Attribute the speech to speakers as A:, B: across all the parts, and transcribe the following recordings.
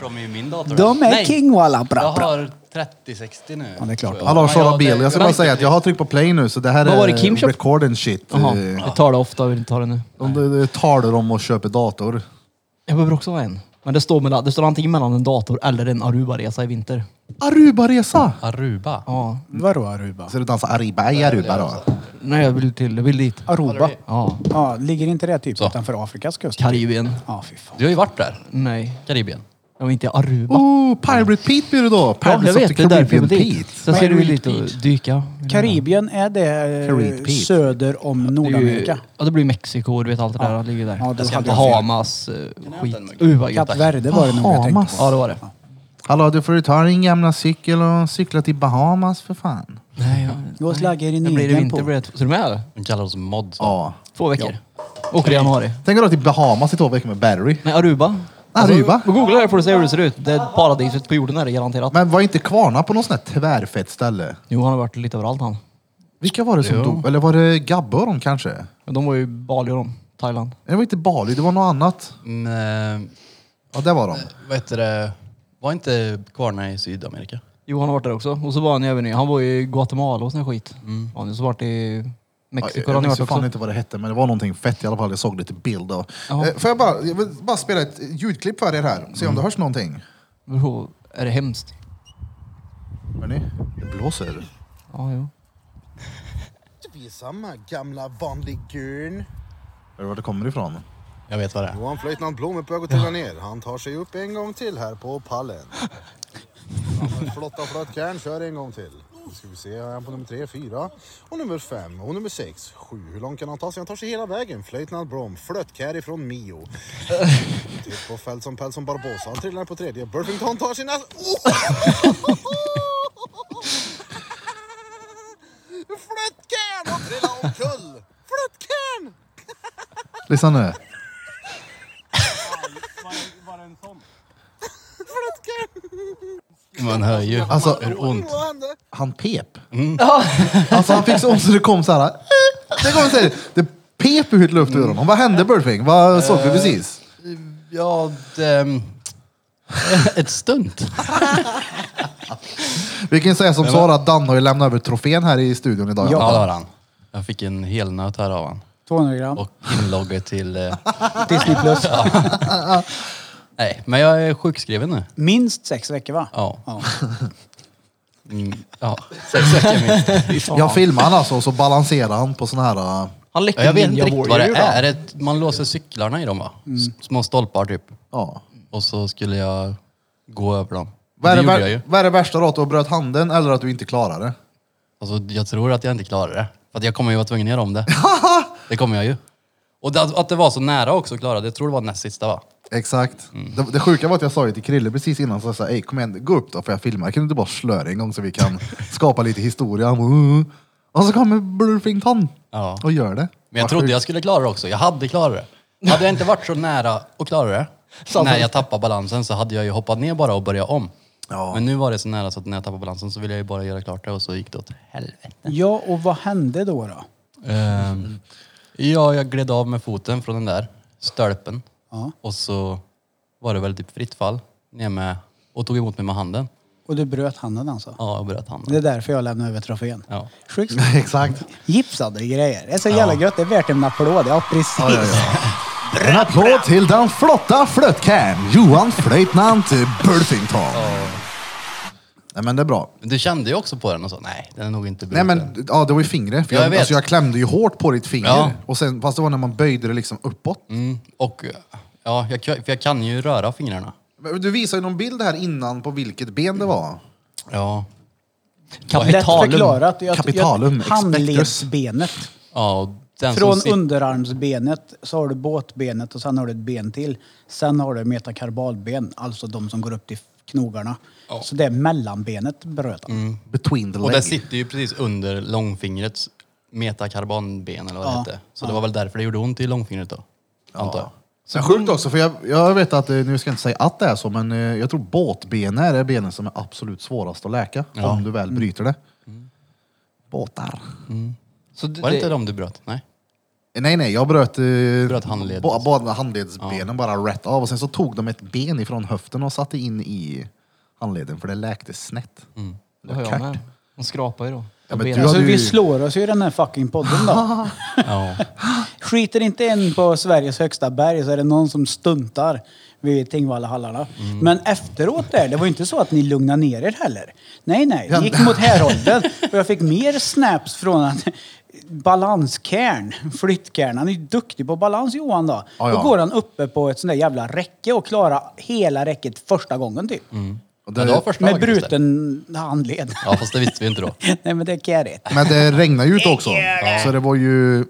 A: som i min dator.
B: De är
A: Nej,
B: king walla bra,
A: Jag
B: bra.
A: har 3060 nu.
B: Ja, det är klart.
A: tror jag.
C: Ja, Lars
A: Men
C: Sara Biel. Jag ska
A: det-
C: bara säga att jag har tryckt på play nu så det här
D: Vad var det
C: är
D: Kim köpte?
C: record and shit.
D: Jaha,
C: Eh,
D: vi tar det ofta, vi tar det nu.
C: De de- de talar om att köpa dator.
D: Jag behöver också ha en. Men det står, mellan, det står antingen mellan en dator eller en Aruba-resa i vinter.
C: Aruba-resa!
A: Aruba.
D: Ja.
B: Vadå Aruba?
C: Så du dansar Ariba i Aruba
D: alltså.
C: då?
D: Nej, jag vill till, jag vill dit.
B: Aruba?
D: Ja.
B: Ja, ligger inte det typ
A: Så.
B: utanför Afrikas kust?
D: Karibien.
B: Ja, fy fan.
A: Du har ju varit där.
D: Nej,
A: Karibien.
D: jag vill inte i Aruba.
C: Oh, Pirate Pete blir det då!
D: Ja, jag
C: Pirates of
D: vet,
C: the
D: det är därför jag
C: Caribbean
D: vill dit.
C: Pete.
D: Sen ska du
B: Pirate
D: dit och dyka.
B: Karibien, är det
C: Carib Pete.
B: eh, söder om
D: Det är ju,
B: Nordamerika?
D: ja, det blir Mexiko, du vet allt det där. Det ligger där.
B: Ja, då
D: Jag ska
B: hade jag
D: till
B: fel.
D: Bahamas, eh,
A: jag
D: skit.
A: ta en mugg?
D: Uh, vad gött.
B: Kap Verde var det nog jag tänkte
C: Bahamas.
B: på.
D: Ja, det var det.
C: Hallå, du får ju ta din gamla cykel och cykla till Bahamas för fan.
D: Nej, jag,
B: Gå och slagga er i
D: det blir det
B: nygen
D: vinter.
B: på.
D: Blir det, så är du med?
A: De kallar oss mods.
C: Ja.
D: Två veckor. Åker i januari.
C: Tänk att dra till Bahamas i två veckor med Barry.
D: Nej, Aruba.
C: Aruba?
D: Alltså, googla det får du se hur det ser ut. Det är paradiset på jorden är det garanterat.
C: Men var inte Kvarna på något sånt här tvärfett ställe?
D: Jo, han har varit lite överallt han.
C: Vilka var det som
A: Jo.
C: dog? Eller var det Gabbe och de kanske? Nej,
D: Men De var ju i Bali och de, Thailand.
C: Det var inte Bali, det var något annat.
A: Men, eh,
C: Ja, det var de.
A: vad heter det? Var inte Kvarna i Sydamerika?
D: Jo, han har varit där också. Och så var han även i, han var ju i Guatemala och sån här skit. Ja, han har så varit i Mexiko.
C: jag
D: han har
C: minns
D: varit
C: ju fan
D: också.
C: inte vad det hette, men det var någonting fett i alla fall. Jag såg lite bild av.
D: Jaha.
C: Eh, Får jag bara, jag vill bara spela ett ljudklipp för er här?
A: Mm.
C: Se om det hörs någonting.
D: Bro, Är det hemskt?
C: Hör ni? Det blåser.
D: Ja, jo.
E: Vi är samma gamla vanlig gurn.
C: Hör du var det kommer ifrån?
A: Jag vet vad det är.
E: Johan Blom är på väg att trilla ner. Han tar sig upp en gång till här på pallen. Han har Flotta flottkärn, kör en gång till. Nu ska vi se, här är han på nummer tre, fyra och nummer fem och nummer sex, sju. Hur långt kan han ta sig? Han tar sig hela vägen. Flöjtnant Blom, flöttkär ifrån Mio. Titt på Feltson Peltson Barbosa, han trillar på tredje. Burfington tar sina... Oh! Flöttkärn och trillar omkull! Flöttkärn!
C: Lyssna nu.
A: Man hör ju.
C: Alltså,
A: hur ont.
E: Vad hände?
C: Han pep. Alltså han fick så ont så det kom så här. "Eh." Det kom så här. Det pep ut luft ur honom. Vad hände Burfing? Vad såg vi precis?
A: Ja, det, ett stunt.
C: Vi kan ju säga som så att Dan har ju lämnat över trofén här i studion idag.
A: Ja, det har han. Jag fick en helnöt här av han.
B: 200 gram.
A: Och inlogget till... Eh,
B: Disney plus.
A: nej, men jag är sjukskriven nu.
B: Minst sex veckor va?
A: Ja. Mm, ja. Sex veckor minst.
C: Jag filmar han alltså och så balanserar han på sån här... äh,
D: Han
A: Ja,
D: läcker
A: Jag vet inte
D: Ninja
A: riktigt vad
D: Warrior
A: det
D: ju då.
A: är. Ett- Man låser cyklarna i dem va? S- Små stolpar typ.
C: Ja.
A: Och så skulle jag gå över dem.
C: Vad är,
A: det
C: det
A: gjorde
C: vär-
A: jag ju.
C: vad är det värsta då? Att du har bröt handen eller att du inte klarar det?
A: Alltså, jag tror att jag inte klarar det. För att jag kommer ju vara tvungen att göra om det. det kommer jag ju. Och det, att det var så nära också att klara det. Jag tror det var näst sista va?
C: Exakt.
A: Mm.
C: Det, det sjuka var att jag sa ju till Krille precis innan, så jag sa ej kom igen, gå upp då för jag filmar. Kan du inte bara slöa dig en gång så vi kan skapa lite historia? Han bara, "Uh." Och så kommer Burfington
A: Ja.
C: och gör det.
A: Men jag trodde jag skulle klara det också. Jag hade klarat det. Hade jag inte varit så nära att klara det,
D: Samma.
A: när jag tappade balansen, så hade jag ju hoppat ner bara och börjat om.
C: Ja.
A: Men nu var det så nära så att när jag tappade balansen så ville jag ju bara göra klart det och så gick det åt helvete.
B: Ja, och vad hände då då?
A: Ehm, ja, jag gled av med foten från den där stölpen.
B: Ja.
A: Och så var det väl typ fritt fall ner med, och tog emot mig med handen.
B: Och du bröt handen alltså?
A: Ja, jag bröt handen.
B: Det är därför jag lämnade över trofén.
A: Ja.
B: Sjukt
C: Exakt.
B: Gipsade grejer. Det är så jävla gött. Det är värt en applåd. Ja, precis.
C: Ja, ja, ja. En applåd till den flotta flötkärn, Johan Flöjtnant Burfington. Nej men det är bra.
A: Men du kände ju också på den och så, nej, den är nog inte
C: Nej
A: bruten.
C: men ja, det var ju fingret. För
A: Ja,
C: jag,
A: jag vet.
C: alltså, jag klämde ju hårt på ditt finger.
A: Ja.
C: Och sen, fast det var när man böjde det liksom uppåt.
A: Mm, och ja, jag, kan- för jag kan ju röra fingrarna.
C: Men Du visade ju någon bild här innan på vilket ben det var.
A: Ja,
B: Lätt
D: Kapitalum.
B: förklarat. Jag,
C: Kapitalum,
B: jag, handledsbenet.
A: ja och den
B: Från
A: som sitter...
B: underarmsbenet så har du båtbenet och sen har du ett ben till. Sen har du metakarbalben, alltså de som går upp till knogarna. Så det är mellanbenet bröt han.
C: Mm. Between the
A: Och det
C: leg.
A: sitter ju precis under långfingrets metakarbonben eller vad det
B: Ja.
A: hette. Så det var väl därför det gjorde ont i långfingret då, antar jag.
C: Så sjukt också, för jag, jag vet att, eh, nu ska jag inte säga att det är så, men eh, jag tror båtben är det benen som är absolut svårast att läka.
A: Ja. Mm.
C: Om du
D: Mm.
C: väl bryter det. Båtar.
D: Så det,
A: Var det inte de du bröt? Nej.
C: Eh, Nej, nej, jag bröt, eh,
A: Bröt handled.
C: bå- båda handledsbenen bara rätt av. Och sen så tog de ett ben ifrån höften och satte in i handleden för det läkte snett.
A: Mm.
D: Det har jag med. De skrapar ju då.
C: Ja, men
D: Benen.
C: du
B: Alltså
C: hade
B: vi
C: ju...
B: slår oss ju i den här fucking podden då.
A: Ja.
B: Skiter inte en på Sveriges högsta berg så är det någon som stuntar vid Tingvallahallarna. Men efteråt där, det var ju inte så att ni lugnade ner er heller. Nej, nej. Ni gick mot härolden och jag fick mer snaps från att balanskärn, flyttkärn. Han är ju duktig på balans Johan då.
C: Ja, ja.
B: Då går han uppe på ett sånt där jävla räcke och klarar hela räcket första gången typ.
C: och
A: Men det var
C: det,
A: första
B: Med
A: dagen, just det.
B: bruten handled.
A: Ja, fast det visste vi inte då.
B: nej men det är kärigt.
C: men det regnade ju ute också. Så det var ju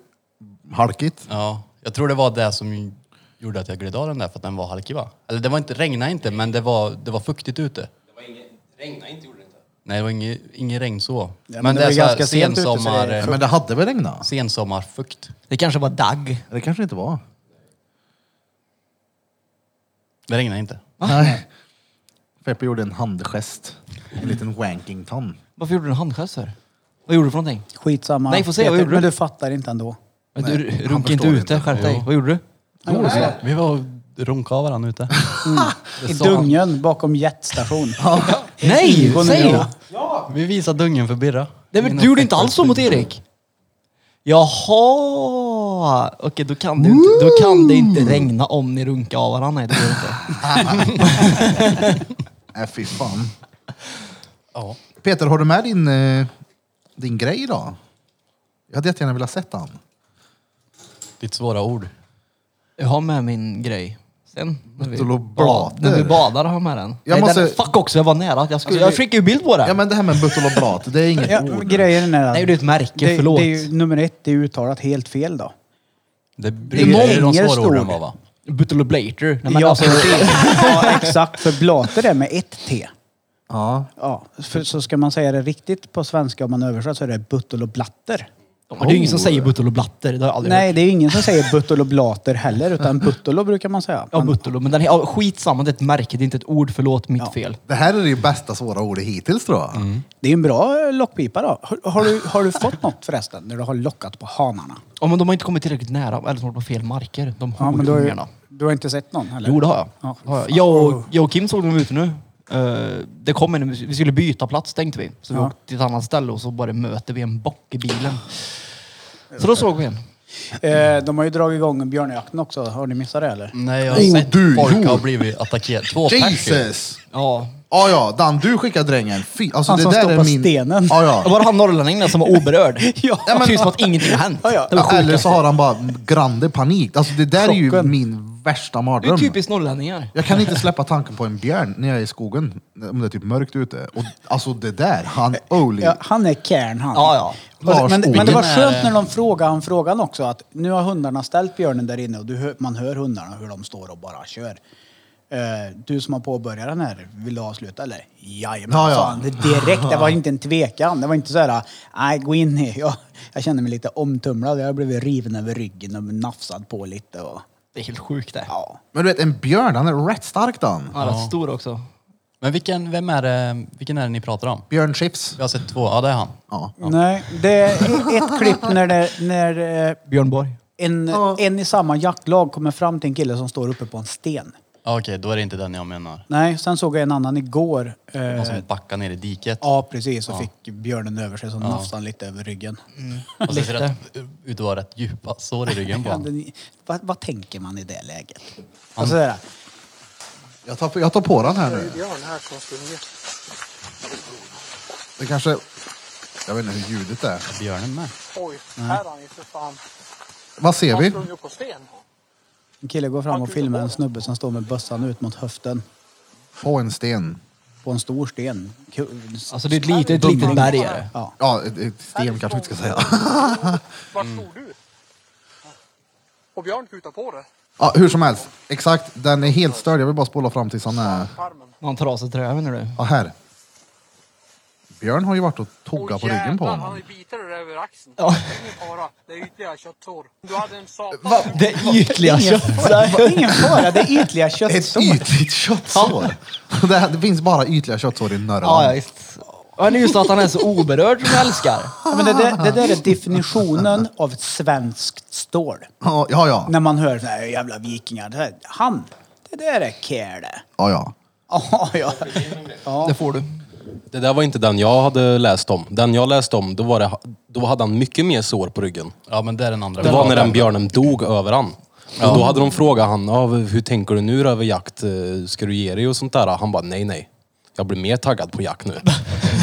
C: halkigt.
A: Ja, jag tror det var det som gjorde att jag gled av den där, för att den var halkig va? Eller det var inte, regnade inte, men det var, det var fuktigt ute.
F: Det var inget, regna inte gjorde det inte.
A: Nej, det var inget, inget regn så.
B: men
A: men,
B: det
A: det
B: var
A: är så här
B: ganska sent ute, så det är
A: sensommar,
B: fuktigt.
C: Men det hade väl regnat?
A: sensommarfukt.
D: Det kanske var dagg.
C: Det kanske inte var.
A: Det regnade inte.
C: Nej. Feppe gjorde en handgest. En liten wankington.
D: Varför gjorde du en handgest för? Vad gjorde du för någonting?
B: Skitsamma.
D: Nej, får se, vad
B: Peter,
D: gjorde du?
B: Men du fattar inte ändå.
D: Men du
C: han
D: runka inte
C: förstår
D: ute,
C: inte.
D: skärp dig. Vad gjorde du?
A: Vi var och ronkade av varandra ute.
B: I Dungen bakom jetstation.
D: Nej!
B: Ingon
D: Säg
B: nivå.
D: då!
A: Vi visade dungen för Birra.
D: Nej, men du gjorde inte alls så mot Erik. Jaha! Okej, då kan, det ju inte, då kan det inte regna om ni runkar av varandra. Nej, det går inte.
C: Nej, Äh, fy fan.
A: Ja.
C: Peter, har du med din, eh, din grej idag? Jag hade jättegärna velat sett han.
A: Ditt svåra ord.
D: Jag har med min grej. Sen när vi,
C: Buttoloblater.
D: när vi badar har jag med den.
C: Jag
D: Nej, den.
C: måste-
D: Fuck också, jag var nära. Jag,
C: Alltså,
D: skulle, jag
C: det-
D: skickade ju bild på den.
C: Ja, men det här med buttol och brat, det är inget
B: Ja,
C: ord.
B: grejen är att...
D: Nej, det är ett märke,
B: det,
D: förlåt.
B: Det är ju, nummer ett, det är uttalat helt fel då.
A: Det brukar ju de
B: många
A: svåra orden
B: stor.
A: vara va?
D: Butteloblater. Nej, men
B: ja,
D: alltså,
B: precis. ja, exakt. För blater är med ett T.
C: Ja.
B: Ja, för, så ska man säga det riktigt på svenska om man översätter så är det buttel och blatter.
D: det är ju ingen som säger butteloblatter. Det har jag aldrig
B: Nej,
D: hört.
B: det är ingen som säger buttel och blater heller, utan buttelo brukar man säga.
D: Ja, buttelo. Men den, ja, skitsamma, det är ett märke. Det är inte ett ord. Förlåt, mitt
B: Ja.
D: fel.
C: Det här är det ju bästa svåra ordet hittills tror jag.
B: Det är en bra lockpipa då. Har, har, du, har du fått något förresten, när du har lockat på hanarna?
D: Ja, men de har inte kommit tillräckligt nära, eller som på fel marker. De
B: Ja, men du har, ju,
D: horungarna.
B: du har inte sett någon heller?
D: Jo, det har jag.
B: Ja.
D: Det har jag. Jag, och, jag och Kim såg dem ute nu. Eh, det kom en, vi skulle byta plats tänkte vi. Så vi
B: Ja.
D: åkte till ett annat ställe och så bara möter vi en bock i bilen. Så då såg vi en.
B: Eh, de har ju dragit igång björnjakten också. Har ni missat det eller?
A: Nej, jag har
C: Oh,
A: sett
C: du,
A: folk
C: jo.
A: har blivit attackerade. Två pers ju.
C: Jesus!
D: Ja.
C: Ja, ja, Dan, du skickar drängen. Fy, alltså,
B: Han
C: det
B: som
C: där
B: står
C: är
B: på
C: min...
B: stenen.
C: Ja, ja.
D: Var det han norrlänningen där som var oberörd?
B: Ja.
D: Det var Tyst som att ingenting har hänt.
B: Ja, ja.
D: Det var
C: Eller så
D: sjukaste.
C: har han bara grande panik. Alltså, det där är ju
B: Chocken. typ
C: min värsta
D: Det är
C: mardröm.
D: typiskt norrlänningar.
C: Jag kan inte släppa tanken på en björn när jag är i skogen, om det är typ mörkt ute. Och, alltså det där, han Oli.
B: Ja, han är cairn han.
D: Ja, ja.
B: Och- Men,
C: Lars
B: men det var
A: Ohlin
B: skönt
A: är-
B: när de frågade han frågan också att nu har hundarna ställt björnen där inne och du hör, man hör hundarna hur de står och bara kör. Eh, du som har påbörjat den här, vill du avsluta eller? Jajamän,
C: Ja, ja.
B: sa han. Det direkt. Det var inte en tvekan. Det var inte så här, nej gå in i. Jag, jag kände mig lite omtumlad. Jag har blivit riven över ryggen och nafsad på lite. Och,
D: Det är helt sjukt det. Ja,
B: ja.
C: Men du vet, en björn, han är rätt stark dan.
D: han är rätt stor också.
A: Men vilken, vem är det, vilken är det ni pratar om?
C: Björn Chips.
A: Jag har sett två, ja det är han.
C: Ja.
B: Nej, det är ett klipp när, det, när eh,
D: Björn Borg.
B: En, en i samma jaktlag kommer fram till en kille som står uppe på en sten.
A: Ja, Okej, då är det inte den jag menar.
B: Nej, sen såg jag en annan igår.
A: Någon
B: Eh,
A: som backar ner i diket.
B: ja, precis. Och fick björnen över sig, så nafsade han lite över ryggen.
A: Och så ser det rätt- ut att vara rätt djupa sår i ryggen på
B: Ja,
A: honom.
B: den, vad, vad tänker man i det läget? Alltså, sådär.
C: Jag, tar, jag tar på den här nu. Det kanske... Jag vet inte hur ljudet är.
A: Björnen med.
G: Oj, här har han ju för fan.
C: Vad ser
G: Han
C: vi?
G: sprang ju upp på sten.
B: en kille går fram och filmar en snubbe som står med bössan ut mot höften
C: På en sten.
B: på en stor sten. Kul.
D: Alltså det är ett litet, ett litet berg är det.
B: Ja.
C: Ja, ett, ett sten kanske vi inte ska säga.
G: Vart
C: Mm.
G: stod du? Och Björn kutar på det.
C: Ja, hur som helst. Exakt, den är helt störd. Jag vill bara spola fram tills han är...
G: Armen.
D: Någon trasig tröja menar du?
C: Ja, här. Björn har ju varit och tuggat
G: Åh,
C: på ryggen på
G: jävlar,
C: honom.
G: Han har ju bitar där över axeln.
D: Ja.
G: Det är ingen fara. Det är ytterligare köttsår. Du hade en satan.
D: Det ytliga
B: Ingen fara, ingen fara, det är ytliga
C: Ett
B: köttsår.
C: ytligt köttsår. det, här, det finns bara ytliga köttsår i Norrland.
D: Ja, ja, visst. Ja, det är just att han är så oberörd som jag älskar.
B: Ja, men det, där- det där är definitionen av ett svenskt stål.
C: Ja, ja, ja.
B: När man hör så här, jävla vikingar. Det här, han, det där är kärle.
C: ja, ja.
B: Ja, ja.
D: Det får du.
H: Det där var inte den jag hade läst om. Den jag läste om, då, var det, då hade han mycket mer sår på ryggen.
A: Ja men det är den andra.
H: Det
A: vi
H: var
A: pratar
H: när den
A: om.
H: björnen dog över han. Och då hade de frågat han, "Ja, hur tänker du nu då över jakt? Eh, Ska du ge dig och sånt där? Han bara, nej nej. Jag blir mer taggad på jakt nu.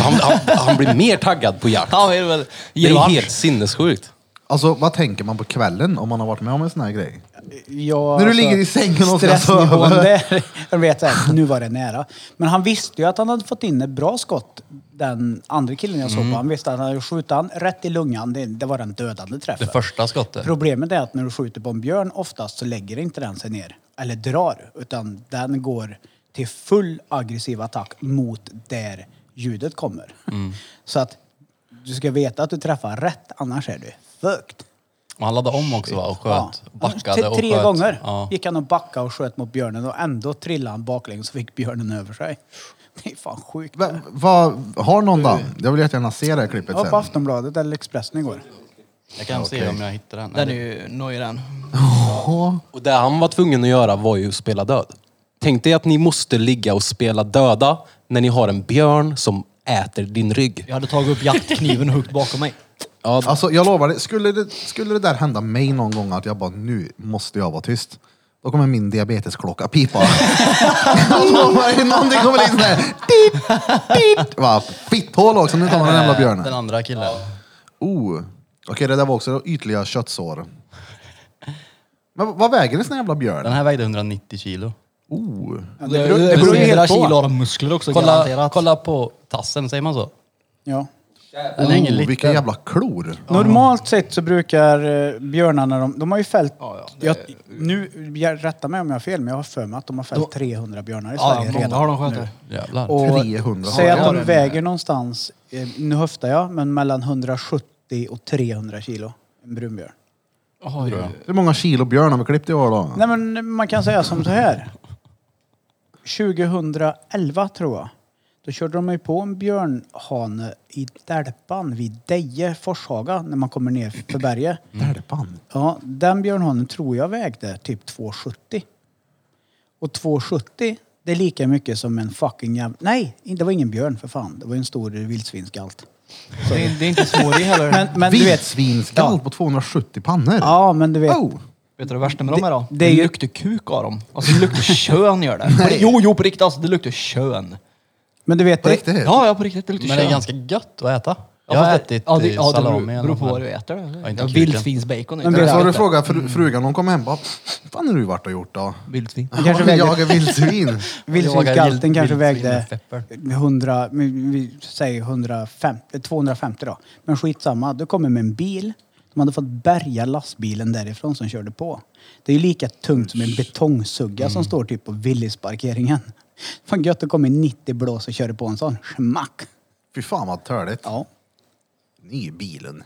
H: Han, han, han blir mer taggad på jakt.
D: Han vill väl
H: Det är
D: revansch.
H: helt sinnessjukt.
C: Alltså vad tänker man på kvällen om man har varit med om en sån här grej?
B: Ja,
C: När du ligger i sängen och ska sova.
B: stressnivån där. Jag vet så här, nu var det nära. Men han visste ju att han hade fått in ett bra skott. Den andra killen jag såg på, han visste att han hade skjutit han rätt i lungan. Det, det var den dödande träffen.
A: Det första skottet.
B: Problemet är att när du skjuter på en björn oftast så lägger inte den sig ner eller drar utan den går till full aggressiv attack mot där ljudet kommer.
A: Mm.
B: Så att du ska veta att du träffar rätt annars är du fucked.
A: Och han laddade om också va? Och sköt.
B: Ja.
A: Backade och
B: Tre
A: sköt.
B: gånger
A: Ja.
B: gick han och backade och sköt mot björnen och ändå trillade han baklänges och fick björnen över sig. Det är fan sjukt.
C: Va, va, har någon den? Jag vill jättegärna se det här klippet
B: Jag var på
C: sen.
B: Aftonbladet eller Expressen igår.
A: Jag kan se om jag hittar den.
D: Den är ju nöjd den.
H: Och det han var tvungen att göra var ju att spela död. Tänk dig att ni måste ligga och spela döda när ni har en björn som äter din rygg.
D: Jag hade tagit upp jaktkniven högt bakom mig.
C: Alltså jag lovar dig, skulle det, skulle det där hända mig någon gång att jag bara nu måste jag vara tyst. Då kommer min diabetesklocka pipa. Jag lovar dig, Någonting kommer liksom där. Pip, pip. Va, Fitthål också, nu tar man den jävla
A: Den
C: björnen.
A: andra killen.
C: Oh. Okej det där var också ytliga köttsår. Men vad väger en sån här jävla
A: Den
C: björn?
A: här vägde 190 kilo.
C: Oh.
B: Ja, det beror, det beror ju
D: flera
B: helt
D: kilo
B: på.
D: av muskler också
A: Kolla,
D: garanterat.
A: kolla på tassen, säger man så?
B: Ja.
A: Den är ingen
C: Oh, vilka
A: liten.
C: jävla klor.
B: Normalt sett så brukar eh, björnarna, de, de har ju fällt... jag, nu, jag, rätta mig om jag har fel, men jag har för mig att de har fällt 300 björnar i
D: Ja,
B: Sverige
D: många
B: redan.
D: har de skjutit.
A: Jävlar.
B: Och
C: 300
B: Säg
C: har
B: att
C: jag.
B: de väger någonstans, eh, nu höftar jag, men mellan 170 och 300 kilo. En brunbjörn.
C: Hur många kilo björn har vi klippt i år då?
B: Nej men man kan säga som så här. 2011 tror jag. Då körde de ju på en björnhane i Dälpan vid Deje, Forshaga, när man kommer ner för berget.
C: Dälpan.
B: Ja, den björnhanen tror jag vägde typ 2,70. Och 2,70 det är lika mycket som en fucking jävla... Nej, det var ingen björn för fan. Det var ju en stor vildsvinsgalt.
D: Det, är- det är inte smårig heller.
B: Men, men du vet...
C: Vildsvinsgall på 270 pannor.
B: Ja, men du vet...
C: Oh.
D: Vet du det värsta med dem är då?
B: Det-
D: Det,
B: det är ju-
D: luktar kuk av dem. Alltså det luktar kön gör det. På- Jo, jo på riktigt alltså. Det luktar kön.
B: Men du vet...
C: På riktigt?
D: Ja, ja på riktigt. Det luktar
A: Men
D: kön.
A: det är ganska gött att äta.
D: Ja,
A: Jag har
D: fast det-
A: ätit
D: ja, det,
A: eh,
D: ja, det
A: salami.
D: beror,
A: eller
D: beror
A: något
D: på vad
A: där.
D: du äter.
A: Ja, inte
D: Ja,
A: kuken.
D: Vildsvinsbacon.
B: Men
D: är
C: Det
D: det
C: är så
D: jag
C: du
D: äter.
C: frågar fru, frugan, hon kom hem bara Fan är du vart och gjort då?
D: Vildsvin.
B: Den kanske
C: Ja,
B: väger-
C: Jag är vildsvin.
A: Jag jagar
B: Vildsvinsgalten
A: vild-
B: kanske
A: vildsvin
B: vägde
A: med pepper.
B: 100, men vi säger 150, 250 då. Men skitsamma, du kommer med en bil. De hade fått bärga lastbilen därifrån som körde på. Det är ju lika tungt som en betongsugga som
A: Mm.
B: står typ på Willys-parkeringen. Fan gött att komma i 90 blås och köra på en sån. Schmack!
C: Fy fan vad töligt.
B: Ja.
C: Ny bilen.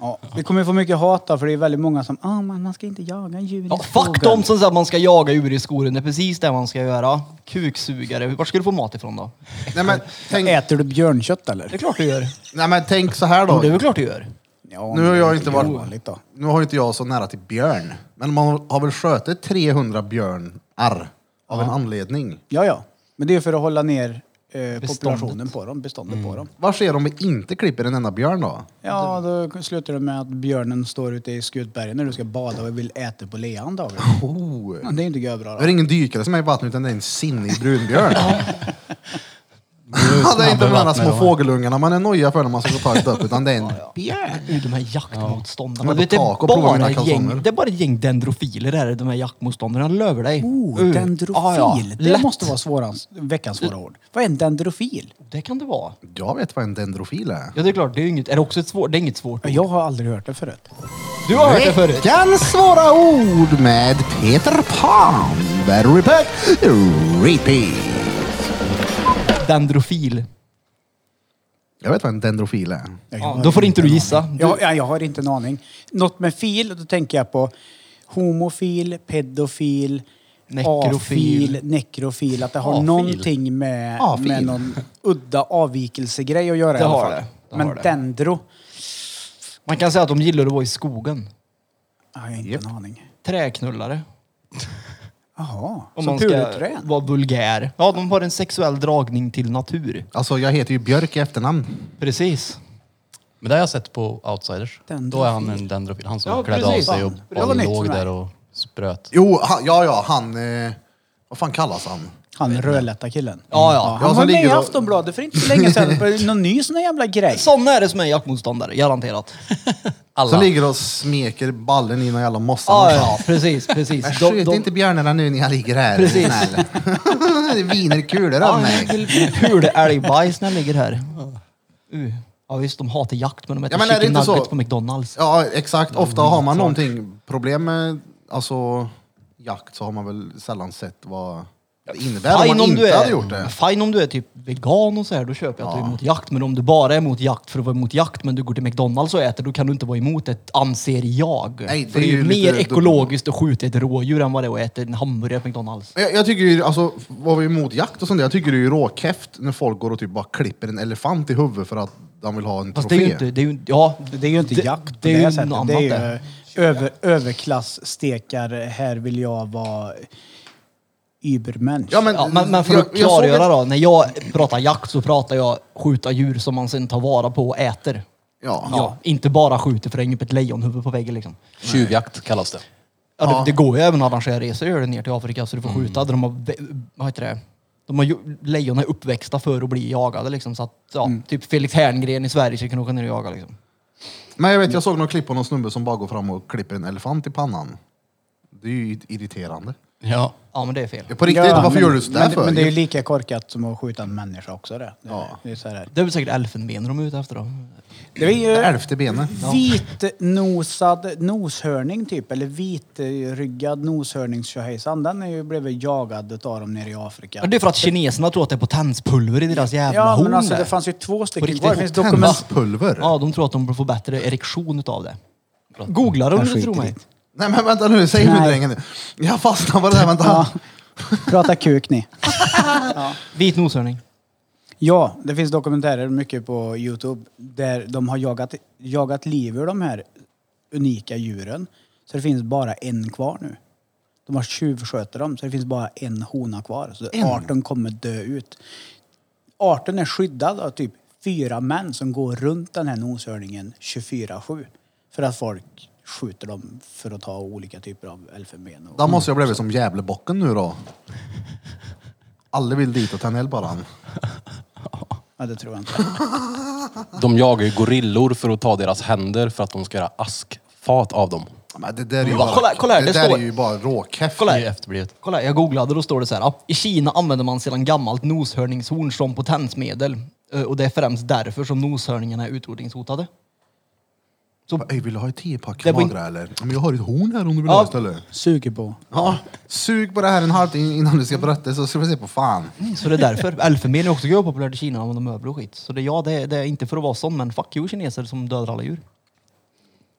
B: ja. Vi kommer ju få mycket hat då, för det är väldigt många som ah, man, man ska inte jaga djur i
D: Ja, fuck
B: skogen."
D: de som säger att man ska jaga djur i skogen. Det är precis det man ska göra. Kuksugare. Var ska du få mat ifrån då?
C: Nej men, tänk,
B: Äter du björnkött eller?
D: Det är klart du gör.
C: nej men tänk så här
D: Jo, det är
C: då.
D: väl klart du gör.
B: Ja,
C: Nu har jag inte varit-
B: ovanligt då.
C: Nu har ju inte jag så nära till björn. Men man har väl skjutit 300 björnar av en anledning.
B: Ja, ja. Men det är för att hålla ner eh,
D: Beståndet.
B: populationen på dem, beståndet på dem.
C: Vad sker om vi inte klipper en enda björn då?
B: Ja, då slutar det med att björnen står ute i Skutbergen när du ska bada och vill äta på lean då.
C: Oh.
B: Men det är inte görbra.
C: Det är
B: då.
C: ingen dykare som är i vattnet utan det är en sinnig brunbjörn. det är inte de här
A: vattnet
C: små
A: då.
C: fågelungarna man är noja för när man ska ta ett upp utan det är en björn.
D: Ur de här jaktmotståndarna.
C: Ja.
D: Du vet, det,
C: Jag var på tak
D: är
C: och provade mina
D: bara ett
C: kalsonger.
D: gäng, det är bara ett gäng dendrofiler där, de här jaktmotståndarna. De löver dig.
B: Oh,
D: Ur.
B: dendrofil!
D: Uh. Ja, ja.
B: Det
D: Lätt.
B: måste vara svårans, veckans svåra ord. Vad är en dendrofil?
D: Det kan det vara.
C: Jag vet vad en dendrofil är.
D: Ja, det är klart. Det är, ju inget, är det också ett svårt? Det är inget svårt.
B: Ja, Jag har aldrig hört det förut.
D: Du har hört det förut.
C: Veckans svåra ord med Peter Pan. Very repeat. Repeat.
D: Dendrofil.
C: Jag vet vad en dendrofil är.
D: Ja, då får inte du gissa. Du,
B: Jag, ja, jag har inte en aning. Något med fil, då tänker jag på homofil, pedofil,
D: Nekrofil.
B: afil, nekrofil. Att det har
A: Afil.
B: någonting med,
C: Afil.
B: med någon udda avvikelsegrej att göra
D: Det
B: i alla
D: har
B: fall.
D: det. Det
B: Men
D: har det.
B: dendro?
D: Man kan säga att de gillar att vara i skogen.
B: Jag har inte en aning.
D: Träknullare.
B: Jaha,
D: Om
B: som
D: man ska
B: puderträn?
D: vara vulgär. Ja, de har en sexuell dragning till natur.
C: Alltså jag heter ju Björk i efternamn.
D: Precis.
A: Men det har jag sett på Outsiders. Då är han en dendrofil. Han som
D: Ja,
A: klädde
D: precis.
A: av sig och
D: Fan,
B: det var
A: bara
B: nytt
A: låg
B: för mig.
A: där och spröt.
C: Jo, han, ja ja, han... Eh, vad fan kallas han?
B: Han rödlätta killen.
D: Ja, ja.
B: Han
C: Ja,
B: var
C: som
B: med i
C: ligger och-
B: Aftonbladet för inte så länge sedan på någon ny sån här jävla grej.
D: Sådana är det som är jaktmotståndare, garanterat.
A: Alla.
C: Som ligger och smeker ballen i någon jävla mossa.
D: Ja,
C: någonstans.
D: ja, precis, precis.
C: Men skjut inte björnarna nu när jag ligger här.
D: Precis.
C: snäll. det viner kulor av
D: Ja,
C: mig.
D: Pulälgbajs när den ligger här. Uh. Ja visst, de hatar jakt men de äter
C: Ja, men är det
D: chicken
C: inte så?
D: nuggets på McDonalds.
C: Ja, exakt. Ofta har man någonting, problem med alltså, jakt så har man väl sällan sett vad det innebär om man inte
D: du
C: hade
D: är,
C: gjort det.
D: fine om du är typ vegan och så här, då köper jag att du är emot jakt. Men om du bara är emot jakt för att vara emot jakt men du går till McDonalds och äter, då kan du inte vara emot ett anser jag.
C: Nej, det
D: för
C: är
D: det är
C: ju
D: ju
C: lite
D: mer
C: dumt.
D: ekologiskt att skjuta ett rådjur än vad det är att äta en hamburgare på McDonalds.
C: Jag, jag tycker ju, alltså, vad vi är emot jakt och sånt där, jag tycker det är ju råkäft när folk går och typ bara klipper en elefant i huvudet för att de vill ha en
D: Fast det
C: trofé.
D: är ju inte... Det är ju, ja,
B: Det är ju inte
D: det-
B: jakt på
D: det
B: det,
D: är ju
B: här sättet.
D: något
B: Det är ju
D: annat
B: över, överklassstekar. Här vill jag vara übermensch.
C: Ja, men,
D: Ja, men, men för
C: jag-
D: att
C: jag såg
D: klargöra
C: ett-
D: då. När jag pratar jakt så pratar jag skjuta djur som man sen tar vara på och äter.
C: Ja.
D: Ja. inte bara skjuter för att hänga upp ett lejonhuvud på väggen liksom.
H: Tjuvjakt kallas det.
D: Ja, Det, det går ju även att arrangera resor gör det ner till Afrika så du får
C: Mm.
D: skjuta där de har, vä- vad heter det? De har, ju- lejon är uppväxta för att bli jagade liksom. Så att, ja,
C: Mm.
D: typ Felix Herngren i Sverige ska kunna åka ner och jaga liksom.
C: Men jag vet, jag såg någon klipp på någon snubbe som bara går fram och klipper en elefant i pannan. Det är ju irriterande.
A: Ja.
D: Ja, men det är fel.
C: Ja, På riktigt,
B: Ja,
C: varför
B: men-
C: gör du sådär
B: men,
C: för?
B: Men det är ju lika korkat som att skjuta en människa också det. Det,
C: Ja.
B: det är så här.
D: Det är väl säkert elfenben de är ute efter då.
B: Det är ju
C: Elfte benet.
B: vitnosad noshörning typ, eller vitryggad noshörningstjohejsan. Den är ju blivit jagad utav dem nere i Afrika.
D: Ja, det är för att kineserna tror att det är potenspulver i deras jävla
B: ja,
D: horn
B: men alltså
D: där.
B: det fanns ju två stycken
D: riktigt.
B: kvar. Det finns dokument...
C: Tennispulver?
D: Ja, de tror att de får bättre erektion utav det. Googla dem,
B: Kanske
D: tror
B: inte
D: mig.
B: riktigt.
C: Nej men vänta nu, säg nu
B: Nej.
C: drängen. nu. Jag fastnar på det där, vänta.
B: Ja. Prata kuk ni.
D: Vit noshörning.
B: Ja, det finns dokumentärer mycket på Youtube där de har jagat, jagat liv ur de här unika djuren. Så det finns bara en kvar nu. De har tjuvsköter dem, så det finns bara en hona kvar. Så arten kommer dö ut. Arten är skyddad av typ fyra män som går runt den här noshörningen 24-7. För att folk skjuter dem för att ta olika typer av elfenben. Och...
C: Då måste jag bli som Gävlebocken nu då. Alla vill dit och tända eld på den.
B: Ja, det tror jag inte.
H: De jagar ju gorillor för att ta deras händer för att de ska göra askfat av dem.
C: Men det där är ju
D: Va,
C: bara,
D: kolla här, kolla här,
C: det
D: det
C: där
D: står-
C: är ju bara råkäft.
D: Kolla
A: Det är
D: här.
A: ju efterblivet.
D: Kolla, här, jag googlade och då står det så här. ja, I Kina använder man sedan gammalt noshörningshorn som potensmedel. Eh, Och det är främst därför som noshörningarna är utrotningshotade.
C: Ey, vill du ha ett tiopack
D: Det var in-
C: magra eller? Men jag har ett horn här om du vill
D: Ja.
C: ha istället.
B: Suger på.
C: Ja, sug på det här en halvtimme innan du ska berätta så ska vi se på fan.
D: Så det är därför. Elfenben är också gud populärt i Kina, man använder möbler och skit. Så det, ja, det, är- det är inte för att vara sån, men fuck you kineser som dödar alla djur.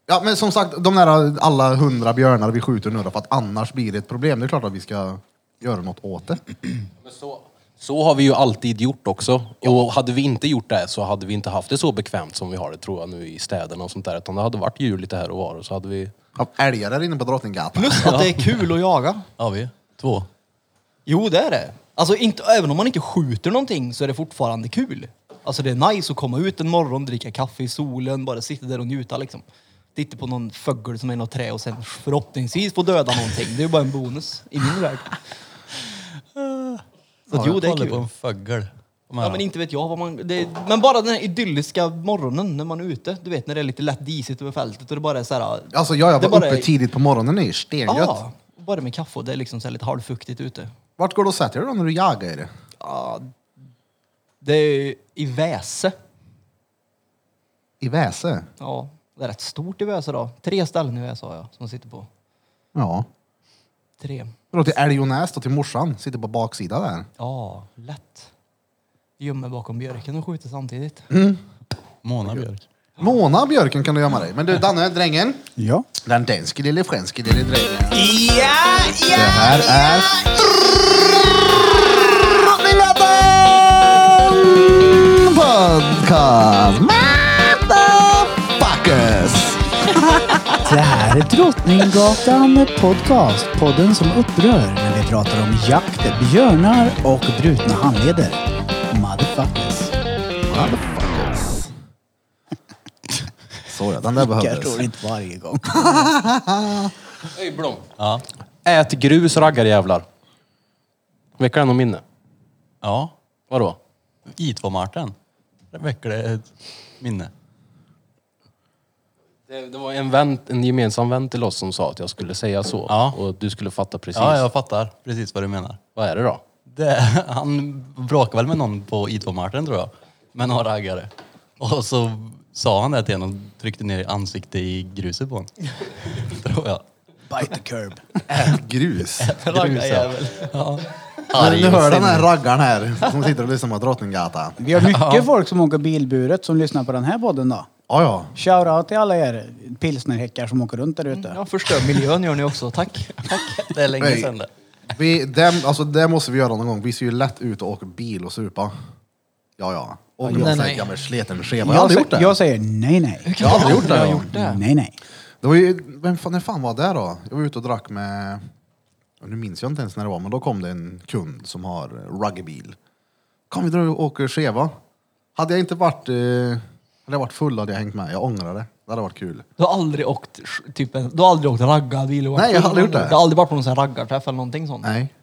C: Ja men som sagt, de där alla hundra björnar vi skjuter nu då, för att annars blir det ett problem. Det är klart att vi ska göra något åt det.
H: Men så, så har vi ju alltid gjort också. Och hade vi inte gjort det så hade vi inte haft det så bekvämt som vi har det tror jag nu i städerna och sånt där. Utan det hade varit djur lite här och var och så hade vi...
C: Av älgar där inne på Drottninggatan.
D: Plus att det är kul att jaga.
A: Ja, vi två.
D: Jo, det är det. Alltså, inte, även om man inte skjuter någonting så är det fortfarande kul. Alltså, det är nice att komma ut en morgon, dricka kaffe i solen, bara sitta där och njuta liksom. Titta på någon fågel som är i något trä och sen förhoppningsvis få döda någonting. Det är ju bara en bonus i min värld. Så att, jo, det är
A: Kolla på
D: kul.
A: en fågel. Kom här
D: Ja,
A: då.
D: men inte vet jag vad man... Det, men bara den här idylliska morgonen när man är ute. Du vet, när det är lite lätt disigt över fältet och det bara är så här...
C: Alltså jag, jag
D: Det
C: var
D: bara
C: uppe
D: är- Ah.
C: tidigt på morgonen, det är ju stengött.
D: Ja, bara med kaffe och det är liksom så här lite halvfuktigt ute.
C: Vart går du och sätter dig då när du jagar?
D: Ja, det är i Väse.
C: I Väse?
D: Ja, det är rätt stort i Väse då. Tre ställen i Väse har jag som sitter på.
C: Ja.
D: Tre.
C: Då till älg och näs då till morsan, sitter på baksidan där.
D: Ja,
C: Mm.
D: lätt. Gömmer bakom björken och skjuter samtidigt.
A: Mona Björk.
C: Mona Björken kan du gömma dig. Men du Danne, drängen.
B: Ja.
C: Den danske lille franske lille drängen.
B: Ja,
C: Det här är... Drottninggatan Podcast! Motherfuckers!
B: Det här är Drottninggatan Podcast. Podden som upprör när vi pratar om jakt, björnar och brutna handleder. Motherfuckers.
C: Motherfuckers. Såja, den där
B: Jag
C: behövdes.
B: tror inte varje gång.
A: Hej Blom. Ja.
H: Ät grus raggarjävlar. Väcker det något minne?
A: Ja.
H: Vadå?
A: I2-Marten. Där väcker det ett minne.
H: Det, det var en, vän, en gemensam vän till oss som sa att jag skulle säga så.
A: Ja.
H: Och du skulle fatta precis.
A: Ja, jag fattar precis vad du menar.
H: Vad är det då?
A: Det, han bråkade väl med någon på I2-Marten tror jag. Med några raggare. Och så sa han det till henne och tryckte ner ansiktet i gruset på honom. tror jag.
B: Bite the curb.
C: Grus.
A: Raggarjävel. Ja.
C: Men
A: Arg
C: ni
A: och
C: hör den
A: sinnig.
C: här raggaren här som sitter och lyssnar på Drottninggatan.
B: Vi har mycket folk som åker bilburet som lyssnar på den här podden då.
C: Ja, ja.
B: Shoutout till alla er pilsnerhäckar som åker runt där ute.
D: Ja, förstör miljön gör ni också. Tack.
A: Det är länge
C: Nej.
A: sedan det.
C: Vi, det, alltså, det måste vi göra någon gång. Vi ser ju lätt ut och åker bil och supa. Ja, ja. Och vi har
D: nej,
C: sån här
D: nej.
C: gammal sleten schema. Jag har
B: Jag,
C: aldrig
B: sä-
C: gjort det.
B: jag säger nej, nej.
C: Jag har aldrig gjort det.
D: Jag har
C: ja.
D: gjort det.
B: Nej, nej.
C: Det var ju, vem fan, när fan var det då? Jag var ute och drack med, ja, nu minns jag inte ens när det var, men då kom det en kund som har rugbybil. Kom vi drar och åker skeva. Hade jag inte varit, eh, hade jag varit full hade jag hängt med. Jag ångrar det. Det hade varit kul.
D: Du har aldrig åkt, sh- typ, en- du har aldrig åkt raggarbil? och varit
C: Nej, jag har
D: full
C: aldrig gjort
D: eller-
C: det.
D: Du har aldrig varit på någon sån här raggarträff eller någonting sånt?
C: Nej.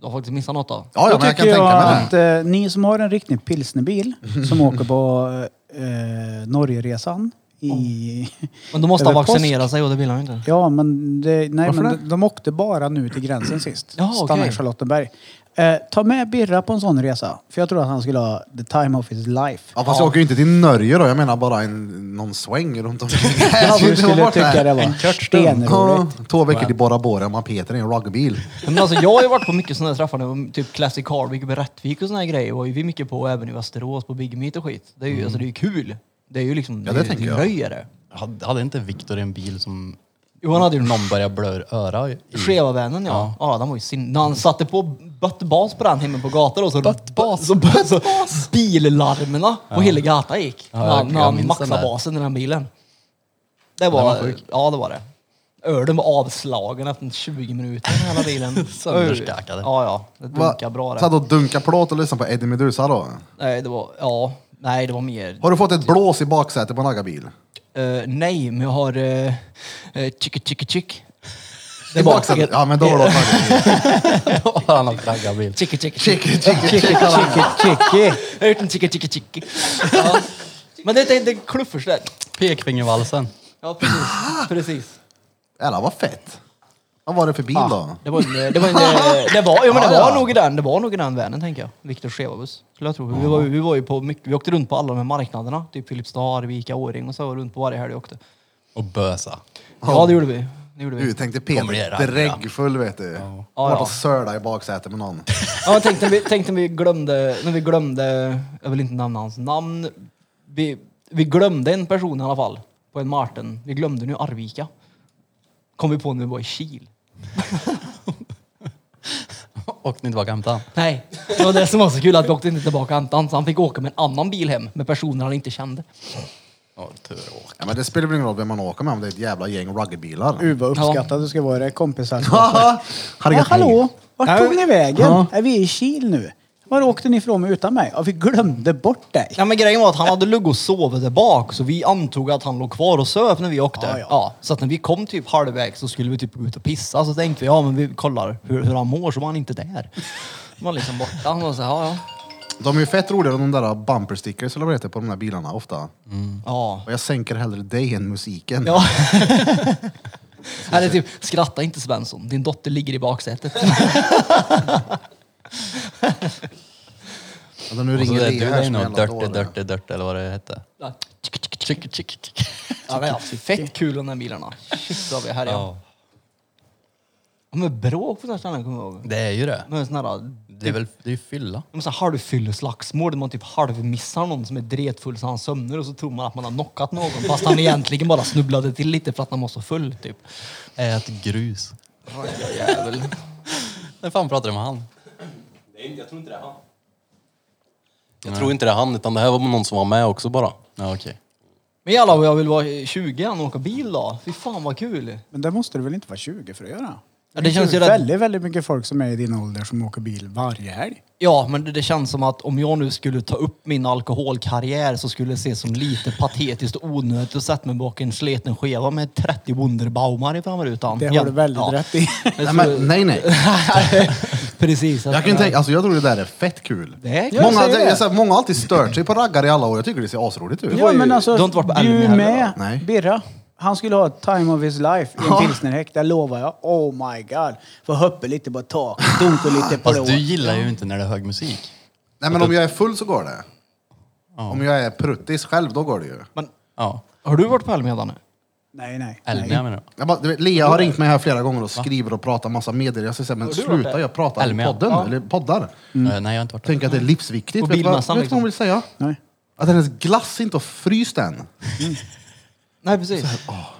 D: Du har faktiskt missat något då?
C: Ja, ja
B: Då
C: men jag kan
B: tycker
C: tänka mig det.
B: att eh, ni som har en riktig pilsnerbil som åker på eh, Norgeresan i...
D: Men då måste han
B: Över påsk.
D: vaccinera sig och det vill han ju inte.
B: Ja, men, det, nej,
C: Varför
B: men
C: det?
B: de, de åkte bara nu till gränsen sist.
D: Ja, okej.
B: Stannar i Charlottenberg. Eh, ta med Birra på en sån resa. För jag tror att han skulle ha the time of his life.
C: Ja, fast jag åker ju inte till Norge då. Jag menar bara en, någon sväng runt omkring.
B: Ja, du skulle tycka det
A: En
B: var
A: kort
C: Ja,
B: stenroligt.
C: två veckor till Bora Bora med Peter i en rugbybil.
D: Men alltså, jag har ju varit på mycket sådana här träffar, när jag var typ Classic Hardwick uppe i Rättvik och sådana här grejer var ju vi mycket på, och även i Västerås på Big Meet och skit. Det är ju, alltså, det är ju kul. Det är ju liksom,
C: Ja, det
D: är ju-
C: tänker
D: är
C: jag.
D: röjare.
A: Hade, hade inte Viktor en bil som
D: Jo, han hade ju
A: någon började blöra öra i?
D: Skeva-vännen ja. ja. den var ju sin... När han satte på buttbas på den hemma på gatan och så... Buttbas? Så, så billarmen på hela gatan gick.
A: Ja,
D: när han,
A: jag-
D: när
A: jag
D: han
A: minns den
D: maxade
A: där.
D: basen i den bilen. Det var...
A: var sjuk.
D: ja, det var det. Ölen var avslagen efter 20 minuter, den hela bilen.
A: Sönderskakade.
D: Ja, ja. Det dunkade bra
C: Satt
D: det.
C: och dunka plåt och lyssnade på Eddie Meduza då.
D: Nej, det var... Ja. Nej, det var mer...
C: Har du fått ett blås i baksätet på en raggarbil?
D: Eh, nej, men jag har... Uh, chick, chick, chick.
C: I baksätet? Ja, men då har du åkt raggarbil.
A: Då har han åkt raggarbil.
D: Chicky, chicky,
C: Chicky, chicky, chicky.
B: Chicky, chicky.
D: Jag har gjort en chicka chicka chicka. Ja. Men det är inte kluffers där.
A: Pekfingervalsen.
D: Ja, precis. precis.
C: Jävlar vad fett. Vad var det för bil då?
D: Det var en... eh, Det var, en, det var, jo, men det
C: Ja,
D: var
C: ja.
D: nog i den, det var nog i den vänen, tänker jag. Viktor Schewabus, skulle jag tro. Vi var, ju- vi var ju på mycket, vi åkte runt på alla de här marknaderna. Typ Filipstad, Arvika, Åring och så. var vi Runt på varje helg vi åkte.
A: Och bösa.
D: Ja, det gjorde vi. Det gjorde
C: Du
D: vi.
C: tänkte
A: Kommer det
C: Peter
A: ragga?
C: dräggfull vet du. Ja.
D: Ja,
C: Var på
D: ja.
C: Sörda i baksätet med någon.
D: Ja, men tänk när vi, tänk när vi glömde, när vi glömde, jag vill inte nämna hans namn. Vi, vi glömde en person i alla fall, på en Martin. Vi glömde nu Arvika. Kom vi på när vi var i Kil.
A: Åkte ni tillbaka och hämtade han?
D: Nej, det var det som var så kul att vi åkte inte tillbaka Anton, så han fick åka med en annan bil hem med personer han inte kände.
A: Ja, tur att åka.
C: Ja, men det spelar väl ingen roll vem man åker med om det är ett jävla gäng ruggerbilar.
B: Gud vad uppskattad du ska vara i det kompisar.
C: Haha! Hade
B: Ja,
C: gett mig.
B: hallå! Vart
D: Nej.
B: tog ni vägen?
C: Ja.
B: Är vi i Kil nu? Var åkte ni ifrån utan mig? Ja, vi glömde bort dig.
D: Ja, men grejen var att han hade lugg och sovit där bak så vi antog att han låg kvar och söp när vi åkte.
B: Ja,
D: Ja,
B: ja.
D: så att när vi kom typ halvvägs så skulle vi typ gå ut och pissa så tänkte vi ja men vi kollar hur, hur han mår så var han inte där. Han var liksom borta. Han var så här, ja, ja.
C: De är ju fett roligare än de där bumper stickers eller vad det heter på de där bilarna ofta.
D: Ja.
C: Och jag sänker hellre dig än musiken.
D: ja. Eller typ, skratta inte Svensson, din dotter ligger i baksätet.
C: Alltså, nu
A: Och så
C: ringer
A: det,
C: det
A: du
C: här
A: är
C: som
A: inne
C: en jävla
A: och dirty,
C: dåre.
A: dirty, dirty eller vad det hette.
D: Ja,
A: Tjick, tjick, tjick.
D: det är fett kul de där bilarna. Shit vad vi härjade.
A: Ja.
D: Ja, men bråk på sådana ställen kommer jag ihåg.
A: Det är ju det.
D: Men sådana där,
A: Det är väl det är ju fylla.
D: typ, de så här halvfylleslagsmål där man typ halvmissar någon som är dretfull så han sömnar och så tror man att man har knockat någon fast han egentligen bara snubblade till lite för att han var så full typ.
A: Ät grus. Jävel. När fan pratade du med han?
F: Det är inte, jag tror inte det är han.
H: Jag tror inte det är han, utan det här var någon som var med också bara.
A: Ja, okej.
D: Men jävlar vad jag vill vara 20 igen och åka bil då. Fy fan vad kul.
B: Men där måste du väl inte vara 20 för att göra?
D: Ja, det känns ju
B: Det är
D: rätt-
B: väldigt, väldigt mycket folk som är i din ålder som åker bil varje helg.
D: Ja, men det, det känns som att om jag nu skulle ta upp min alkoholkarriär så skulle det ses som lite patetiskt och onödigt att sätta mig bak i en sleten skeva med 30 Wunderbaumar i framrutan.
B: Det
D: Ja,
B: har du väldigt
D: ja.
B: rätt i.
C: Nej, men, nej, nej.
D: Precis.
C: Jag kan ju tänka, alltså jag tror det där är fett kul.
D: Det är
B: Ja, jag
C: många,
B: säger
C: det,
B: det.
C: jag, säger, många har alltid stört sig på raggar i alla år. Jag tycker det ser asroligt ut.
B: Ja, men alltså,
D: du har inte varit på
B: bjud
D: Elmia heller,
B: med
C: va? Nej.
B: Birra. Han skulle ha time of his life i en pilsnerhäck, det lovar jag. Oh my god. Få hoppa lite på taket, dunka lite på
A: Fast du
B: det.
A: gillar ju inte när det är hög musik.
C: Nej men om jag är full så går det. Om jag är pruttis själv då går det ju.
D: Men
A: Ja.
D: har du varit på Elmia Danne?
B: Nej, nej.
A: Elmia
B: nej.
A: menar du?
C: Jag bara, du vet, Lea har ringt mig här flera gånger och skriver och pratar massa medier. Jag säger så här, men sluta jag pratar i
A: Elmia.
C: podden, eller poddar.
D: Mm.
A: Eh, nej, jag har inte varit där.
C: Tänk att det är livsviktigt.
D: Och
C: Vet du vad, vet
D: bilmässan
C: du vad
D: liksom.
C: hon vill säga?
B: nej.
C: Att hennes glass inte har fryst än.
D: Nej, precis.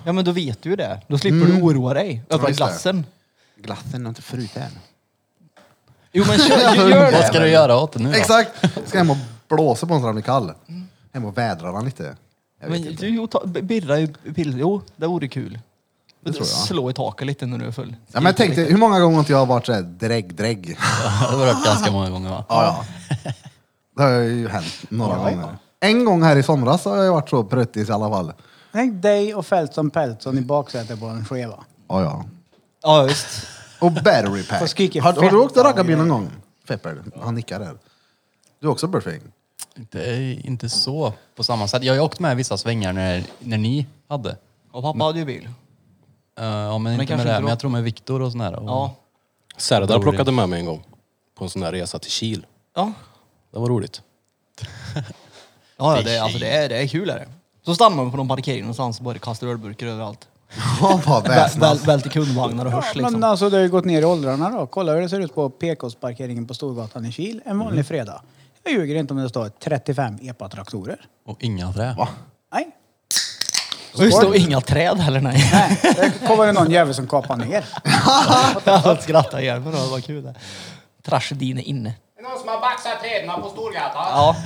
D: Ja, men då vet du ju det. Då slipper
B: Mm.
D: du oroa dig över
C: just det.
D: glassen.
C: Glassen har inte frusit än.
D: Jo, men kör, gör
A: Vad
D: det.
A: ska du göra åt det nu då?
C: Exakt! Ska hem och blåsa på en så han blir kall. Hem och vädra den lite. Jag vet
D: Men
C: inte.
D: du, jo, ta, birra i pil... Jo, det vore kul.
C: Det tror jag.
D: Slå i taket lite när du är full.
C: Ja, men jag tänkte, hur många gånger har inte jag varit såhär drägg-drägg?
A: Det har varit ganska många gånger va?
C: Ja, ja. Det har ju hänt några gånger. En gång här i somras har jag varit så pruttis i alla fall.
B: Tänk dig och Feltson Peltson i baksätet på en skeva.
C: Ja, ja.
D: Ja, visst.
C: Och battery pack.
B: Får skrika
C: Har, har
B: fett
C: du åkt
B: av
C: raggarbil någon
B: grejer.
C: gång? Fepper, han nickar där. Du också Burfing?
A: Det är inte så på samma sätt. Jag har ju åkt med vissa svängar när, när ni hade.
D: Och pappa hade ju bil.
A: Eh, ja, men, inte med
D: kanske
A: det.
D: inte
A: Men
D: då.
A: jag tror med Viktor och sån här. Och,
D: Ja.
H: Serdar
A: Roligt.
H: plockade med mig en gång. På en sån där resa till Kil.
D: Ja,
H: Det var roligt.
D: ja, ja det, är- alltså, det, är, det är kul. Är det. Så stannar man på någon parkering någonstans och bara kastar ölburkar överallt.
C: Ja, vad
D: Väl, väl,
C: väsnas.
D: väl till kundvagnar och hörs
B: Men
D: liksom.
B: alltså det har ju gått ner i åldrarna då. Kolla hur det ser ut på PKs-parkeringen på Storgatan i Kil en
D: Mm.
B: vanlig fredag. Jag ljuger inte om det står 35 epatraktorer.
A: och inga trä.
B: Nej.
D: Och just det, och inga träd heller nej.
B: Nej, det kommer det någon jävel som kapar ner.
D: Jag skrattar ihjäl mig då, vad kul det är. Tragedin är inne.
F: Det är någon som har baxat träden på Storgatan.
D: Ja,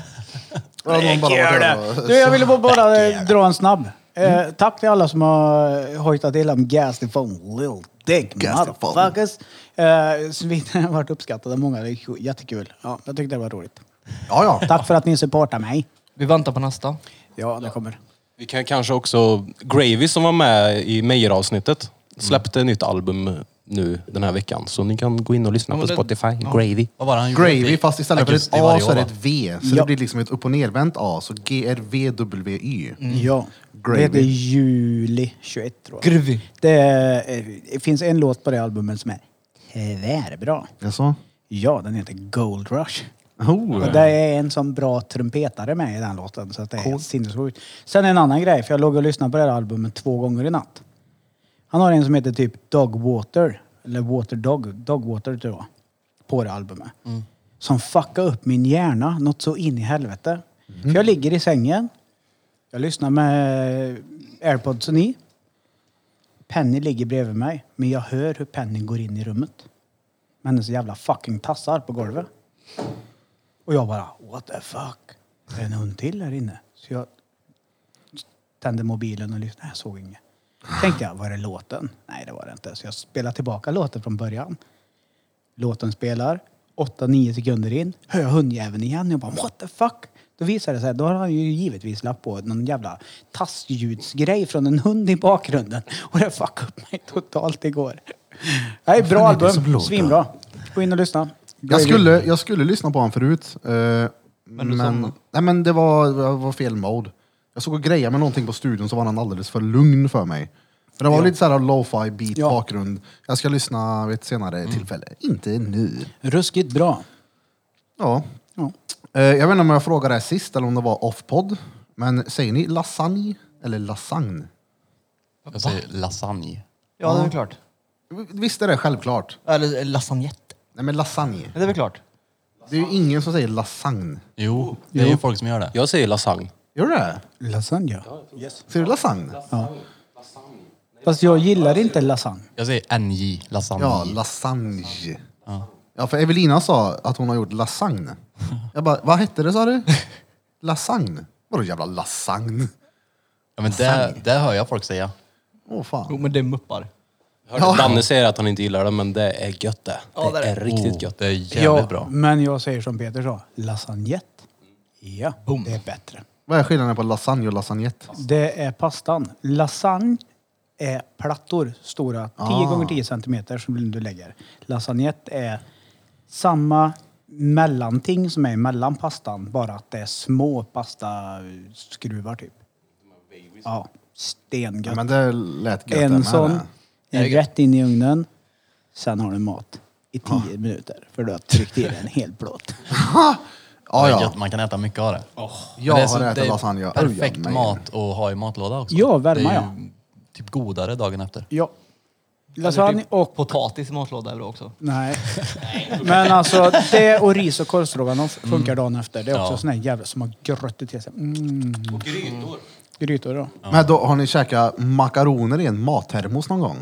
C: Ja, någon bara var där och-
B: Du, jag ville bara, bara eh, dra en snabb. Eh,
C: Mm.
B: tack till alla som har eh, hojtat till om Gas the phone, Lil Dick,
C: Gas the phone.
B: motherfuckers. Eh, Svinen har varit uppskattade av många. Det är sk- jättekul. Ja, jag tyckte det var roligt.
C: Ja, ja.
B: Tack för att ni supportar mig.
D: vi väntar på nästa.
B: Ja, det kommer.
C: Mm.
H: Vi kan kanske också... Gravy som var med i Meyer-avsnittet släppte nytt album nu den här veckan. Så ni kan gå in och lyssna
D: Ja, men
H: på
D: det-
H: Spotify. Gravy.
A: Vad var det han gjorde?
C: Gravy fast istället för ett
A: Augusti
C: A
A: varje
C: så är
A: år,
C: det
A: va?
C: ett V. Så
B: Ja.
C: det blir liksom ett upp och nervänt A. Så G-R-V-W-Y.
B: Ja.
C: Gravy.
B: Det heter Juli 21 tror jag.
D: Gruvy.
B: Det, eh, det finns en låt på det albumet som är tvärbra.
C: Jaså?
B: Ja, den heter Gold Rush.
C: Oh.
B: Och det är en sån bra trumpetare med i den låten så att det är sinnessjukt. Sen en annan grej, för jag låg och lyssnade på det här albumet två gånger i natt. Han har en som heter typ Dog Water, eller Water Dog, Dog Water tror jag, på det albumet. Som fuckade upp min hjärna något så in i helvete. För jag ligger i sängen, jag lyssnar med airpodsen i. Penny ligger bredvid mig, men jag hör hur Penny går in i rummet. Med hennes jävla fucking tassar på golvet. Och jag bara, what the fuck? Det är en hund till här inne. Så jag tände mobilen och lyssnade. Nej, Jag såg inget. Tänkte jag, var det låten? Nej, det var det inte. Så jag spelade tillbaka låten från början. Låten spelar. 8-9 sekunder in hör jag hundjäveln igen. Jag bara, what the fuck? Då visar det sig, då har han ju givetvis lagt på någon jävla tassljudsgrej från en hund i bakgrunden. Och det fuckade upp mig totalt igår. Nej, bra
C: fan är det som
B: album.
C: låter?
B: Svinbra. Gå in och lyssna.
C: Jag skulle, jag skulle lyssna på honom förut. eh, men
D: somnade.
C: nej, men det var, det var fel mode. Jag såg och grejade med någonting på studion så var han alldeles för lugn för mig. Men det var lite så här lo-fi beat
B: Ja.
C: bakgrund. Jag ska lyssna vid ett senare tillfälle. Inte nu.
B: Ruskigt bra.
C: Ja.
B: Ja.
C: Eh, jag vet inte om jag frågade det här sist eller om det var off-podd. Men säger ni lasagne eller lasagne?
A: Jag säger lasagne.
D: Ja, det är klart.
C: Visst är det självklart.
D: Eller lasagnette.
C: Nej men lasagne.
D: Det är väl klart.
C: Det är ju ingen som säger lasagne.
A: Jo, det är ju folk som gör det.
H: Jag säger lasagne.
C: Gör du det?
B: Lasagne.
C: Säger du lasagne?
B: Fast jag gillar inte lasagne.
A: Jag säger NJ, lasagne.
C: Ja, lasagne. Ja, för Evelina sa att hon har gjort lasagne. Jag bara, vad hette det sa du? Lasagne? Vadå jävla lasagne?
A: ja, men det, det hör jag folk säga.
C: Åh
D: Jo,
C: fan.
D: men det är muppar.
H: Hörde Danne säger att han inte gillar det, men det är gött det.
D: Ja,
H: det,
D: det är
H: är
D: det.
H: riktigt
A: Oh,
H: gött.
A: Det är jävligt
B: Ja,
A: bra.
B: men jag säger som Peter sa, lasagnette. Ja, det är bättre.
C: Vad är skillnaden på lasagne och lasagnette?
B: Det är pastan. Lasagne är plattor, stora,
A: Ah.
B: 10 gånger 10 centimeter som du lägger. Lasagnette är samma mellanting som är mellan pastan, bara att det är små pastaskruvar typ. Ja,
C: Ja,
B: stengött.
C: men det lät gött det
B: en
C: med
B: sån,
C: det.
B: rätt in i ugnen, sen har du mat i 10 minuter för du har tryckt i dig en hel plåt.
C: Ja,
A: Det är gött,
C: Ah, ja.
A: man kan äta mycket av det.
C: Jag
A: Det är
C: har
A: så-
C: ätit
A: det är
C: lasagne. Oj,
A: Perfekt
C: men-
A: mat att ha i matlåda också.
B: Ja, värma,
A: Det är ju
B: ja.
A: typ godare dagen efter.
B: Ja.
D: Eller
B: Lasagne
D: typ
B: och
D: Potatis i matlåda eller också.
B: Nej. Men alltså det och ris och korvstroganoff funkar dagen efter. Det är också
A: Ja.
B: såna här jävla som har grötter till sig. Mm. Och grytor. Grytor ja.
C: Men då, har ni käkat makaroner i en mattermos någon gång?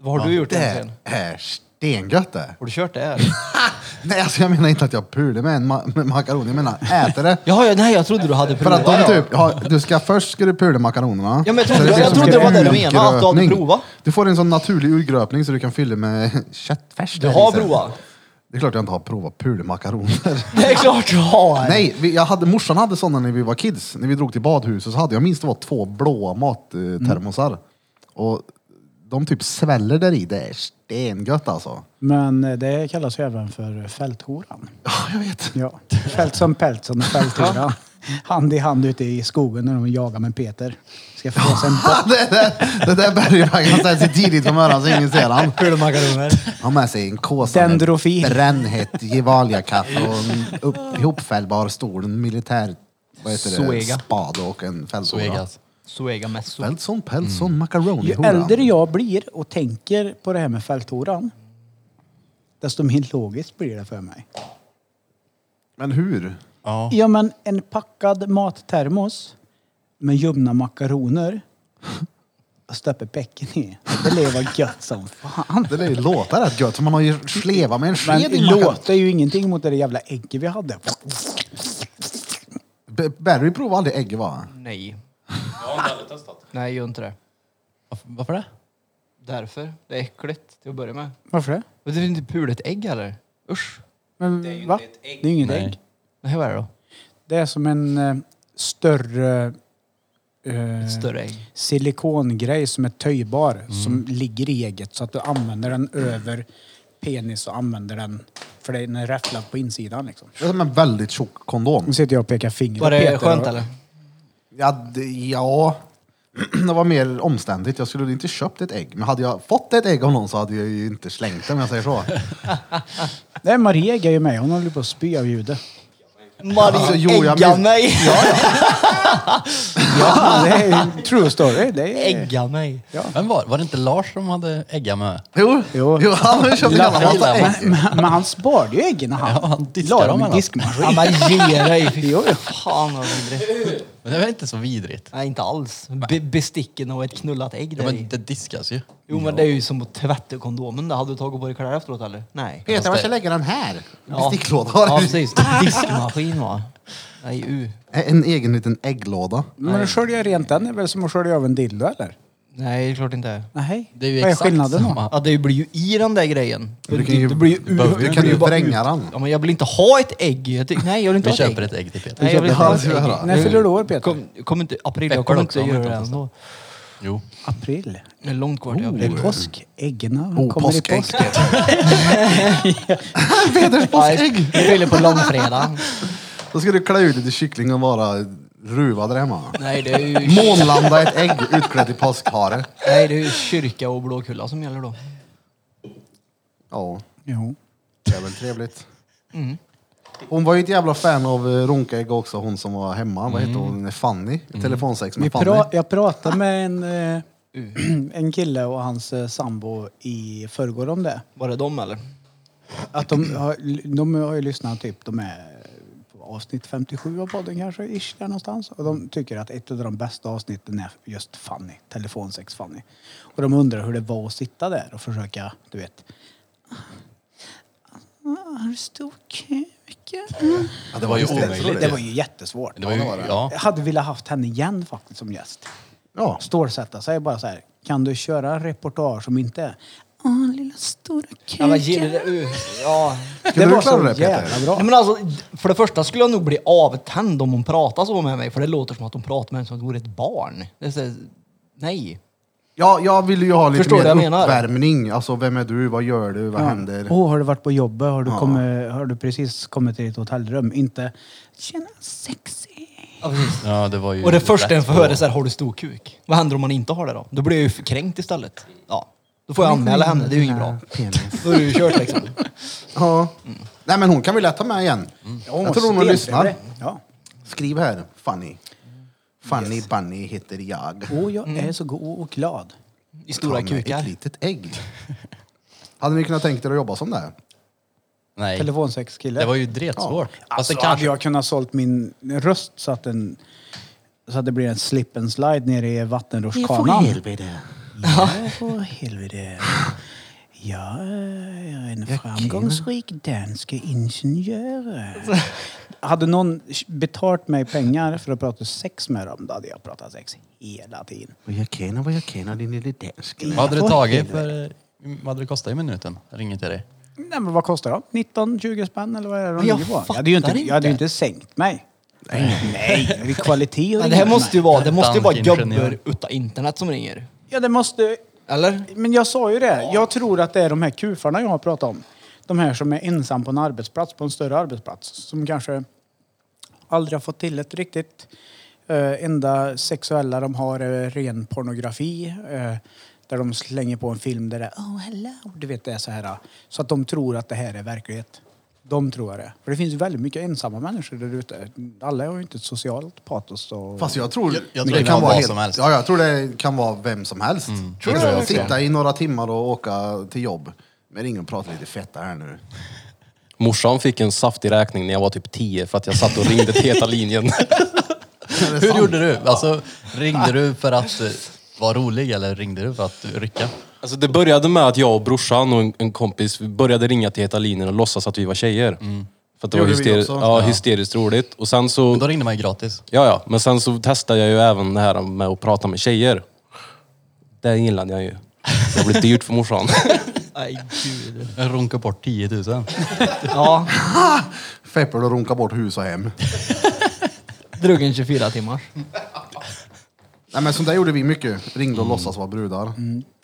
D: Vad har du gjort egentligen?
C: Det är stengött det.
D: Har du kört det här?
C: Nej, alltså jag menar inte att jag pular med en ma- med makaron. Jag menar äter det.
D: Jaha, ja, nej jag trodde du hade
C: För
D: provat.
C: att de
D: ja.
C: typ, ja, du ska, först ska du pula makaronerna.
D: Ja, men jag trodde-
C: Så blir som
D: jag
C: en
D: trodde det var det du
C: urgröpning.
D: menade, att du hade provat.
C: Du får en sån naturlig urgröpning så du kan fylla med köttfärs.
D: Du
C: där
D: har
C: i sen.
D: provat?
C: Det är klart jag inte har provat pulmakaroner.
D: Det är klart du har!
C: Nej, vi, jag hade, morsan hade sådana när vi var kids. När vi drog till badhuset så hade jag minst det var två blåa mattermosar.
D: Mm.
C: Och de typ sväller där i. Det är stengött alltså.
B: Men eh, det kallas ju även för fälthoran.
C: Ja, jag vet.
B: Ja. Fält som Peltson och fälthoran. Hand i hand ute i skogen när de jagar med Peter. Ska få sig en bock.
C: det, där- det där bergvägen ställer sig tidigt på morgonen så ingen ser han.
D: Pulmakaroner.
C: Har med sig en kåsa
B: Dendrofil.
C: brännhett Gevalia-kaffe och en upp, ihopfällbar stol, en militär vad heter det,
D: Zoega.
C: spade och en fälthora.
A: Suegas.
D: Suega messo.
C: Fältson, pälsson, macaroni
B: Ju äldre jag blir och tänker på det här med fälthoran desto mer logiskt blir det för mig.
C: Men hur?
A: Ja.
B: Ja men en packad mattermos med ljumna makaroner och stöper bäcken i. Det lever gött som fan.
C: Det där låter rätt gött, för man har ju slevat med en
B: Men
C: sked
B: det
C: i makaron.
B: låter ju ingenting mot det där jävla ägget vi hade.
C: B- Barry provade aldrig ägg va?
D: Nej. Nej, gör inte det.
A: Varf- Varför det?
D: Därför. Det är äckligt till att börja med.
B: Varför det?
D: Men det är inte pulet ägg heller. Usch.
B: Men, det är ju va? inte ett ägg. Det är inget
A: Nej.
B: ägg.
D: Nej, vad är det då?
B: Det är som en eh, större eh,
D: Större ägg.
B: silikongrej som är töjbar som ligger i ägget så att du använder den över penis och använder den för den är räfflad på insidan liksom.
C: Det är som en väldigt tjock kondom.
B: Nu sitter jag och pekar finger
D: Var
B: åt
D: det
B: Peter
D: skönt
B: och-
D: eller?
C: Ja, det, ja. det var mer omständigt. Jag skulle inte köpt ett ägg. Men hade jag fått ett ägg av någon så hade jag ju inte slängt det om jag säger så.
B: Nej, Maria är ju med. Hon håller på att spy av ljudet.
D: Marie
C: Alltså, jo, jag
D: ägga
C: minns-
D: mig!
B: Ja, det är en true story. Det är...
D: ägga mig.
A: Vem var det? Var det inte Lars som hade ägga med?
C: Jo,
B: Jo.
C: jo han har ju köpt en jävla
A: Lappa-
C: massa ägg.
B: Men, men han sparade ju äggen när han
A: Ja, han diskar
B: la
A: dem
B: dem i
A: eller?
D: Ja,
B: diskmaskin.
D: men ge dig! Fy
B: Jo, jo.
D: fan vad vidrigt.
A: Men det var inte så vidrigt.
D: Nej, inte alls. Be- besticken och ett knullat ägg
A: Ja,
D: där
A: men
D: i.
A: det diskas ju.
D: Jo, men det är ju som att tvätta kondomen. där. Hade du tagit på dig kläder efteråt eller? Nej.
C: Peter, var ska jag lägga den här? Besticklåda.
D: Ja, precis. Diskmaskin va? Nej, u.
C: En egen liten ägglåda.
B: Men att skölja rent den är väl som att skölja av en dildo eller?
D: Nej, det är klart inte.
B: Nej.
A: Det är ju
B: Vad är
A: exakt
B: skillnaden då?
A: samma.
D: Ja, det blir ju i den där grejen.
C: Du kan ju,
D: det blir ju
C: du
D: ur- det
C: kan
D: blir
C: ju
D: bara
C: vränga
D: ut.
C: den.
D: Ja, men jag vill inte ha ett ägg. Jag ty- nej, jag vill
A: Vi
D: inte ha ett ägg.
A: köper ett ägg till Peter.
D: Nej, jag vill inte ha ett
C: Det hade jag
D: ägg.
C: velat.
B: När fyller du år Peter?
D: Kom, kom inte, april, jag
A: Peppar
D: kommer
A: också,
D: inte
A: om
D: göra
A: inte
D: det
A: annat.
D: ändå.
A: Jo.
B: April.
D: Det är långt kvar till
B: Det
D: april.
B: är påsk. Äggen
C: Oh,
B: kommer i
C: påskägg.
B: påsk.
C: Peters påskägg!
D: Jag fyller på långfredag.
C: Då ska du klä ut lite kyckling och vara ruvad där hemma.
D: Nej, det är ju,
C: Månlanda ett ägg utklädd i påskhare.
D: nej, det är ju kyrka och Blåkulla som gäller då.
C: Ja,
B: Jo.
C: det är väl trevligt. Mm. Hon var ju ett jävla fan av eh, runkägg också, hon som var hemma. Vad heter hon? Fanny? Telefonsex
B: Vi
C: med Fanny.
B: pra- jag pratade med en eh, en kille och hans eh, sambo i förrgår om det.
D: Var det de eller?
B: Att de, har, de har ju lyssnat typ, de är på avsnitt 57 av podden kanske, ish, där någonstans. Och de tycker att ett av de bästa avsnitten är just Fanny, telefonsex Fanny. Och de undrar hur det var att sitta där och försöka, du vet. Ah, Har du stor kuk?
C: Ja,
A: Det var ju
C: just
A: omöjligt.
B: Mm. Det var ju jättesvårt.
A: Det var ju, ja.
B: Jag hade velat haft henne igen faktiskt som gäst.
C: Ja.
B: Stålsätta sig bara så här. Kan du köra reportage som inte är Åh, lilla stora
D: Ja,
B: kuken.
D: men, ge det, där ur. ja.
C: Skulle
B: det
C: du
B: var
C: klara
B: så
C: det, Peter?
B: jävla bra.
D: Nej, men alltså, för det första skulle jag nog bli avtänd om hon pratar så med mig. För det låter som att hon pratar med mig som att hon vore ett barn. Det är så, här, nej.
C: Ja, jag vill ju ha lite
D: Förstår du vad jag
C: mer
D: menar?
C: uppvärmning. Alltså, vem är du? Vad gör du? Vad
B: Ja.
C: händer?
B: Åh, har du varit på jobbet? Har du, kommit, har du precis kommit till ditt hotellrum? Inte Tjena sexy.
D: Ja, precis.
A: ja, det var ju
D: Och det första
A: rätt
D: jag får höra är
A: på.
D: så här, har du stor kuk? Vad händer om man inte har det då? Då blir jag ju kränkt istället. Ja. Då får jag anmäla henne, det är ju inget bra.
C: Penis.
D: Då är det ju kört liksom.
C: Ja. Nej, men hon kan vi lätt ta med igen. Jag tror hon
B: Stentrevlig.
C: lyssnar.
B: Ja.
C: Skriv här, Fanny. Fanny Bunny heter jag.
B: Åh, jag
A: Mm.
B: är så god och glad.
D: I stora
C: Ta med
D: kukar.
C: Ett litet ägg. Hade ni kunnat tänkt er att jobba som det?
A: Nej,
B: Telefonsexkille.
A: det var ju dretsvårt. Fast
B: Alltså,
A: det kanske...
B: hade jag kunnat sålt min röst så att, den, så att det blir en slip and slide nere i vattenrutschkanan.
C: helvete.
B: Ja, för helvete. Jag är en framgångsrik dansk ingenjör. Hade någon betalt mig pengar för att prata sex med dem, då hade jag pratat sex hela tiden.
C: Vad jag känner, vad jag känner, din lille dansk.
A: Vad hade det
B: Åh,
A: tagit
B: helvete.
A: för... Vad hade det kostat i minuten? Jag ringer till dig.
B: Nej, men vad kostar de? 19-20 spänn eller vad är det de
D: Men jag
B: ligger på? Jag
D: fattar
B: hade ju inte, Jag hade ju
D: inte.
B: inte sänkt mig. Nej, nej. Det är kvalitet och
D: Men det här
B: inget
D: måste ju
B: med.
D: vara, det måste ju vara
A: Tankingenjör.
D: gubbor utan internet som ringer.
B: Ja, det måste...
D: Eller?
B: Men jag sa ju det. Jag tror att det är de här kufarna jag har pratat om. De här som är ensam på en arbetsplats, på en större arbetsplats. Som kanske aldrig har fått till ett riktigt. Eh, enda sexuella de har är ren pornografi. Eh, där de slänger på en film där det är oh hello, du vet det är så här. eh. Så att de tror att det här är verklighet. De tror det. För det finns ju väldigt mycket ensamma människor där ute. Alla har ju inte ett socialt patos. Och...
C: Fast jag tror,
A: Jag- jag tror det kan vara vad som helst.
C: Ja, jag tror det kan vara vem som helst.
A: Tror
C: jag
A: du
C: tror
A: det?
C: jag. Sitta i några timmar och åka till jobb. Men ingen pratar lite fetta här nu.
H: Morsan fick en saftig räkning när jag var typ 10 för att jag satt och ringde till Heta linjen.
C: Är det
A: Hur
C: sant?
A: gjorde du? Alltså, ringde du för att eh, vara rolig eller ringde du för att rycka?
H: Alltså det började med att jag och brorsan och en, en kompis vi började ringa till Heta linjen och låtsas att vi var tjejer. För att Mm. det var
C: Gjorde vi
H: hysteri-
C: också.
H: ja, hysteriskt roligt. Och sen så...
A: Då ringde man ju gratis.
H: Ja, ja. Men sen så testade jag ju även det här med att prata med tjejer. Det gillade jag ju. Det blev dyrt för morsan.
D: Nej, gud.
A: Runka bort 10 000.
D: Ja,
C: Feppel och runka bort hus och hem.
D: drucken 24 timmar.
C: Nej men som där gjorde vi mycket. Ringde och låtsas vara brudar.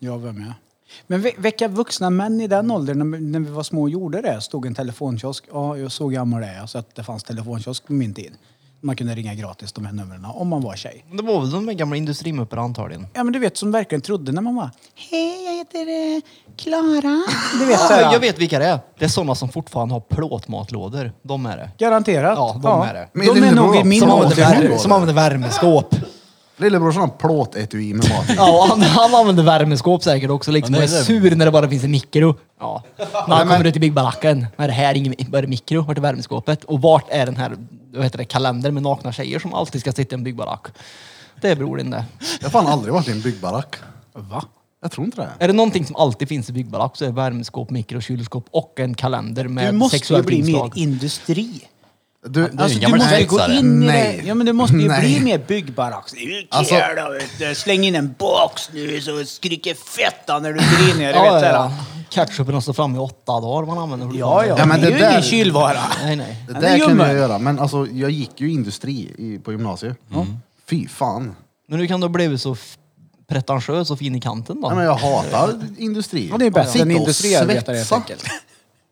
B: Jag var med. Men ve- vilka vuxna män i den åldern, när, när vi var små och gjorde det, stod en telefonkiosk. Ja, jag såg gammal är jag, så att det fanns telefonkiosk på min tid. Man kunde ringa gratis de här numren om man var tjej.
D: Det var väl de där gamla industrimupparna antagligen.
B: Ja, men du vet, som verkligen trodde när man var Hej, jag heter eh, Klara. Du vet, så
D: Ja, jag
B: här,
D: vet vilka det är. Det är sådana som fortfarande har plåtmatlådor. De är det.
B: Garanterat.
D: Ja, de är det.
B: De är nog i min
D: Som
C: Som
D: använder,
B: ålder.
C: åker
D: värme,
C: ut.
D: som använder värmeskåp.
C: Lillebrorsan har plåtetui med mat i.
D: Ja, och han, han använder värmeskåp säkert också liksom,
A: Ja,
D: och
A: det är
D: är
A: det.
D: sur när det bara finns en mikro. Ja. När han kommer ut i byggbalackan. Vad är det här? Ingen, vad är det mikro? Vart är värmeskåpet? Och vart är den här vad heter det, kalendern med nakna tjejer som alltid ska sitta i en byggbarack? Det är bror din det.
C: Jag har fan aldrig varit i en byggbarack.
B: Va?
C: Jag tror inte det.
D: Är det någonting som alltid finns i byggbarack så är värmeskåp, mikro, kylskåp och en kalender
B: Du
D: med
B: måste ju
D: sexuellt
B: bli mer
D: inslag.
B: industri.
A: är
C: Du,
B: Alltså,
A: en
B: du
A: gammal
B: måste ju gå
A: schweizare.
B: in i
C: Nej.
B: det. Ja, men du måste ju
C: Nej.
B: bli mer byggbaracks. Ikea
C: Alltså-
B: då, vet du. Släng in en box nu så skriker fetta när du griner.
D: Ja,
B: ja,
D: ja,
B: ja.
D: ja. Ketchupen har stått fram i åtta dagar man använder
B: ja, ja.
C: Ja, men
B: det,
C: det
B: är ju
C: där-
B: ingen kylvara.
D: Nej, nej.
C: det
B: Han är
C: där kunde jag
B: ljummen.
C: göra. Men alltså, jag gick ju industri i, på gymnasiet. Fy fan.
D: Men nu kan du ha blivit så f- pretentiös och fin i kanten då.
C: Nej, men jag hatar industri.
B: Ja, det är bättre
C: Sitta
B: än
C: och
B: industriarbetare helt
C: svetsa.
B: enkelt.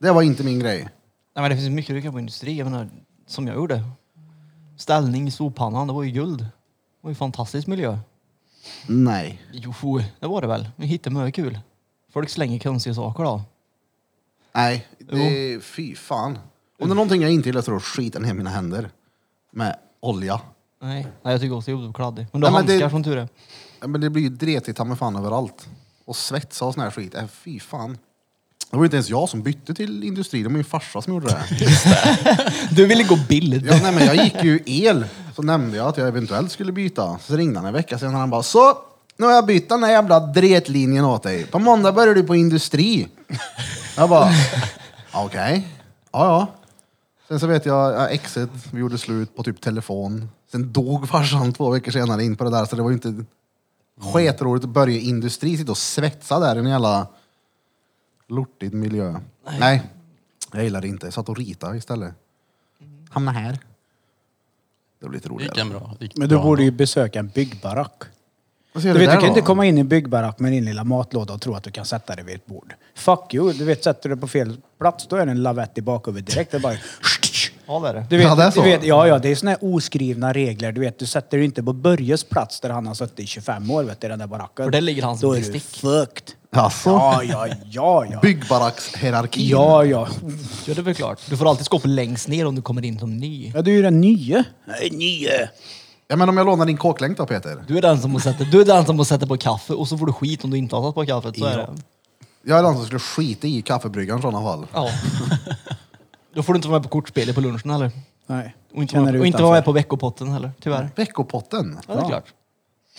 C: Det var inte min grej.
D: Nej, men det finns ju mycket du kan på industri. Jag menar, som jag gjorde. Ställning i sopannan, det var ju guld. Det var ju fantastisk miljö.
C: Nej.
D: Jo, det var det väl. Vi hittade mycket kul. Folk slänger konstiga saker då.
C: Nej, det, fy fan. Om det är någonting jag inte gillar så är det att skita ner mina händer med olja.
D: Nej, Nej jag tycker också det är jobbigt att vara kladdig. Men du har
C: Nej, men det-
D: handskar som tur är.
C: Men det blir ju dretigt ta mig fan överallt. Och svetsa och sån här skit. Äh, fy fan. Det var ju inte ens jag som bytte till industri, det var min farsa som gjorde det.
D: Du ville gå billigt.
C: Ja, nej, men jag gick ju el, så nämnde jag att jag eventuellt skulle byta. Så ringde han en vecka senare och han bara så, nu har jag bytt den här jävla dretlinjen åt dig. På måndag börjar du på industri. Jag bara, okej, ja ja. Sen så vet jag, jag exet, vi gjorde slut på typ telefon. Sen dog farsan två veckor senare in på det där, så det var ju inte skitroligt att börja i industri, sitta och svetsa där i en jävla lortig miljö. Nej. jag gillar det inte. Jag satt och ritade istället. Hamna här. Det blir lite
A: Det gick en
C: roligare.
A: bra. det gick
B: Men du
A: bra
B: borde ju
A: ändå.
B: besöka en byggbarack.
C: Vad ser
B: Du, vet,
C: där
B: du kan
C: då?
B: inte komma in i en byggbarack med din lilla matlåda och tro att du kan sätta dig vid ett bord. Fuck you! Du vet, sätter du dig på fel plats då är det en lavett i bakhuvudet direkt. Det är bara...
D: Ja, det är det.
B: Du vet,
C: Ja, det är så.
B: Du vet, ja, ja, det är såna här oskrivna regler. Du vet, du sätter dig inte på Börjes plats där han har suttit i 25 år, vet du, i den där baracken.
D: För där ligger hans
B: Då är du
D: bestick.
B: fucked.
C: Jaså?
B: Ja, ja, ja, ja.
C: Byggbarackshierarkin.
B: Ja, ja.
D: Ja, det är väl klart. Du får alltid skåpa längst ner om du kommer in som ny.
B: Ja, du är ju den nye. Nej, nye.
C: ja. Men om jag lånar din kåklänk då Peter?
D: Du är den som måste sätta, du är den som måste sätta på kaffe och så får du skit om du inte har satt på kaffet. Så är det.
C: Jag är den som skulle skita i kaffebryggaren i sådana fall.
D: Ja. Då får du inte vara med på kortspelet på lunchen heller.
B: Nej.
D: Och inte,
B: Känner
D: vara,
B: du
D: och inte
B: utanför?
D: vara med på veckopotten heller, tyvärr.
C: Veckopotten.
D: Ja, det är klart.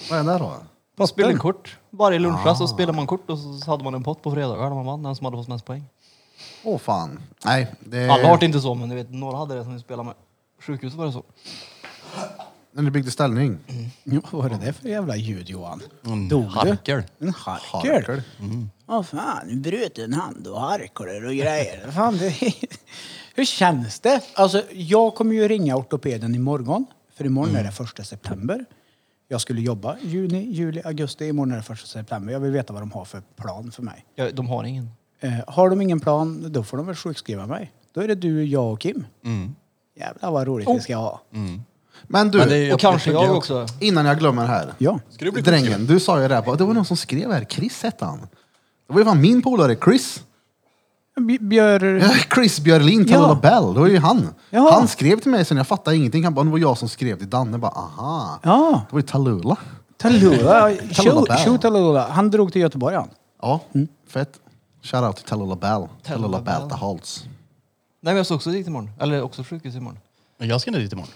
C: Vad är det där då?
D: Man spelade kort. Varje lunchrast så spelade man kort och så hade man en pott på fredagar där man vann, den som hade fått mest poäng.
C: Åh fan. Nej, det...
D: Alla har det inte så, men du vet, några hade det som vi spelade med. Sjukhuset var det så.
C: När du byggde ställning.
B: Ja, vad var det där för jävla ljud Johan?
A: Mm,
B: Dog
A: harkel.
B: du? En harkel?
C: Harkel.
B: Åh fan, du bröt en hand och harklar och grejer. fan, det... Hur känns det? Alltså, jag kommer ju ringa ortopeden imorgon. För imorgon är det första september. Jag skulle jobba juni, juli, augusti. Imorgon är det första september. Jag vill veta vad de har för plan för mig.
D: Ja, de har ingen.
B: Eh, har de ingen plan, då får de väl sjukskriva mig. Då är det du, jag och Kim.
A: Mm.
B: Jävlar vad roligt vi ska ha.
C: Men du,
A: Men det är ju-
D: Och kanske jag också.
C: innan jag glömmer här.
B: Ja.
C: Drängen, du sa ju det här på, det var någon som skrev här, Chris hette han. Det var ju fan min polare Chris.
B: Bj- Björ...
C: Ja, Chris Björlin, Tallulah
B: Ja.
C: Bell, det var ju han.
B: Jaha.
C: Han skrev till mig sen, jag fattade ingenting. Han bara, det var jag som skrev till Danne. Jag bara, aha.
B: Ja.
C: Det var ju Tallulah.
B: Tallulah.
C: Tallulah Bell.
B: Shoot Tallulah. Han drog till Göteborg han.
C: Ja, fett. Shoutout till Tallulah Bell. Tallulah Bell the Halls.
D: Nej, men jag ska också dit imorgon. Eller också sjukhus imorgon.
A: Men jag ska nu dit imorgon.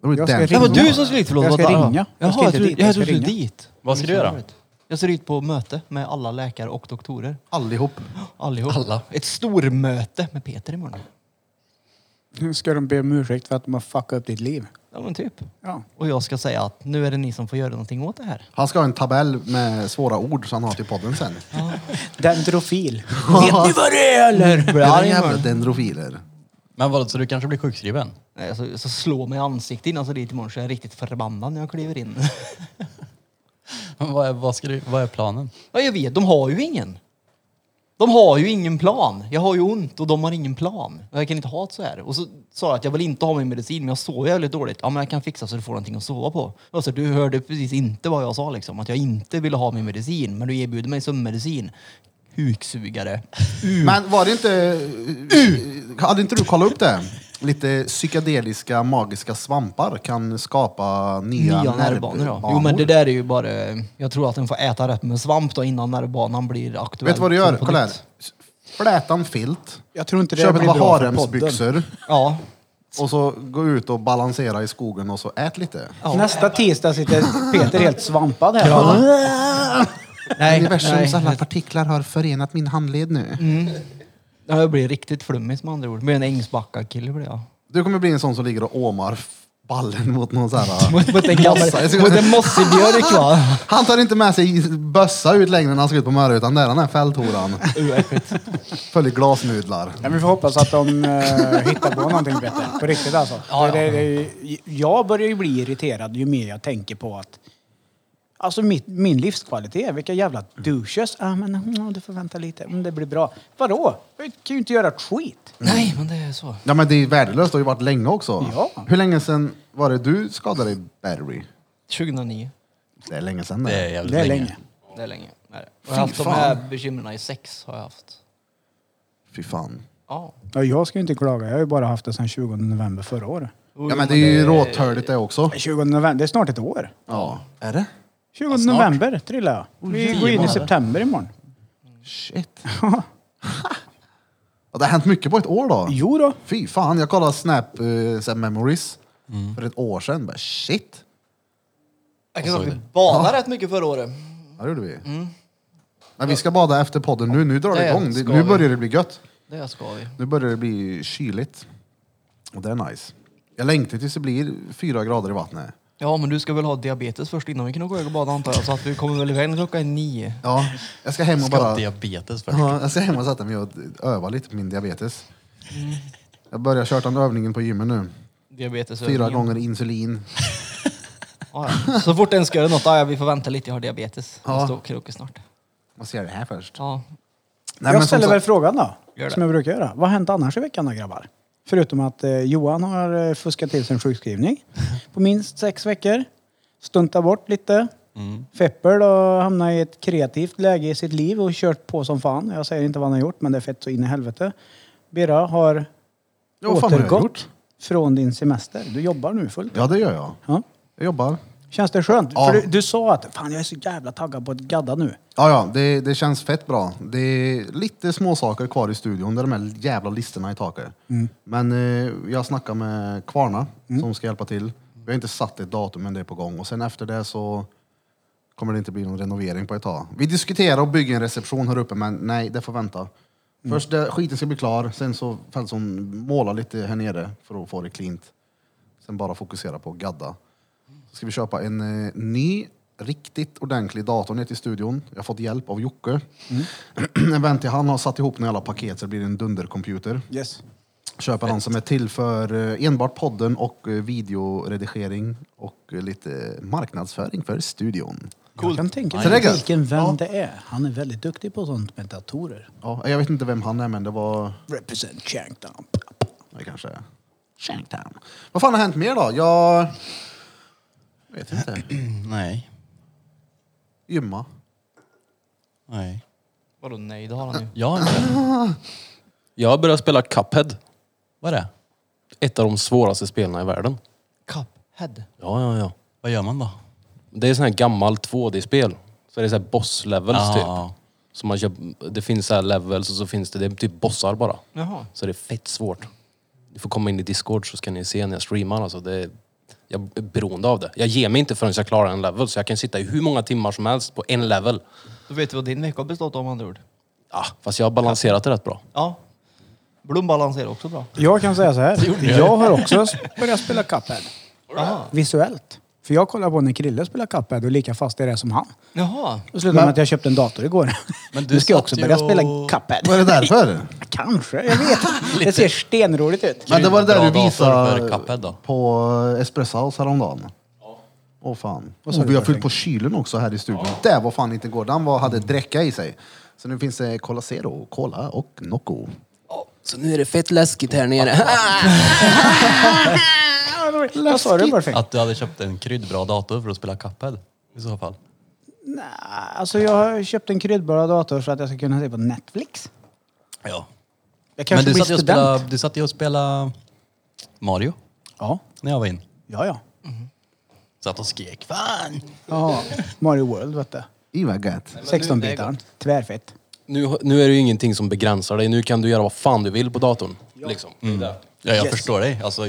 C: Det var ju
B: Jag ska
C: den-
D: Det
B: ringa.
D: var du som skulle dit, förlåt.
B: Jag ska
D: vad fan.
B: ringa. Jag
D: Jaha,
B: ska
D: jag
B: inte
D: trodde
B: dit,
D: jag
B: jag ska
D: trodde du
B: ringa.
D: skulle dit.
A: Vad ska du göra?
D: Jag ska dit på möte med alla läkare och doktorer.
C: Allihop.
D: Allihop.
A: Alla.
D: Ett stormöte med Peter imorgon.
B: Nu ska de be om ursäkt för att de har fuckat upp ditt liv.
D: Ja, men typ.
B: Ja.
D: Och jag ska säga att nu är det ni som får göra någonting åt det här.
C: Han ska ha en tabell med svåra ord som han har till podden sen.
B: Dendrofil. Vet ni vad det är eller?
D: Blir jag
C: Alla
D: arg
C: jävla
D: imorgon?
C: dendrofiler.
A: Men vadå, så du kanske blir sjukskriven?
D: Nej, alltså, så slå mig i ansiktet innan jag ska dit imorgon så jag är riktigt förbannad när jag kliver in.
A: Men Vad är, vad, ska du, vad är planen?
D: ja, jag vet, de har ju ingen. De har ju ingen plan. Jag har ju ont och de har ingen plan. Jag kan inte ha det så här. Och så sa jag att jag vill inte ha min medicin men jag sover jävligt dåligt. Ja men jag kan fixa så du får någonting att sova på. Alltså du hörde precis inte vad jag sa liksom. Att jag inte ville ha min medicin men du erbjuder mig sömnmedicin. Huksugare.
C: Men var det inte... Hade inte du kollat upp det? Lite psykedeliska magiska svampar kan skapa nya,
D: Nya nervbanor ja. Jo men det där är ju bara... Jag tror att den får äta rätt med svamp då innan nervbanan blir aktuell.
C: Vet du vad du gör?
D: På
C: Kolla här.
D: nytt.
C: Fläta en filt,
B: Jag tror inte det
C: köp ett
B: blir
C: par
B: bra för podden.
C: haremsbyxor
D: Ja.
C: och så gå ut och balansera i skogen och så ät lite.
D: Ja.
B: Nästa tisdag sitter Peter helt svampad här.
D: Nej,
C: Universums alla
D: nej. Mm.
C: partiklar har förenat min handled nu.
D: Ja, Jag blir riktigt flummig med andra ord. Med en Ängsbacka-kille blir jag.
C: Du kommer bli en sån som ligger och åmar f- ballen mot någon sån här...
D: Mot en gammal...
C: Mossa, jag ska-
D: Mot en mossig björk va?
C: Han tar inte med sig bössa ut längre när han ska ut på Mörö, utan där är den här fälthoran. Följer glasnudlar.
B: Ja, men vi får hoppas att de eh, hittar på någonting bättre. På riktigt alltså.
D: Ja,
B: Det, det, det, jag börjar ju bli irriterad ju mer jag tänker på att Alltså mitt, min livskvalitet, vilka jävla douches. Ah, men, mm, du får vänta lite, mm, det blir bra. Vadå? Jag kan ju inte göra ett skit.
D: Nej, men det är så.
C: Ja men det är värdelöst, det har ju varit länge också.
B: Ja.
C: Hur länge sedan var det du skadade dig, Barry?
D: 2009.
C: Det är länge sedan
A: Det är
C: det.
A: jävligt
B: Det är
A: länge.
B: länge.
D: Det är länge. Det är det. Och jag har haft de
C: fan.
D: här bekymren i sex. Har jag haft.
C: Fy fan.
D: Ja.
B: Ja, jag ska ju inte klaga, jag har ju bara haft det sedan 20 november förra året.
C: Ja men det är ju råtörligt det också.
B: 20 november, det är snart ett år.
C: Ja. Är det?
B: 20 november trillar jag. Vi
A: tio
B: går in i
A: månader.
B: september imorgon.
C: Shit. Ja, det har hänt mycket på ett år då.
B: Jo då.
C: Fy fan, jag kollade Snap eh, så här memories för ett år sedan. Bara, shit.
D: Jag kan säga att
A: Såg
D: vi badade rätt mycket förra året.
C: Ja, det gjorde vi. Nej, vi ska bada efter podden nu. Nu drar det
D: Det
C: igång. Det,
D: ska
C: nu
D: vi.
C: börjar det bli gött.
D: Det ska vi.
C: Nu börjar det bli kyligt. Och det är nice. Jag längtar tills det blir fyra grader i vattnet.
D: Ja, men du ska väl ha diabetes först innan vi kan gå iväg och bada antar jag. Så att vi kommer väl iväg klockan nio.
C: Ja, jag ska hem och
A: Ska ha
C: bara...
A: diabetes först.
C: Ja, jag ska hem och sätta mig och öva lite på min diabetes. Jag börjar köra den övningen på gymmet nu.
D: Diabetes
C: Fyra gånger insulin.
D: Ja, ja. Så fort den ska göra något, ja, ja, vi får vänta lite, jag har diabetes.
C: Ja.
D: Jag står och krokar snart.
C: Vad ser det här först?
D: Ja.
C: Nej,
B: jag
C: men som
B: ställer väl
C: sagt,
B: frågan då,
D: Gör det.
B: som jag brukar göra. Vad har hänt annars i veckan då grabbar? Förutom att eh, Johan har eh, fuskat till sin sjukskrivning på minst sex veckor. Stuntat bort lite. Mm. Fepper då hamnade i ett kreativt läge i sitt liv och kört på som fan. Jag säger inte vad han har gjort men det är fett så in i helvete. Birra har
C: Ja, vad fan har jag
B: återgått
C: gjort?
B: från din semester. Du jobbar nu fullt.
C: ja, det gör jag.
B: Ja.
C: Jag jobbar.
B: Känns det skönt?
C: Ja.
B: För du, du sa att fan jag är så jävla taggad på att gadda nu.
C: Ja, ja, det, det känns fett bra. Det är lite små saker kvar i studion, det är de här jävla listorna i taket. Men eh, jag snackar med Kvarna som ska hjälpa till. Vi har inte satt ett datum, men det är på gång. Och sen efter det så kommer det inte bli någon renovering på ett tag. Vi diskuterar att bygga en reception här uppe, men nej, det får vänta. Först det, skiten ska bli klar, sen så fälls hon måla lite här nere för att få det klint. Sen bara fokusera på att gadda. Så ska vi köpa en eh, ny, riktigt ordentlig dator ner till studion. Jag har fått hjälp av Jocke. en vän till han har satt ihop några alla paket så det blir en dundercomputer.
B: Yes.
C: Köper han som är till för eh, enbart podden och eh, videoredigering och eh, lite marknadsföring för studion.
B: Jag kan tänka
C: Så det
B: mig
C: är gött.
B: vilken vän
C: Ja.
B: det är. Han är väldigt duktig på sånt med datorer.
C: Ja, jag vet inte vem han är men det var...
B: Represent Shanktown.
C: Det kanske är... Shanktown. Vad fan har hänt mer då? Jag... vet inte.
A: Nej.
C: Gymma.
A: Nej.
D: Vadå nej, det har han ju.
A: Jag har inte det.
H: Jag började spela Cuphead.
A: Vad är det?
H: Ett av de svåraste spelen i världen.
D: Cuphead.
H: Ja, ja, ja.
A: Vad gör man då?
H: Det är sån här gammal 2D-spel. Så det är så här boss-levels
A: Ja,
H: typ.
A: ja.
H: Så man köp, det finns så här levels och så finns det, det är typ bossar bara.
D: Jaha.
H: Så det är fett svårt. Ni får komma in i Discord så ska ni se när jag streamar. Alltså det, jag är beroende av det. Jag ger mig inte förrän jag klarar en level. Så jag kan sitta i hur många timmar som helst på en level.
D: Då vet vi vad din vecka har bestått av med andra ord.
H: Ja, fast jag har balanserat det rätt bra.
D: Ja. Blom balanserar också bra.
B: Jag kan säga så här. Jag har också börjat spela Cuphead. Visuellt. För jag kollade på när Krille spelade Cuphead och lika fast är det som han.
D: Jaha.
B: Och slutade med att jag köpte en dator igår.
A: Men du
B: du ska jag
A: satt
B: också
A: ju
B: börja
A: och-
B: spela Cuphead.
C: Vad är det därför?
B: Kanske, jag vet inte. Det ser stenroligt ut.
C: Men det var det
A: Bra
C: där du
A: dator
C: visade
A: för Cuphead då.
C: på eh, Espresso House häromdagen. Åh fan. Oh, vi har fyllt på kylen också här i studion. Det var fan inte igår. Den var, hade dräcka i sig. Så nu finns det Cola Zero, Cola och Nocco.
H: Så nu är det fett läskigt här nere.
B: Vad sa du perfekt?
A: Att du hade köpt en kryddbra dator för att spela Cuphead i så fall.
B: Nej, Alltså jag har köpt en kryddbara dator så att jag ska kunna se på Netflix.
A: Ja.
B: Jag
A: Men
B: kanske
A: du
B: blir
A: satt, ju och
B: student.
A: spela, du satt ju och spelade Mario
B: Ja,
A: när jag var in.
B: ja, ja.
A: Satt och skrek fan!
B: Ja, Mario World vet du.
C: I vad gött.
B: 16-bitaren. Tvärfett.
H: nu, nu är det ju ingenting som begränsar dig. Nu kan du göra vad fan du vill på datorn. Liksom.
A: Ja, jag
B: Yes.
A: förstår dig. Alltså,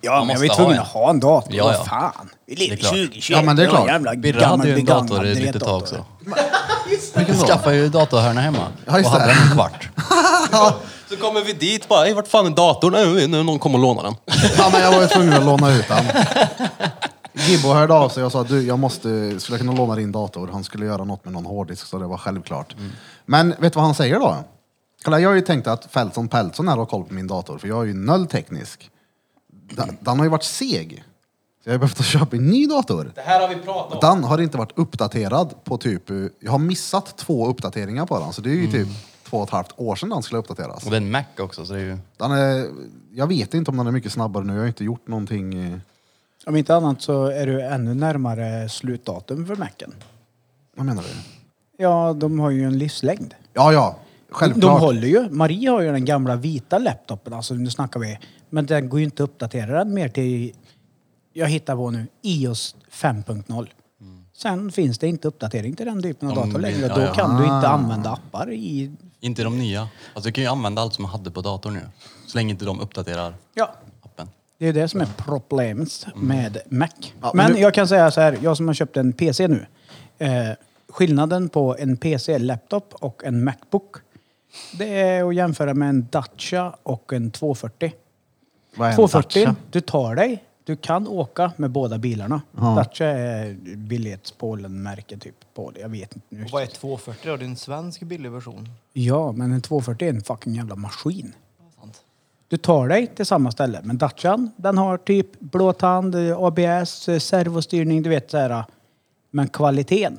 B: Ja,
A: Man
B: men
A: måste
B: vi är
A: ha
B: tvungna att
A: en.
B: ha en dator.
A: Ja, ja.
B: Vad fan. Vi lever
A: Det är klart.
B: 2020.
C: Ja, men det
B: Vi
C: är
B: har en
C: klart.
B: jävla
A: Birre hade ju en
B: gammal
A: dator ett litet tag
B: retdator.
A: också. Vi skaffade ju datorhörna hemma
C: Ja,
A: och
C: just
A: hade
C: det.
A: den en kvart.
H: Så kommer vi dit bara, "Ey, vart fan är datorn? Äh, nu någon kommer och lånar den.
C: Ja, men jag var ju tvungen att låna ut den. Gibbo hörde av sig och sa du, jag måste, skulle jag kunna låna din dator? Han skulle göra något med någon hårddisk så det var självklart.
A: Mm.
C: Men vet du vad han säger då? Kolla, jag har ju tänkt att Feltson Peltson här har koll på min dator för jag är ju noll teknisk. Den, den har ju varit seg. Så jag har behövt köpa en ny dator.
H: Det här har vi pratat
C: Den har inte varit uppdaterad på typ, eh, jag har missat två uppdateringar på den så det är ju typ två och ett halvt år sedan den skulle uppdateras.
A: Mm. Och det är en Mac också så det är ju...
C: Den är, jag vet inte om den är mycket snabbare nu, jag har inte gjort någonting eh,
B: Om inte annat så är du ännu närmare slutdatum för Macen.
C: Vad menar du?
B: Ja, de har ju en livslängd.
C: Ja, ja. Självklart.
B: De håller ju. Marie har ju den gamla vita laptopen, alltså nu snackar vi. Men den går ju inte att uppdatera den mer till, jag hittar på nu, iOS 5.0. Sen finns det inte uppdatering till den typen
A: Om
B: av dator
A: vi-
B: längre.
A: ja,
B: Då
A: ja.
B: kan du
C: Ah.
B: inte använda appar i...
A: Inte de nya. Alltså jag kan ju använda allt som jag hade på datorn nu. Så länge inte de uppdaterar
B: Ja,
A: appen.
B: det är det som är problemet med Mac.
C: Ja, men
B: men
C: du-
B: jag kan säga så här, jag som har köpt en PC nu. Eh, skillnaden på en PC-laptop och en Macbook. Det är att jämföra med en Dacia och en 240.
C: Vad är en
B: 240,
C: Dacia?
B: du tar dig. Du kan åka med båda bilarna. Dacia är biljettpolen-märke typ. På det. Jag vet inte nu.
D: Och vad är 240 då? Det är en svensk billig version.
B: Ja, men en 240 är en fucking jävla maskin.
D: Sant.
B: Du tar dig till samma ställe. Men Dacian, den har typ blåtand, eh, ABS, eh, servostyrning, du vet så här. Men kvaliteten.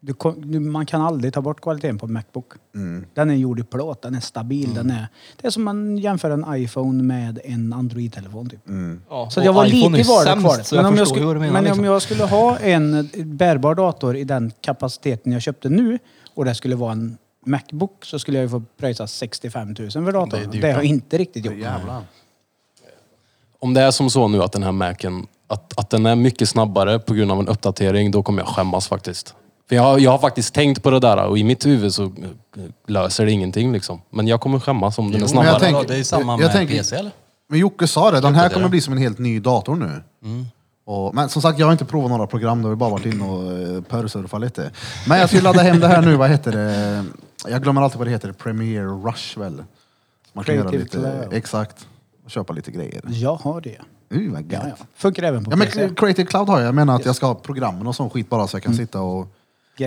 B: Du, kon- du, man kan aldrig ta bort kvaliteten på Macbook.
C: Mm.
B: Den är gjord i plåt, den är stabil. Den är, det är som man jämför en iPhone med en Android-telefon typ.
C: Mm.
D: Ja,
B: Så
D: och
B: jag var
D: iPhone
B: lite
D: är
B: i valet
D: sämst,
B: kvar.
D: Så jag
B: Men, om jag,
D: förstår ju
B: skulle,
D: vad du menar.
B: men
D: liksom.
B: om jag skulle ha en bärbar dator i den kapaciteten jag köpte nu och det skulle vara en Macbook så skulle jag ju få pröjsa 65 000 för datorn.
A: Det är
B: Det,
A: dyrt,
B: har jag
A: ja.
B: inte riktigt gjort.
C: Jävlar.
H: Om det är som så nu att den här Macen, att, att den är mycket snabbare på grund av en uppdatering, då kommer jag skämmas faktiskt. För jag, har- jag har faktiskt tänkt på det där och i mitt huvud så eh, löser det ingenting liksom. Men jag kommer skämmas om den är
A: Jo, men
H: snabbare.
A: jag
C: jag tänker-
A: tänker, det är samma
C: jag
A: med
C: tänker-
A: PC eller?
C: Men Jocke sa det, den här
A: Jocke,
C: kommer
A: det.
C: bli som en helt ny dator nu.
A: Mm.
C: Och, men som sagt, jag har inte provat några program, då har vi bara varit inne och eh, pörsurfat lite. Men jag ska ju ladda hem det här nu, vad heter det? Jag glömmer alltid vad det heter, Premiere Rush väl? Man kan göra
B: Creative
C: lite,
B: Cloud.
C: exakt, och köpa lite grejer.
B: Jag har det.
C: Uh, vad
B: Ja,
C: gött.
B: ja. Funkar även på
C: Ja, men
B: PC.
C: Creative Cloud har jag, jag menar att jag ska ha programmen och sån skit bara så jag kan sitta och
B: Mm.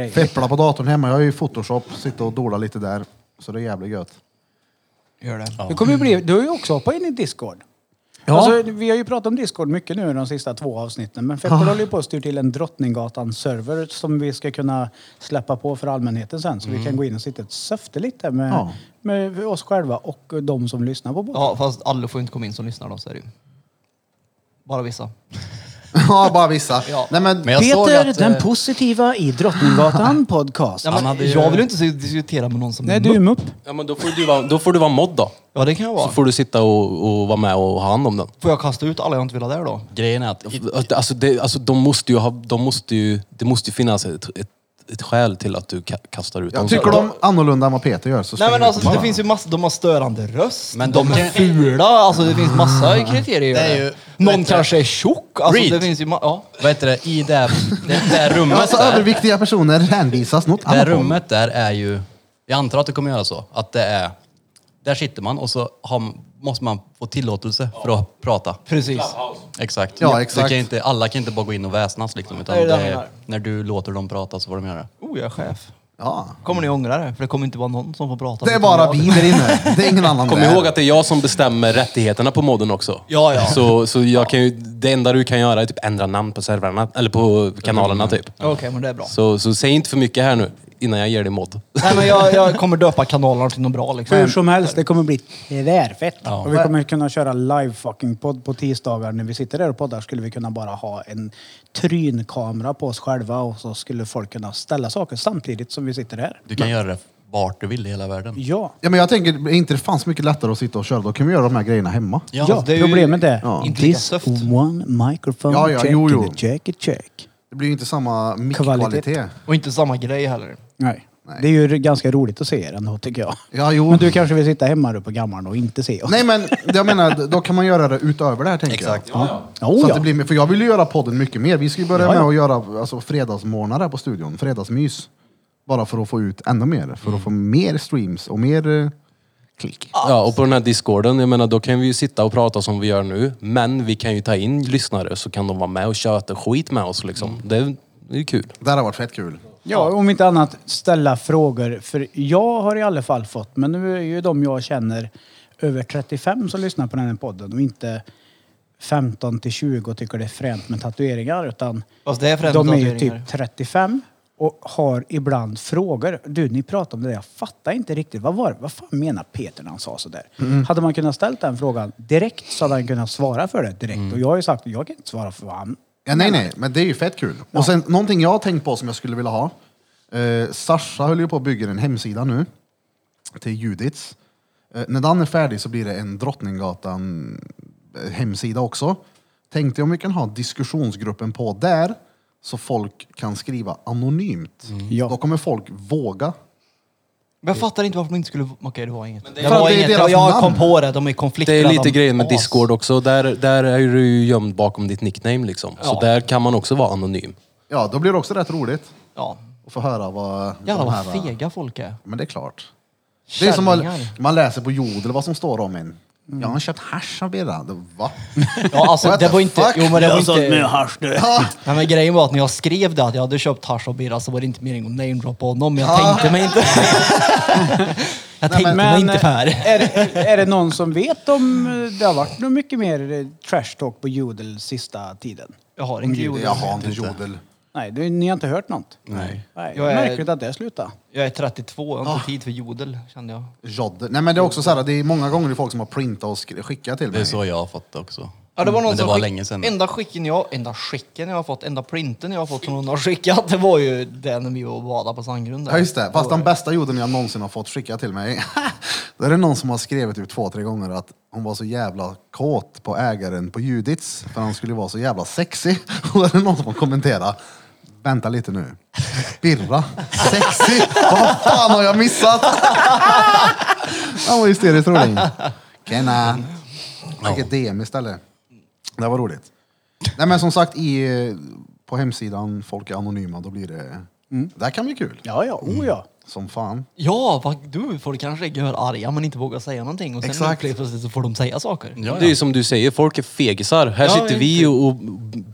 B: Grejer.
C: feppla på datorn hemma. Jag har ju Photoshop, sitta och dola lite där. Så det är jävligt gött.
D: Gör det.
B: Du, kommer ju bli, du har ju också hoppat in i Discord.
C: Ja.
B: Alltså, vi har ju pratat om Discord mycket nu de sista två avsnitten. Men Feppel håller ju på att styr till en Drottninggatan-server som vi ska kunna släppa på för allmänheten sen. Så
A: Mm.
B: vi kan gå in och sitta ett söfte lite med,
C: Ja.
B: med oss själva och de som lyssnar på båten.
D: Ja, fast alla får inte komma in som lyssnar då, så är det ju. Bara vissa.
C: ja, bara vissa.
D: Ja.
C: Nej, men,
A: Men jag såg
B: Peter,
A: att,
B: den
A: eh,
B: positiva i Drottninggatan podcast.
D: Ja, men,
A: hade ju-
D: Jag vill ju inte så- diskutera med någon som
B: Nej, du är mupp.
H: Ja, men då, får du vara, då får du vara mod då.
D: Ja, det kan jag
H: Så
D: vara.
H: får du sitta och, och vara med och ha hand om den.
D: Får jag kasta ut alla jag inte vill ha där då?
A: Grejen är att i-
H: Alltså, det, alltså de måste ju ha, de måste ju, det måste ju finnas ett, ett, ett skäl till att du ka, kastar ut dem.
C: jag tycker de annorlunda än vad Peter gör så
D: Nej
C: stäng
D: men
C: ut
D: alltså
C: dem
D: det
C: bara.
D: finns ju massa, de har störande röst,
A: Men
D: men de,
A: de
D: är
A: kan-
D: fula, alltså det finns massa kriterier.
A: Det är ju-
D: Någon
A: vet du-
D: kanske är tjock, alltså
A: Reed.
D: det finns ju ma- ja.
A: vad heter det, i det, här- det, det här rummet
C: Alltså
A: där,
C: överviktiga personer hänvisas något
A: det här
C: annat håll.
A: rummet där är ju, jag antar att det kommer göra så, att det är, där sitter man och så har, måste man få tillåtelse för att prata.
D: Precis.
A: Exakt.
C: Ja,
A: Du
C: exakt.
A: Kan inte, alla kan inte bara gå in och väsnas liksom, utan
D: Nej, det
A: det
D: är det jag menar.
A: är, när du låter dem prata så får de göra det.
D: Oh, jag är chef.
C: Ja.
D: Kommer ni ångra det? För det kommer inte vara någon som får prata.
C: Det är
D: utan
C: bara
D: jag.
C: vi där inne. Det är ingen annan
H: Kom
C: där.
H: ihåg att det är jag som bestämmer rättigheterna på modden också.
D: Ja, ja.
H: Så, så jag kan ju, det enda du kan göra är typ ändra namn på servrarna, eller på kanalerna typ.
D: Okej, men det är bra.
H: Så, så säg inte för mycket här nu, innan jag ger dig mod.
D: Nej men jag, jag kommer döpa kanalerna till något bra liksom.
B: Hur som helst, det kommer bli tvärfett. Och vi kommer kunna köra live fucking podd på tisdagar. När vi sitter där och poddar skulle vi kunna bara ha en trynkamera på oss själva och så skulle folk kunna ställa saker samtidigt som vi sitter här.
A: Du kan göra det vart du vill i hela världen.
B: Ja.
C: Ja, men jag tänker, är inte det fanns mycket lättare att sitta och köra? Då kan vi göra de här grejerna hemma.
A: Ja,
B: Ja,
D: det är ju
B: problemet är...
C: Ja.
D: inte lika
B: This
D: söft.
B: one microphone
C: Ja, ja,
B: check,
C: jo, jo.
B: and a check, and check.
C: Det blir ju inte samma
B: Kvalitet.
C: mick-kvalitet.
D: Och inte samma grej heller.
B: Nej. Det är ju ganska roligt att se er ändå tycker jag.
C: Ja, jo.
B: Men du kanske vill sitta hemma du på gammaln och inte se oss?
C: Nej, men jag menar, då kan man göra det utöver det här tänker
A: Exakt.
C: jag.
B: Ja,
C: Så
B: oh,
C: att
B: ja.
C: det blir, mer- för jag vill ju göra podden mycket mer. Vi ska ju börja
B: Ja, ja.
C: med att göra alltså, fredagsmorgnar här på studion. Fredagsmys. Bara för att få ut ännu mer. För att få mer streams och mer eh, klick.
D: Ah.
H: Ja, och på den här discorden, jag menar då kan vi ju sitta och prata som vi gör nu, men vi kan ju ta in lyssnare så kan de vara med och köta skit med oss liksom. Det, är- det är ju kul.
C: Det här har varit fett kul.
B: Ja, om inte annat ställa frågor. För jag har i alla fall fått, men nu är ju de jag känner över 35 som lyssnar på den här podden och inte 15 till 20 och tycker det är fränt med tatueringar. Utan
D: Fast det är för
B: de är ju typ 35 och har ibland frågor. Du, ni pratar om det där. Jag fattar inte riktigt. Vad var det? Vad fan menar Peter när han sa sådär? Hade man kunnat ställa den frågan direkt så hade han kunnat svara för det direkt. Och jag har ju sagt jag kan inte svara för vad han...
C: Ja, nej, nej, men det är ju fett kul. Och sen någonting jag har tänkt på som jag skulle vilja ha. Eh, Sasha höll ju på att bygga en hemsida nu till Judits. Eh, när den är färdig så blir det en Drottninggatan eh, hemsida också. Tänkte jag om vi kan ha diskussionsgruppen på där så folk kan skriva anonymt.
B: Ja.
C: Då kommer folk våga.
D: Men jag fattar inte varför de inte skulle... Okej, det var inget. Det,
C: För att
D: var
C: det är
D: inget.
C: deras
D: Jag, jag kom
C: namn.
D: på det, de är konflikträdda.
H: Det är lite grejer med
D: As.
H: Discord också. Där, där är du ju gömd bakom ditt nickname liksom. Så
D: Ja.
H: där kan man också vara anonym.
C: Ja, då blir det också rätt roligt
D: Ja.
C: att få höra vad
D: Jävlar
C: de
D: vad
C: här...
D: fega folk är.
C: Men det är klart. Det är som man,
D: Kärringar.
C: man läser på Jodel vad som står om en. Jag har köpt hasch av Birra. Då, Va?
D: Ja, alltså
C: What
D: det
C: the
D: var inte...
C: fuck?
D: Jo, men det var inte...
B: hasch du.
D: Nej, men grejen var att när jag skrev det, att jag hade köpt hasch och birra, så var det inte meningen att namedroppa honom. men Jag
C: Ah.
D: tänkte mig inte... jag tänkte mig
C: eh,
D: inte Per.
B: är, är det någon som vet om eh, det har varit något mycket mer eh, trash talk på Jodel sista tiden?
D: Jag har inte gjort
C: Jag har inte Jodel.
B: Nej, du, ni har inte hört något?
A: Nej.
B: Nej,
D: Jag är-
B: Märkligt att det slutade.
D: Jag är 32, jag har
C: Ah.
D: inte tid för jodel, kände jag.
C: Jodel. Nej men det är också så här, det är många gånger det är folk som har printat och skri- skickat till
A: Det är
C: mig.
A: så jag har fått det också.
D: Ja, det var någon
A: Men det
D: som
A: var
D: skick-
A: länge sedan.
D: Enda skicken jag, enda skicken jag har fått, enda printen jag har fått som någon har skickat, det var ju den när vi var och badade på Sandgrund. där.
C: Ja just det, fast den bästa jodeln jag någonsin har fått skicka till mig. Då är det någon som har skrivit typ två, tre gånger att hon var så jävla kåt på ägaren på Judits för han skulle vara så jävla sexy. Och då är det någon som har kommenterat. Vänta lite nu. Birra, sexy, vad fan har jag missat? Han var hysteriskt rolig. Kenna. Skicka DM istället. Det var roligt. Nej men som sagt, i, eh, på hemsidan, folk är anonyma, då blir det... Det här kan bli kul.
B: Ja, ja, o ja.
C: Som fan.
D: Ja, vad, du, folk kanske gör arga men inte vågar säga någonting och sen
C: Exakt.
D: helt plötsligt så får de säga saker.
A: Ja,
H: Det är
A: ja.
H: ju som du säger, folk är fegisar. Här
D: Ja,
H: sitter vi och, och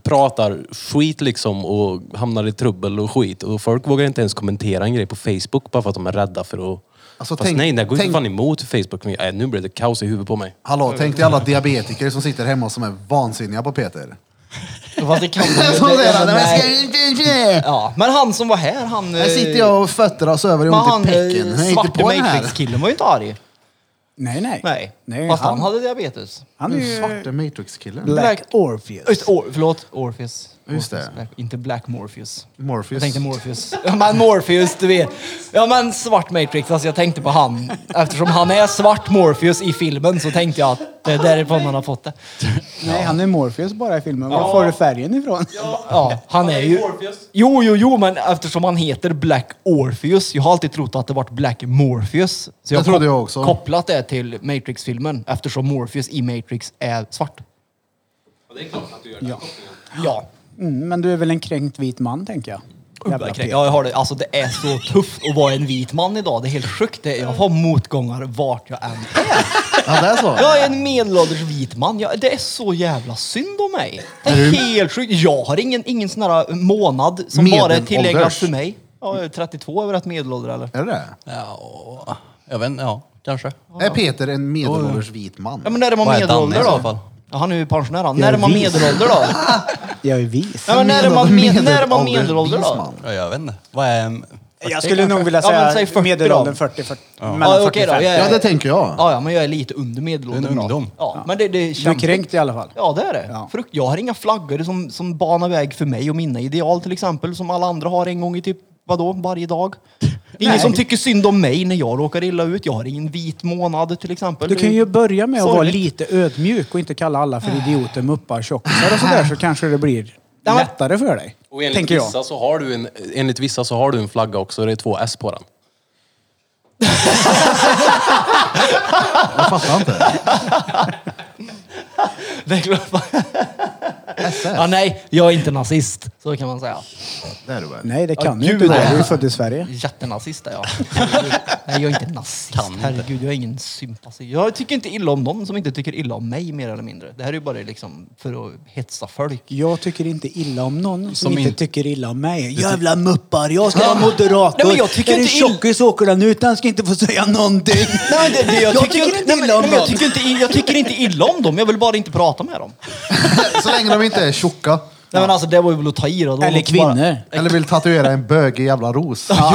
H: pratar skit liksom och hamnar i trubbel och skit. Och folk vågar inte ens kommentera en grej på Facebook bara för att de är rädda för att...
C: Alltså,
H: Fast
C: tänk-
H: nej, det går ju
C: tänk-
H: inte fan emot Facebook. Nej, nu blev det kaos i huvudet på mig.
C: Hallå, tänk dig alla diabetiker som sitter hemma som är vansinniga på Peter.
D: Fast det kan de ju-
C: Som
D: det-
C: redan,
D: alltså,
C: men
D: nej.
C: ska vi inte- inte-
D: Ja, men han som var här, han...
C: Här sitter jag och fötteras över och
D: men
C: har
D: han, eh,
C: ont i pecken. Jag är inte
D: svarte
C: på den här.
D: Matrix-killen var ju inte arg.
B: Nej, nej.
D: Nej.
B: Nej,
D: Fast han,
B: han-
D: hade diabetes.
B: Han är ju
C: Svarte Matrix-killen.
B: Black
D: Just,
B: Orpheus.
D: or, förlåt, Orpheus.
C: Just
D: Orpheus,
C: det.
D: Black, inte Black Morpheus. Jag
C: Morpheus.
D: tänkte Morpheus. Ja men Morpheus, du vet. Ja men svart Matrix, alltså jag tänkte på han. Eftersom han är svart Morpheus i filmen så tänkte jag att det är därifrån han har fått det.
B: Nej, han är Morpheus bara i filmen. Var får du färgen ifrån?
D: Ja, han är ju... Jo, jo, jo, men eftersom han heter Black Orpheus. Jag har alltid trott att det varit Black Morpheus. Så
C: Det trodde
D: har
C: jag också.
D: kopplat det till Matrix-filmen eftersom Morpheus i Matrix är svart. Ja,
B: Mm, men du är väl en kränkt vit man, tänker jag. Jävla
D: Jävla
B: Peter.
D: Ja, jag har det. Alltså det är så tufft att vara en vit man idag. Det är helt sjukt. Det- Jag har motgångar vart jag än är.
C: Ja, det är så.
D: Jag är en medelålders vit man. Jag, det är så jävla synd om mig. Det är helt sjukt. Jag har ingen, ingen sån här äh, månad som bara är
C: Medelålders.
D: tillägnad för mig. Ja, jag är 32 över rätt medelålder eller?
C: Är det det?
A: Ja, jag vet inte, ja, kanske.
C: Är Peter en medelålders vit man?
D: Ja men närmar
A: Vad heter han
D: medelålder
A: i så fall?
D: då. Ja, han är ju pensionär han.
B: Jag är
D: Närmar
B: vis.
D: medelålder då.
B: Jag är vis.
D: Ja, men
C: Medel-
D: närmar med, närmar
C: medelålders
D: medelålder
C: vis
D: då.
C: man.
A: Ja, jag vet inte. Vad är...
B: Jag skulle nog vilja
D: Ja, men
B: säga
D: säg 40
B: medelåldern
D: då.
B: 40, 40
D: Ja,
B: mellan 40
D: okej
B: och
D: då.
B: 50.
D: Jag är-
C: Ja, det tänker jag.
D: Ja, ja, men jag är lite under medelåldern.
A: Du är en
D: då.
A: ungdom.
D: Ja, men det, det
B: Du är
D: känns...
B: kränkt i alla fall.
D: Ja, det är det.
B: Ja.
D: Frukt. Jag har inga flaggor som, som banar väg för mig och mina ideal till exempel, som alla andra har en gång i typ, vadå, varje dag. Ingen
B: Nej.
D: som tycker synd om mig när jag råkar illa ut. Jag har ingen vit månad till exempel.
B: Du kan ju börja med att vara
D: Sorgligt.
B: lite ödmjuk och inte kalla alla för idioter, muppar, tjockisar och sådär så kanske det blir
D: men-
B: lättare för dig.
H: Och enligt,
B: tänker jag.
H: vissa så har du en, enligt vissa så har du en flagga också. Det är två S på den.
C: Jag fattar inte.
D: Det är klart. ja, nej, jag är inte nazist. Så kan man säga.
C: Det är du väl?
B: Nej, det kan
D: Ja,
B: ju
D: gud,
B: inte du. Du
D: nej.
B: är ju född i Sverige.
D: Jättenazist är jag. nej, jag är inte nazist. Herregud, jag är ingen sympati. Jag tycker inte illa om någon som inte tycker illa om mig mer eller mindre. Det här är ju bara liksom för att hetsa folk.
B: Jag tycker inte illa om någon som,
A: Som
B: inte
A: in-
B: tycker illa om mig. Jävla muppar, jag ska vara moderator.
D: Nej, men jag tycker
B: är
D: inte
B: det
D: ill-
B: tjockis åker den ut, han ska inte få säga någonting.
D: Nej, det, det, jag,
B: Jag
D: tycker,
B: tycker
D: inte,
B: inte
D: nej, men-
B: illa om
D: nej, men jag,
B: dem.
D: tycker inte, i- jag tycker inte illa om dem, jag vill bara inte prata med dem.
C: Så länge de inte är tjocka.
D: Nej men alltså det var ju väl att ta i då. Det var
B: Eller
D: något bara-
B: kvinnor.
C: Eller vill tatuera en bögig jävla ros. Ja.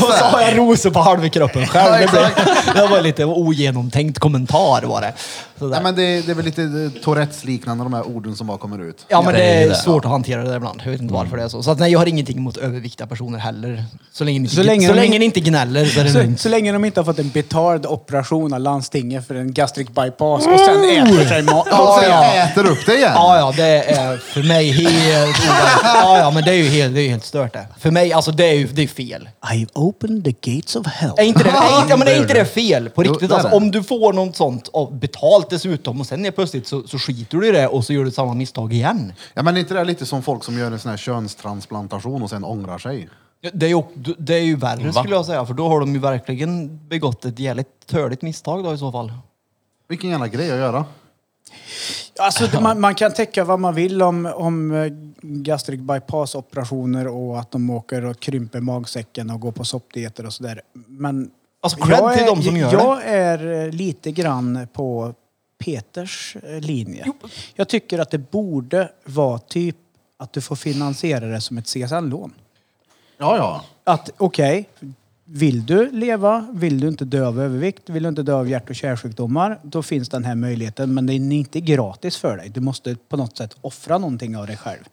D: Och så har jag rosor på halva kroppen själv.
C: Ja,
D: Det,
C: exakt.
D: blev, det var lite ogenomtänkt kommentar var det. Sådär.
C: Nej, men det, det är väl lite eh, Tourettes-liknande de här orden som bara kommer ut.
D: Ja men
A: Ja,
D: det
A: det är ju
D: är
A: det.
D: svårt att hantera det där ibland. Jag vet inte varför det är så. Så att, nej, jag har ingenting emot överviktiga personer heller. Så länge ni inte,
B: Så länge
D: så
B: de-
D: länge ni inte gnäller så är det
B: Så,
D: lugnt.
B: så länge de inte har fått en betald operation av landstinget för en gastric bypass och sen äter sig mat.
C: Ja, och sen
D: ja.
C: äter upp det igen.
D: Ja, ja, det är för för mig helt... ja, ja, men det är ju helt, det är ju helt stört det. För mig, alltså det är ju det är fel.
B: I've opened the gates of hell.
D: Är inte det, är, inte- ja, men är inte det fel på
C: Jo,
D: riktigt?
C: det är
D: Alltså,
C: det.
D: om du får något sånt och betalt dessutom och sen är plötsligt så, så skiter du i det och så gör du samma misstag igen.
C: Ja, men är inte det lite som folk som gör en sån här könstransplantation och sen ångrar sig?
D: Ja, Det är ju, det är ju värre
A: Va?
D: skulle jag säga, för då har de ju verkligen begått ett jävligt törligt misstag då i så fall.
C: Vilken jävla grej att göra.
B: Alltså, det- man, man kan täcka vad man vill om, om eh, gastric bypass-operationer och att de åker och krymper magsäcken och går på soppdieter och sådär. Men
D: Alltså, cred till de som gör
B: jag är eh, lite grann på Peters eh, linje. Jag tycker att det borde vara typ att du får finansiera det som ett CSN-lån.
C: Ja, ja.
B: Att okej, vill du leva, vill du inte dö av övervikt, vill du inte dö av hjärt och kärlsjukdomar, då finns den här möjligheten. Men det är inte gratis för dig. Du måste på något sätt offra någonting av dig själv.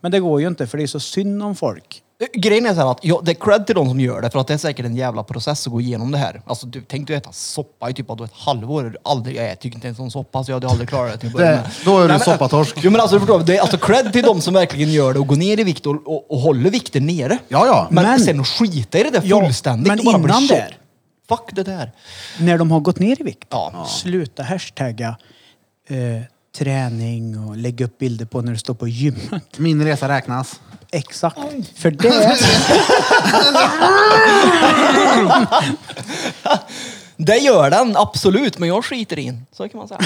B: Men det går ju inte för det är så synd om folk.
D: Grejen är så här att ja, det är cred till de som gör det för att det är säkert en jävla process att gå igenom det här. Alltså du, tänk du äta soppa i typ av ett halvår. Aldrig, jag äter ju inte ens någon soppa så jag hade aldrig klarat det. Till att börja
C: Det,
D: med.
C: då är du
D: Nej, men-
C: soppatorsk.
D: Jo men alltså, du förstår, det är alltså cred till de som verkligen gör det och går ner i vikt och, och, och håller vikten nere.
C: Ja, ja.
D: Men,
B: Men-
D: sen att skita i det där
B: Ja,
D: fullständigt
B: men
D: och bara bli
B: innan
D: tjock.
B: där-
D: Fuck det där.
B: När de har gått ner i vikt,
D: Ja.
B: sluta hashtagga eh, träning och lägga upp bilder på när du står på gymmet.
C: Min resa räknas.
B: Exakt. För det...
D: Det gör den absolut, men jag skiter i den. Så kan man säga.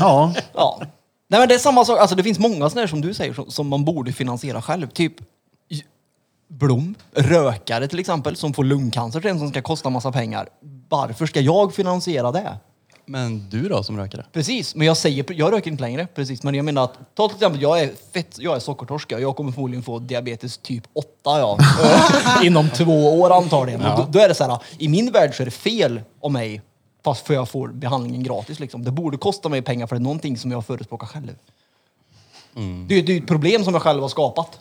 C: Ja.
D: Ja. Nej men det är samma sak, alltså det finns många sådana här som du säger som, som man borde finansiera själv. Typ j- Blom, rökare till exempel, som får lungcancer sen som ska kosta massa pengar. Varför ska jag finansiera det?
A: Men du då som rökare?
D: Precis, men jag säger, jag röker inte längre. Precis, men jag menar att, ta till exempel, jag är fett, jag är sockertorsk, ja. jag kommer förmodligen få diabetes typ 8 ja. Eh, inom två år antagligen. Ja. Då, då är det så här, i min värld så är det fel av mig, fast för jag får behandlingen gratis liksom. Det borde kosta mig pengar för det är någonting som jag förespråkar själv. Det, är- det är ett problem som jag själv har skapat.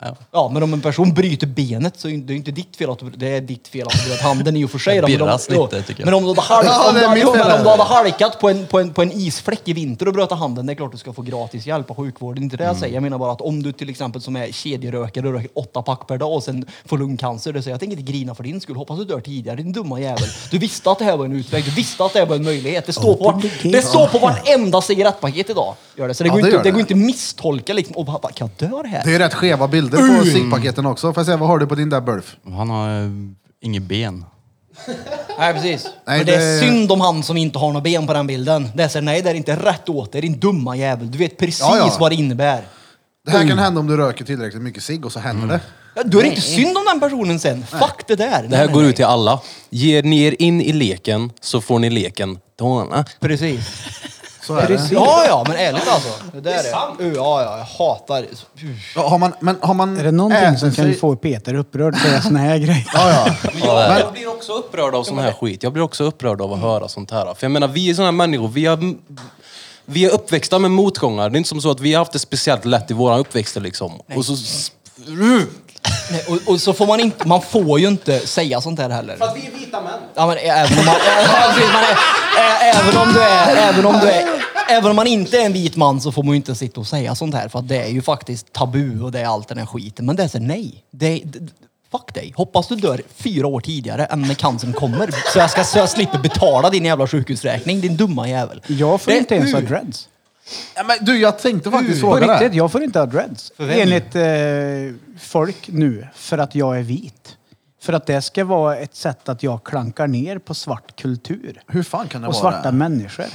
A: Ja.
D: Ja, men om en person bryter benet så är det inte ditt fel att det är ditt fel att du bröt handen i och för sig.
A: Det
D: då, men om-
A: birras
D: jo,
A: lite, tycker jag.
D: Men om du hade halkat,
C: Ja,
D: om
C: det
D: du
C: är
D: hade,
C: mitt
D: jo, men
C: fel
D: om
C: där.
D: du hade halkat på en, på, en, på en isfläck i vinter och bröt handen, det är klart du ska få gratis hjälp av sjukvården. Det är inte det jag säger. Jag menar bara att om du till exempel som är kedjerökare och röker åtta pack per dag och sen får lungcancer, det säger jag, jag tänker inte grina för din skull. Hoppas du dör tidigare, din dumma jävel. Du visste att det här var en utväg, du visste att det här var en möjlighet. Det står på,
B: Open the gate.
D: det står på vartenda cigarettpaket idag. Gör det. Så det
C: Ja,
D: går
C: det
D: inte
C: gör det.
D: det går inte att misstolka liksom. Och bara, kan jag dö här?
C: Det är ju rätt skeva bilder
A: Mm.
C: på ciggpaketen också. Får jag se, vad har du på din där burf?
A: Han har eh, inget ben.
D: Nej, precis.
C: Nej,
D: Men det är
C: det-
D: synd om han som inte har några ben på den bilden. Det är så, här, nej, det är inte rätt åt dig, din dumma jävel. Du vet precis
C: Ja, ja.
D: vad det innebär.
C: Det
A: Mm.
C: här kan hända om du röker tillräckligt mycket cigg och så händer det.
D: Ja, Då är det inte synd om den personen sen. Fuck det där.
H: Det här går ut till alla. Ger ni er in i leken så får ni leken. Äh, Dana.
D: Precis.
C: Så är det.
D: Ja, ja, men ärligt alltså. Det, där är Uh, Ja, ja, jag hatar... Uh.
C: Ja, har man, men har man
B: Är det någonting
C: ätit
D: Äh,
B: som kan
C: sig-
B: få Peter upprörd så är det såna här grejer.
C: Ja, ja.
H: Jag, jag blir också upprörd av sån här skit. Jag blir också upprörd av att höra sånt här. För jag menar, vi är såna här människor. Vi har... Vi är uppväxta med motgångar. Det är inte som så att vi har haft det speciellt lätt i våra uppväxter liksom. Och så...
D: Nej, och, och så får man inte... Man får ju inte säga sånt här heller.
F: vi är vita män.
D: Ja, men även om man, ja, precis, man är, ä- även om du är, även om du är, även om man inte är en vit man så får man ju inte sitta och säga sånt här för att det är ju faktiskt tabu och det är allt den här skiten. Men det är så nej. Det, det, fuck dig. Hoppas du dör fyra år tidigare än när cancern kommer så jag, ska, så jag slipper betala din jävla sjukhusräkning, din dumma jävel.
B: Jag får
D: Det-
B: inte ens ha
D: Ur.
B: dreads.
C: Ja, men du, jag tänkte faktiskt
B: Mm. På
C: fråga
B: riktigt,
C: det.
B: jag får inte ha dreads.
D: vem?
B: Enligt eh, folk nu, för att jag är vit. För att det ska vara ett sätt att jag klankar ner på svart kultur.
C: Hur fan kan det
B: Och
C: vara
B: svarta
C: det?
B: människor.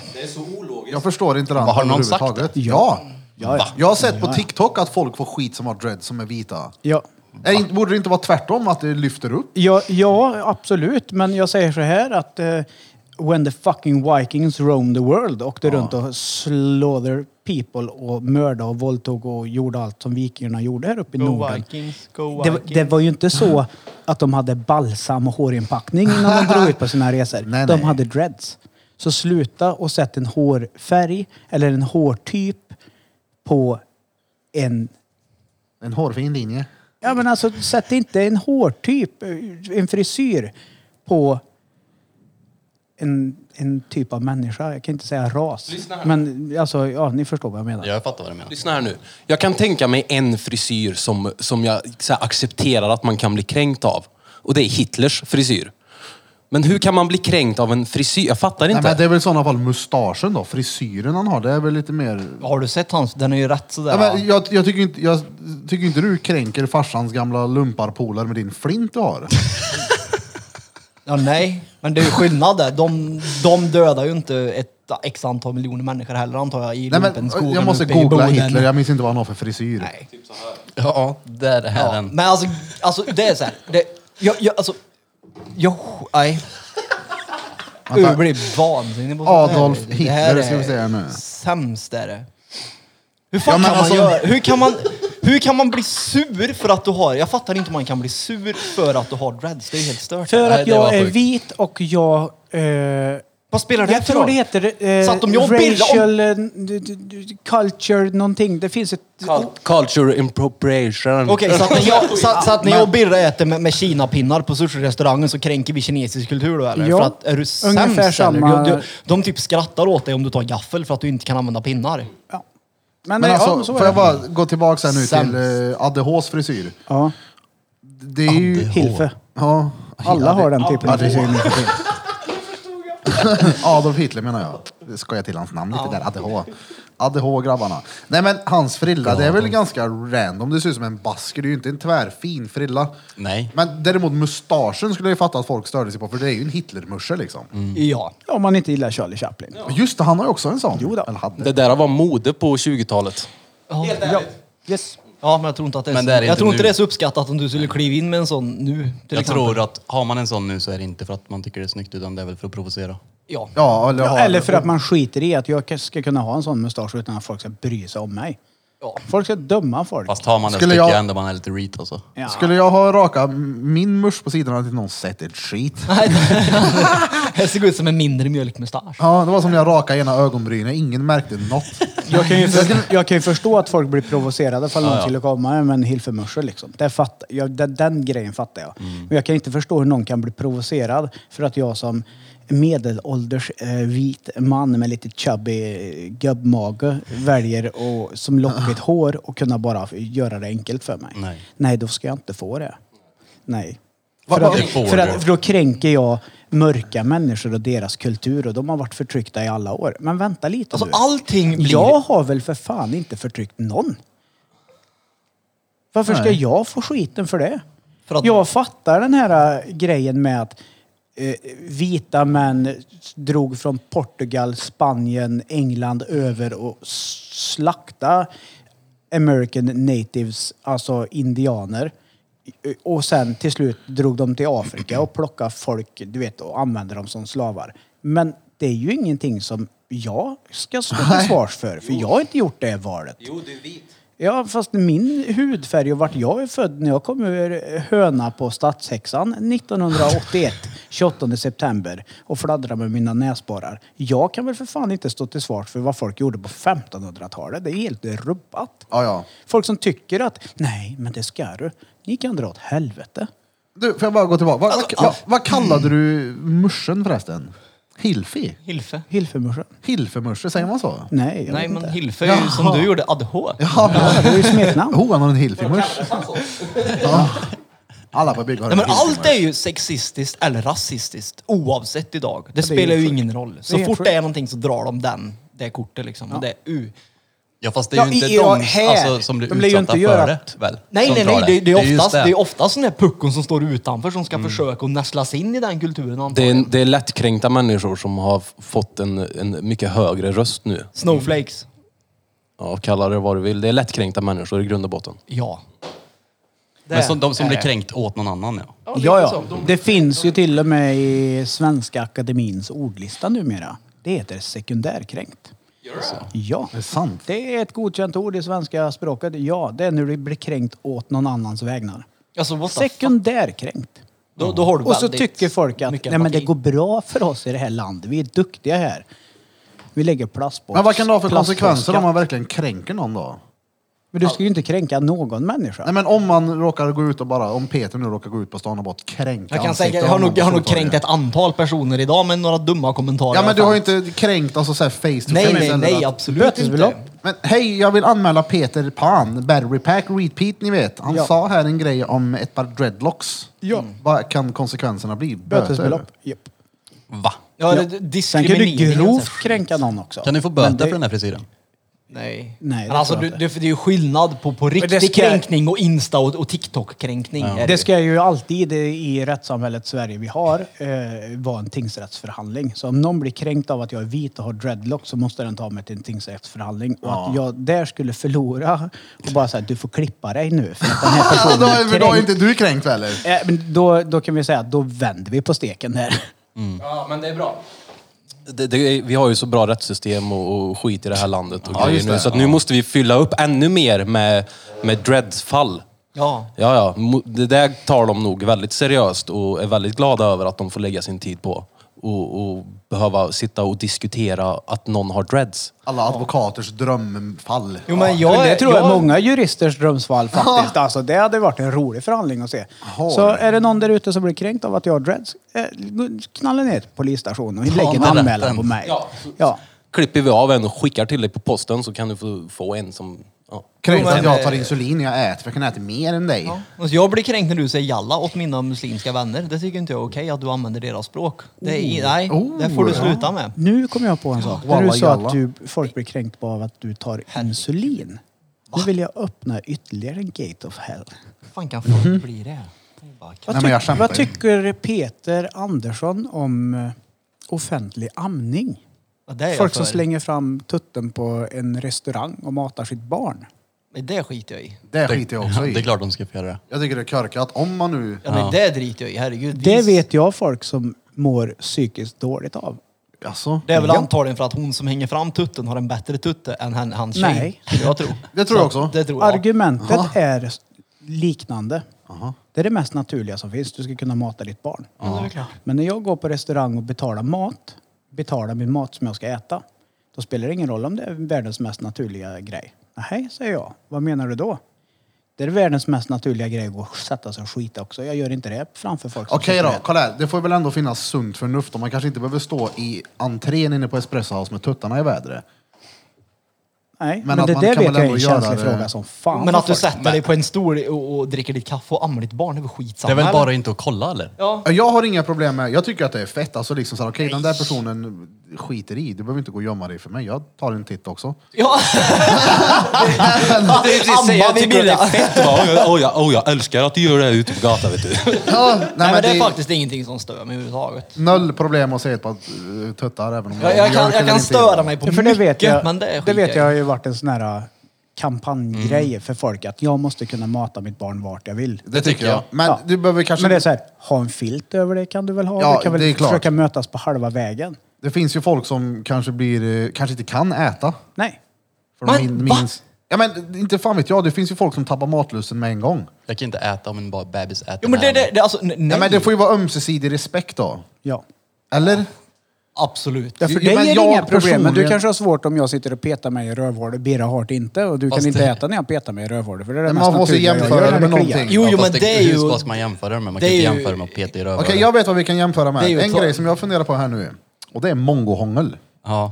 C: Jag förstår inte det
A: Vad har någon sagt det?
C: överhuvudtaget. Ja.
B: Ja, ja.
C: Jag har sett på TikTok att folk får skit som har dread som är vita.
B: Ja.
C: Är inte- Borde det inte vara tvärtom, att det lyfter upp?
B: Ja, ja, absolut. Men jag säger så här att eh, when the fucking Vikings roamed the world åkte runt och slaughter people och mördade och våldtog och gjorde allt som vikingarna gjorde här uppe i
D: Go
B: Norden.
D: Vikings, go
B: Det, var-
D: Vikings.
B: det var ju inte
C: Mm.
B: så att de hade balsam och hårinpackning innan de drog ut på sina resor.
C: Nej,
B: de
C: nej.
B: hade dreads. Så sluta och sätt en hårfärg eller en hårtyp på en...
C: En hårfin linje.
B: Ja men alltså sätt eh, inte en hårtyp, en frisyr på en, en typ av människa. Jag kan inte säga ras. Men alltså, ja, ni förstår vad jag menar.
A: Jag fattar vad du menar.
H: Lyssna här nu. Jag kan tänka mig en frisyr som, som jag så här, accepterar att man kan bli kränkt av. Och det är Hitlers frisyr. Men hur kan man bli kränkt av en frisyr? Jag fattar
C: Nej,
H: inte.
C: men det är väl i sådana fall mustaschen då, frisyren han har, det är väl lite mer...
D: Har du sett hans? Den är ju rätt sådär.
C: Ja, men
D: va?
C: jag, jag, tycker inte, jag tycker inte du kränker farsans gamla lumparpolare med din flint du har.
D: ja, nej. Men det är ju skillnad där. De, de dödar ju inte ett x antal miljoner människor heller antar jag i
C: Nej, men,
D: lumpenskogen
C: jag måste
D: uppe i
C: googla
D: Boden.
C: Hitler, jag minns inte vad han har för frisyr.
D: Nej.
A: Ja, där är
D: Ja,
A: den.
D: men alltså, alltså det är så här. Det, jag, jag, alltså, jag, nej. Jag blir vansinnig på sånt här.
C: Adolf
D: Det
C: Hitler,
D: här
C: ska vi säga nu.
D: är Sämst är det. Hur fan
C: Ja, men
D: kan
C: alltså-
D: man göra? Hur kan man, hur kan man bli sur för att du har... Jag fattar inte hur man kan bli sur för att du har dreads. Det är ju helt stört.
B: För
A: Nej,
B: att
A: det
B: jag
A: var
B: är
A: sjukt.
B: vit och jag... Eh,
D: Vad spelar det
B: jag
D: för
B: tror
D: roll?
B: det heter eh,
D: Så att om jag bildar-
B: racial eh, d- d- d- culture någonting. Det finns ett...
H: Cult- Culture appropriation.
B: Mm.
D: Okej, så att när jag, så, att- så att när jag och Birra äter med, med kinapinnar på sushi-restaurangen så kränker vi kinesisk kultur då eller?
B: Ja,
D: för att är du sämst
B: ungefär
D: eller?
B: samma-
D: Du, du, de typ skrattar åt dig om du tar gaffel för att du inte kan använda pinnar.
A: Mm.
B: Ja. Men,
C: Men
B: nej,
C: alltså,
B: ja, men så är
C: får jag
B: det.
C: bara gå tillbaka här nu
D: Sämst.
C: till uh, ADHs frisyr.
B: Ja,
C: Det är ju...
B: Hilfe.
C: Ja,
B: Alla har den typen av
C: Ja, det-
B: frisyr nu för tiden.
C: Adolf Hitler menar jag. Ska jag till hans namn lite där, ADH. ADH-grabbarna. Nej men hans frilla, det är väl ganska random. Det ser ut som en basker, det är ju inte en tvärfin frilla.
A: Nej.
C: Men däremot mustaschen skulle jag ju fatta att folk störde sig på, för det är ju en Hitlermusche liksom.
B: Mm.
D: Ja.
B: Om man inte gillar Charlie Chaplin.
C: Just det, han har ju också en sån.
B: Jo då.
C: Eller hade.
H: Det där var mode på 20-talet.
D: Helt
B: Ja. Yes.
D: Ja, men jag tror inte att det är,
A: Men
D: så,
A: det är det
D: jag
A: inte
D: tror inte
A: nu.
D: det är så uppskattat om du skulle kliva in med en sån nu. Till
A: Jag
D: exempel.
A: tror att har man en sån nu så är det inte för att man tycker det är snyggt utan det är väl för att provocera.
D: Ja.
C: Ja, eller, har-
B: Eller för att man skiter i att jag ska kunna ha en sån mustasch utan att folk ska bry sig om mig.
D: Ja.
B: Folk ska döma folk.
A: Fast har man det så
C: Skulle
A: tycker
C: jag-
A: jag ändå man är lite reet alltså.
B: Ja.
C: Skulle jag ha raka min musch på sidan hade inte någon sett ett skit.
D: Nej, det ser ut som en mindre mjölkmustasch.
C: Ja, det var som när jag rakade ena ögonbrynen, ingen märkte något.
B: Jag, kan ju för, jag kan ju förstå att folk blir provocerade ifall någon skulle komma med en hilfemörsel liksom. Det fatt, jag, den, den grejen fattar jag.
A: Mm.
B: Men jag kan inte förstå hur någon kan bli provocerad för att jag som medelålders eh, vit man med lite chubby eh, gubbmage väljer att, som lockigt hår och kunna bara göra det enkelt för mig.
A: Nej.
B: Nej, då ska jag inte få det. Nej.
C: Va-
B: För,
C: va-
B: att,
A: Det får
B: för,
A: du.
B: att, för då kränker jag mörka människor och deras kultur och de har varit förtryckta i alla år. Men vänta lite
D: Alltså
B: nu.
D: allting blir...
B: Jag har väl för fan inte förtryckt någon. Varför ska
C: Nej.
B: jag få skiten för det?
D: För att-
B: Jag fattar den här äh, grejen med att eh, vita män drog från Portugal, Spanien, England över och s- slakta American natives, alltså indianer. Eh, Och sen till slut drog de till Afrika och plockade folk, du vet, och använde dem som slavar. Men det är ju ingenting som jag ska stå till svars för, för jag har inte gjort det valet. Ja, fast min hudfärg och vart jag är född när jag kom ur höna på Stadshäxan 1981, 28 september och fladdrade med mina näsborrar. Jag kan väl för fan inte stå till svars för vad folk gjorde på 1500-talet. Det är helt rubbat.
C: Ja, ja.
B: Folk som tycker att nej, men det ska du. Ni kan dra åt helvete.
C: Du, får jag bara gå tillbaka? Vad,
D: Alltså,
C: vad, vad, vad kallade du muschen förresten? Hilfi?
D: Hilfe.
B: Hilfemorsan.
C: Hilfemusche, säger man så?
B: Nej, jag
D: Nej,
B: vet
D: men
B: inte.
D: Hilfe är ju som du gjorde, adh.
C: Ja,
B: Det är ju smeknamn.
C: Hoan har en hilfimusch. Ja. Alla på bygget har
D: Nej,
C: en
D: men allt är
C: hilfimusch.
D: ju sexistiskt eller rasistiskt oavsett idag. Det,
B: det är
D: spelar ju
B: helt
D: ingen roll. Så
B: helt
D: fort
B: sjukt.
D: det är någonting så drar de den, det kortet liksom. Och det är u.
A: Ja fast det är ju inte
B: Ja, i- ja,
A: de
B: här.
A: alltså, som blir
B: De blir ju
A: utsatta
B: inte
A: för
B: göra-
A: det väl?
D: Nej,
A: som
D: nej,
A: drar
D: nej. Det, det, är
A: just
D: oftast, det.
A: det.
D: är oftast den där puckon som står utanför som ska försöka att nästlas in i den kulturen
H: Det är,
D: antagligen.
H: det är lättkränkta människor som har f- fått en, en mycket högre röst nu.
D: Snowflakes.
H: Ja, kalla det vad du vill. Det är lättkränkta människor i grund och botten.
D: Ja. Det
A: Men som, de som
D: är
A: blir
D: det.
A: kränkt åt någon annan ja.
B: Ja, ja. Det finns ju till och med i Svenska Akademins ordlista numera. Det heter sekundärkränkt. Ja.
C: Är det sant?
B: Det är ett godkänt ord i svenska språket. Ja, det är när du blir kränkt åt någon annans vägnar.
D: Alltså, what the fuck?
B: Sekundärkränkt.
D: Då, då har du
B: Och så
D: väldigt
B: tycker folk att
D: mycket
B: nej, men det
D: empati.
B: går bra för oss i det här landet. Vi är duktiga här. Vi lägger plastbox.
C: Men vad kan det ha för
B: plastboxskatt.
C: konsekvenser om man verkligen kränker någon då?
B: Men du ska ju inte kränka någon människa.
C: Nej men om man råkar gå ut och bara, om Peter nu råkar gå ut på stan och bara kränka
D: Jag, kan
C: ansiktet
D: säga, jag
C: av
D: har
C: någon
D: nog, jag har
C: på
D: nog kränkt ett
C: Stortorget.
D: antal personer idag med några dumma kommentarer.
C: Ja men du har ju inte kränkt alltså såhär face to
D: Nej,
C: face
D: nej,
C: eller
D: nej,
C: att-
D: absolut inte.
B: Bötesbelopp.
C: Men hej, jag vill anmäla Peter Pan, Battery Pack, Repeat, ni vet. Han
B: Ja.
C: sa här en grej om ett par dreadlocks.
B: Ja.
C: Mm. Vad kan konsekvenserna bli? Böter?
B: Bötesbelopp. Japp.
A: Va?
D: Ja, det-
B: Sen kan du
D: diskriminering.
B: grovt
D: alltså.
B: kränka någon också.
A: Kan du få
B: Men
A: böter
B: det-
A: för den här frisyren?
D: Nej.
B: Nej, det
D: men alltså,
B: tror
D: du,
B: jag
D: det, det är ju skillnad på, på riktig
B: ska-
D: kränkning och Insta och, och TikTok-kränkning. är
B: Det
D: ju.
B: ska ju alltid eh, i rättssamhället Sverige vi har eh, vara en tingsrättsförhandling. Så om någon blir kränkt av att jag är vit och har dreadlock så måste den ta mig till en tingsrättsförhandling. Och att jag där skulle förlora och bara säga att du får klippa dig nu för att den här
C: Ja,
B: personen
C: då,
B: är
C: är, då är
B: kränkt.
C: inte du kränkt eller?
B: Eh, men då, då kan vi säga att då vänder vi på steken här.
C: Mm.
F: Ja, men det är bra.
H: Det, det, är- vi har ju så bra rättssystem och, och skit i det här landet. Och
C: Ja,
H: grejer
C: just
H: nu,
C: det,
H: så att
C: ja.
H: nu måste vi fylla upp ännu mer med, med dreadsfall.
D: Ja.
H: Ja, ja. Mo- Det där tar de nog väldigt seriöst och är väldigt glada över att de får lägga sin tid på. Och, och behöva sitta och diskutera att någon har dreads.
C: Alla advokaters drömfall.
D: Jo, men jag,
B: Men det
D: är-
B: tror jag är
D: jag-
B: många juristers drömsfall faktiskt. Alltså, det hade varit en rolig förhandling att se.
C: Har
B: Så
C: det.
B: är det någon där ute som blir kränkt av att jag har dreads, eh, knalla ner till polisstationen och lägg en
A: berätta
B: anmälan
A: den.
B: på mig.
F: Ja.
B: Ja.
H: Klipper vi av en och skickar till dig på posten så kan du få, få en som... Ja.
C: Kränkt
D: Jo, men- eh,
C: att jag tar insulin när jag äter, för jag kan äta mer än dig.
D: Alltså, jag blir kränkt när du säger jalla åt mina muslimska vänner. Det tycker inte jag är okej att du använder deras språk. Det
B: Oh.
D: är, nej, det får du sluta med.
B: Nu kom jag på en sak. När
C: Walla
B: du sa
C: jalla.
B: att du, folk blir kränkta av att du tar insulin. Nu vill jag öppna ytterligare en gate of hell.
D: Hur fan kan folk bli det? Det är bara
B: Mhm. Vad,
C: Nej, men jag
B: tyck-
C: skämtar
B: vad
C: ju.
B: tycker Peter Andersson om eh, offentlig amning?
D: Ja, det är jag
B: Folk som
D: för.
B: slänger fram tutten på en restaurang och matar sitt barn.
D: Nej, Det skiter jag i.
C: Det skiter jag också
A: Det är
C: i.
A: klart de ska få göra det.
C: Jag tycker det är körkat. Om man nu...
D: Ja, nej, det driter jag i, herregud.
B: Det
D: Vis-
B: vet jag folk som mår psykiskt dåligt av.
C: Alltså,
D: det är väl
B: Ja.
D: antagligen för att hon som hänger fram tutten har en bättre tutte än han, hans tjej.
B: Nej.
D: skulle Jag tror.
C: Det tror jag också.
D: Det tror jag.
B: Argumentet är liknande. Det är det mest naturliga som finns. Du ska kunna mata ditt barn. Men när jag går på restaurang och betalar mat, betalar min mat som jag ska äta, då spelar det ingen roll om det är världens mest naturliga grej. Nej, säger jag. Vad menar du då? Det är världens mest naturliga grej att gå och sätta sig och skita också. Jag gör inte det framför folk. som
C: Okej
B: sitter
C: då,
B: och äter.
C: kolla här. Det får väl ändå finnas sunt förnuft. Och man kanske inte behöver stå i entrén inne på Espresso House med tuttarna i vädret.
B: Nej, men,
C: Men att
B: det
C: man
B: där
C: kan
B: vet
C: väl
B: jag är
C: ändå
B: en
C: göra
B: känslig
C: det-
B: fråga som fan.
D: Men
B: för
D: att du
B: folk.
D: sätter dig på en stol och, och dricker ditt kaffe och ammar ditt barn, det är väl
A: Det är
D: skitsamma?
A: väl
D: eller?
A: bara att inte att kolla eller?
D: Ja.
C: Jag har inga problem med, jag tycker att det är fett. Alltså liksom såhär, okej den där personen skiter i, du behöver inte gå och gömma dig för mig. Jag tar en titt också.
D: ja.
H: Det är precis det,
D: Amma
H: jag tycker att det
D: Gunilla.
H: är fett. va? Oh, jag, oh, jag, oh, jag älskar att du gör det här ute på gatan vet du.
C: Ja, nej,
D: Nej, men det är
C: det-
D: faktiskt ingenting som stör mig överhuvudtaget.
C: Noll problem att säga ett par eh, tuttar även om
D: Jag, jag kan,
C: mjölk
D: jag
C: eller
D: kan
C: inte.
D: störa mig på
B: Ja,
D: mycket,
B: för det vet jag,
D: men det,
B: det,
D: skiter
B: vet jag
D: jag
B: har
D: i.
B: ju varit en sån här äh, kampanjgrej för folk att jag måste kunna mata mitt barn vart jag vill.
C: Mm. Det tycker jag. Men
B: Ja.
C: du behöver kanske...
B: Men det är
C: det,
B: så här, ha en filt över det kan du väl ha?
C: Ja,
B: du kan väl
C: det är klart.
B: försöka mötas på halva vägen?
C: finns ju folk som kanske blir, eh, kanske inte kan äta.
B: Nej.
C: För de
D: Men,
C: min,
D: va?
C: minns, ja men inte fan vet jag, det finns ju folk som tappar matlusten med en gång.
A: Jag kan inte äta om en bara bebis äter
D: Jo men det,
A: den här.
D: det, det alltså, n- nej.
C: Nej. men det får ju vara ömsesidig respekt då.
B: Ja.
C: Eller?
D: Absolut.
B: Ja, för
C: Jo,
B: dig
C: men
B: är det
C: jag
B: inga problem, men du
C: personligen-
B: kanske har svårt om jag sitter och petar mig i rövhålet. Birra har det inte och du
A: Fast
B: kan inte
A: det-
B: äta när jag petar mig i rövhålet. För det är det
C: Men
B: mest
C: man måste
B: naturliga jag
C: jämföra
B: gör
C: det
B: när
C: med
B: kliar.
D: någonting. Jo, jo,
A: fast
D: men det är
A: Hur
D: ju...
A: ska ska man jämföra det med? Man
D: det
A: kan
D: är
A: inte
D: ju-
A: jämföra det med att peta i rövhålet.
C: Okej, jag vet vad vi kan jämföra med.
D: Det är ju
C: En
D: ta-
C: grej som jag funderar på här nu. Och det är mongohångel.
A: Ja.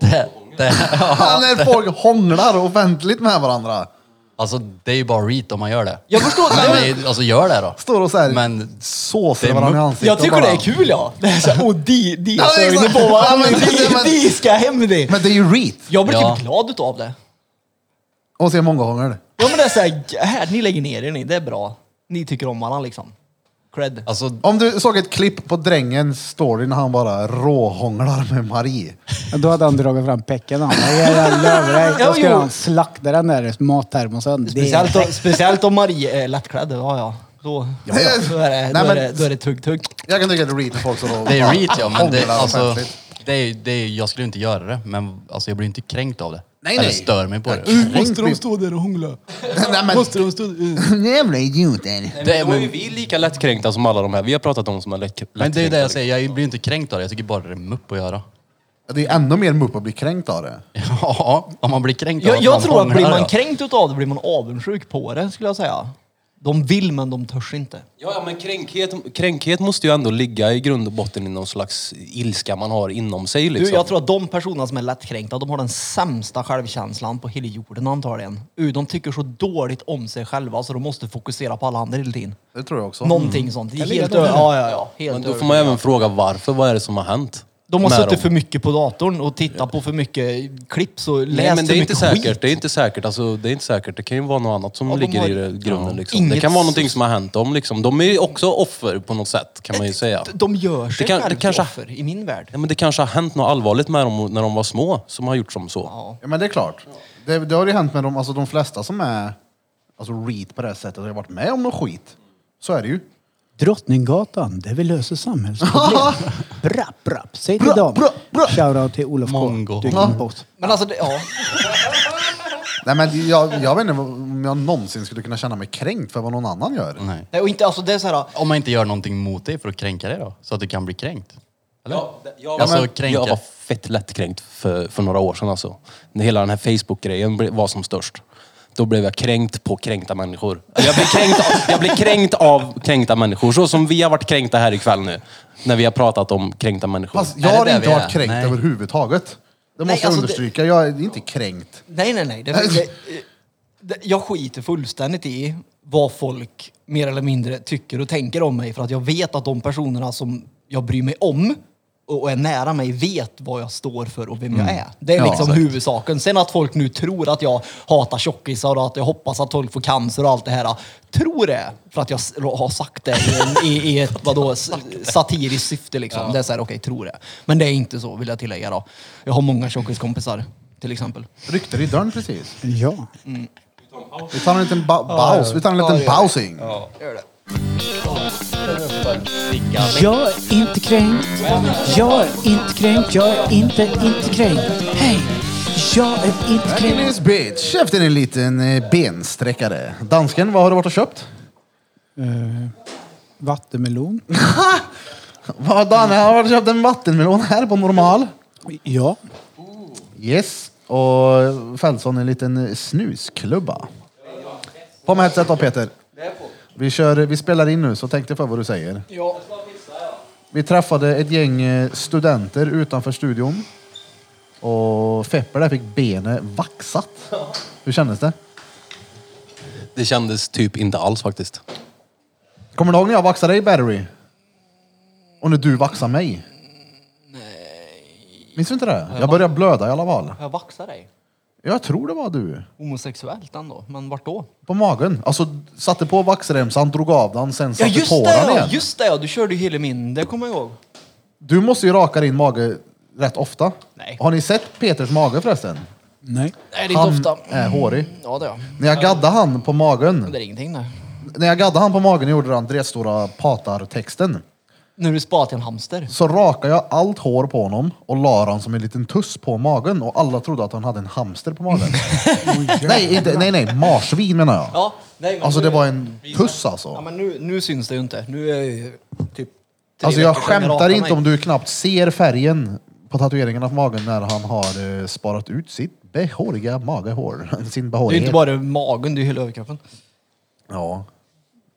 A: Det, det,
C: Ja, när folk hånglar offentligt med varandra.
A: alltså det är ju bara reat om man gör det.
D: Jag förstår.
A: Nej, men, alltså gör det då.
C: Står och så här,
A: Men- det
C: såsar
A: är
C: varandra i
A: muck.
C: ansiktet.
D: Jag
C: och
D: tycker det
C: bara-
D: är kul ja. Det är så, här, och de, de
C: Ja,
D: är så inne
C: exakt.
D: på varandra.
C: Ja, men det-
D: de,
C: men-
D: de ska hem dit.
C: Men det är ju reet
D: Jag blir
A: Ja.
D: typ glad utav det.
C: att se mongohångel.
D: Ja men det är såhär, här, ni lägger ner er ni, det är bra. Ni tycker om varandra liksom. Cred.
A: Alltså,
C: Om du såg ett klipp på drängens story när han bara råhånglar med Marie.
B: Då hade han dragit fram pecken. Han bara, "Jag jävlar över dig." Då
D: Ja,
B: skulle
D: jo.
B: han slakta den där mattermosen. Det är-
D: Speciellt, om, speciellt om Marie är lättklädd, ja ja. Då, ja, ja. då är det
C: Nej,
D: då är
C: men-
D: det- då är det tugg-tugg.
C: Jag kan tycka det är reet när folk står och
A: det är reat ja, men det,
C: hånglar
A: alltså,
C: offentligt.
A: det är, det är, jag skulle inte göra det, men alltså, jag blir inte kränkt av det.
C: Nej,
A: Eller
C: nej.
A: stör mig på det.
C: Måste de stå där och hångla? Nej, men, Måste de stå Jävla idioter.
H: Det är, då är ju vi lika lättkränkta som alla de här. Vi har pratat om som är lätt,
A: Men det är ju
H: lättkränkta, liksom.
A: det jag säger, jag blir inte kränkt av det. Jag tycker bara det är mupp att göra.
C: Ja, det är ännu mer mupp att bli kränkt av det.
A: Ja, om man blir kränkt av
D: Jag, jag
A: man
D: tror att
A: fångar
D: blir
A: det
D: man
A: då.
D: kränkt utav det blir man avundsjuk på det skulle jag säga. De vill men de törs inte.
H: Ja, ja men kränkhet, kränkhet måste ju ändå ligga i grund och botten i någon slags ilska man har inom sig. Liksom.
D: Du, jag tror att de personerna som är lättkränkta, de har den sämsta självkänslan på hela jorden antagligen. Uh, De tycker så dåligt om sig själva så de måste fokusera på alla andra hela tiden.
C: Det tror jag också.
D: Någonting sånt. Det är
B: Jag ligger
D: helt
B: där.
D: ö- ja, ja, ja. Helt
H: men då får
D: övertygad.
H: man även fråga varför. Vad är det som har hänt?
D: De har
H: med
D: suttit
H: dem?
D: för mycket på datorn och tittat på för mycket klipps och läst
H: Nej men det
D: för
H: är
D: mycket
H: inte säkert.
D: skit.
H: Det är inte säkert. Alltså, det är inte säkert. Det kan ju vara något annat som
D: Ja, de
H: ligger
D: har-
H: i det, grunden.
D: Ja.
H: Liksom.
D: Inget-
H: Det kan vara någonting som har hänt dem. Liksom. De är ju också offer på något sätt kan man ju säga.
D: De gör sig
H: Det kan- det
D: själva
H: kanske-
D: till offer i min värld.
H: Ja, men det kanske har hänt något allvarligt med dem när de var små som har gjort som så.
D: Ja.
C: Ja, men det är klart. Det, det har ju hänt med de, alltså, de flesta som är alltså, read på det här sättet och har varit med om någon skit. Så är det ju.
B: Drottninggatan, där vi löser samhällsproblem. brapp, brapp. Säg till
C: Brapp,
B: dem.
C: brapp, brapp.
B: Shoutout till Olof K.
A: Mongo.
B: Du är min boss.
D: Men alltså, det, ja.
C: Nej, men jag, jag vet inte om jag någonsin skulle kunna känna mig kränkt för vad någon annan gör.
A: Nej.
D: Nej, och inte, alltså det är så här,
A: Om man inte gör någonting mot dig för att kränka dig då? Så att du kan bli kränkt? Eller?
H: Jag,
A: Alltså,
H: var,
A: kränka.
H: jag var fett lättkränkt för, för några år sedan alltså. När hela den här Facebook-grejen ble- var som störst. Då blev jag kränkt på kränkta människor. Jag blev kränkt av, jag blev kränkt av kränkta människor. Så som vi har varit kränkta här ikväll nu. När vi har pratat om kränkta människor.
C: Fast
A: Är
C: jag
A: det
C: har
A: där
C: inte
A: vi
C: varit
A: är?
C: kränkt
A: Nej.
C: överhuvudtaget. Det måste jag
D: alltså, det-
C: understryka. Jag är inte kränkt.
D: Nej, nej, nej. Det,
C: Alltså.
D: det, det, jag skiter fullständigt i vad folk mer eller mindre tycker och tänker om mig för att jag vet att de personerna som jag bryr mig om och och är nära mig vet vad jag står för och vem jag är. Det är
C: Mm. Ja,
D: liksom
C: exakt.
D: huvudsaken. Sen att folk nu tror att jag hatar tjockisar och att jag hoppas att folk får cancer och allt det här. Tror det för att jag s- har sagt det i, en, i, i ett vadå, s- satiriskt syfte. Liksom. Det är så här, okej, tror det. Men det är inte så, vill jag tillägga då. Jag har många tjockiskompisar, till exempel.
C: Rykter i dörren precis.
B: Ja.
C: Vi tar en liten ba- paus. Vi tar en liten pausing.
B: Jag är inte kränkt. Jag är inte kränkt. Jag är inte, inte kränkt. Hej! Jag är inte kränkt.
C: Dennis bitch. Efter en liten eh, bensträckare. Dansken, vad har du varit och köpt?
B: Vattenmelon.
C: Vad Danne, han har varit och köpt en vattenmelon här på normal.
B: Ja.
C: Yes. Och Fältson en liten snusklubba. På med headset då Peter. Vi, kör, vi spelar in nu så tänk dig för vad du säger. Vi träffade ett gäng eh, studenter utanför studion. Och Fepper där fick benet vaxat. Hur kändes det?
H: Det kändes typ inte alls faktiskt.
C: Kommer du ihåg när jag vaxade dig Battery? Och när du vaxade mig? Nej. Minns du inte det? Jag började blöda i alla fall.
D: Får jag vaxa dig?
C: Jag tror det var du.
D: Homosexuellt ändå, men vart då?
C: På magen. Alltså satte på vaxremsan, drog av den, sen
D: Ja
C: satte
D: just
C: på
D: det
C: den
D: ja,
C: igen.
D: just det ja, du körde ju hela min, det kommer jag ihåg.
C: Du måste ju raka din mage rätt ofta.
D: Nej.
C: Har ni sett Peters mage förresten?
B: Nej.
D: Nej det är inte ofta. Mm.
C: är hårig.
D: Ja det är jag.
C: När jag gaddade han på magen,
D: Det är ingenting det.
C: när jag gaddade han på magen och gjorde den dretstora patartexten,
D: Nu är du spat till en hamster.
C: så rakade jag allt hår på honom och la den som en liten tuss på magen och alla trodde att han hade en hamster på magen. nej, inte, nej, nej, marsvin menar jag.
D: Ja, nej, men
C: Alltså
D: nu-
C: det var en tuss
D: Ja
C: alltså.
D: men nu, nu syns det ju inte. Nu är jag ju typ... tre
C: Alltså jag
D: veckor sedan
C: skämtar
D: rakade
C: inte
D: mig.
C: om du knappt ser färgen på tatueringarna på magen när han har eh, sparat ut sitt behåriga magehår. Sin
D: Det är ju
C: behårighet.
D: inte bara magen, det är ju hela överkroppen.
C: Ja.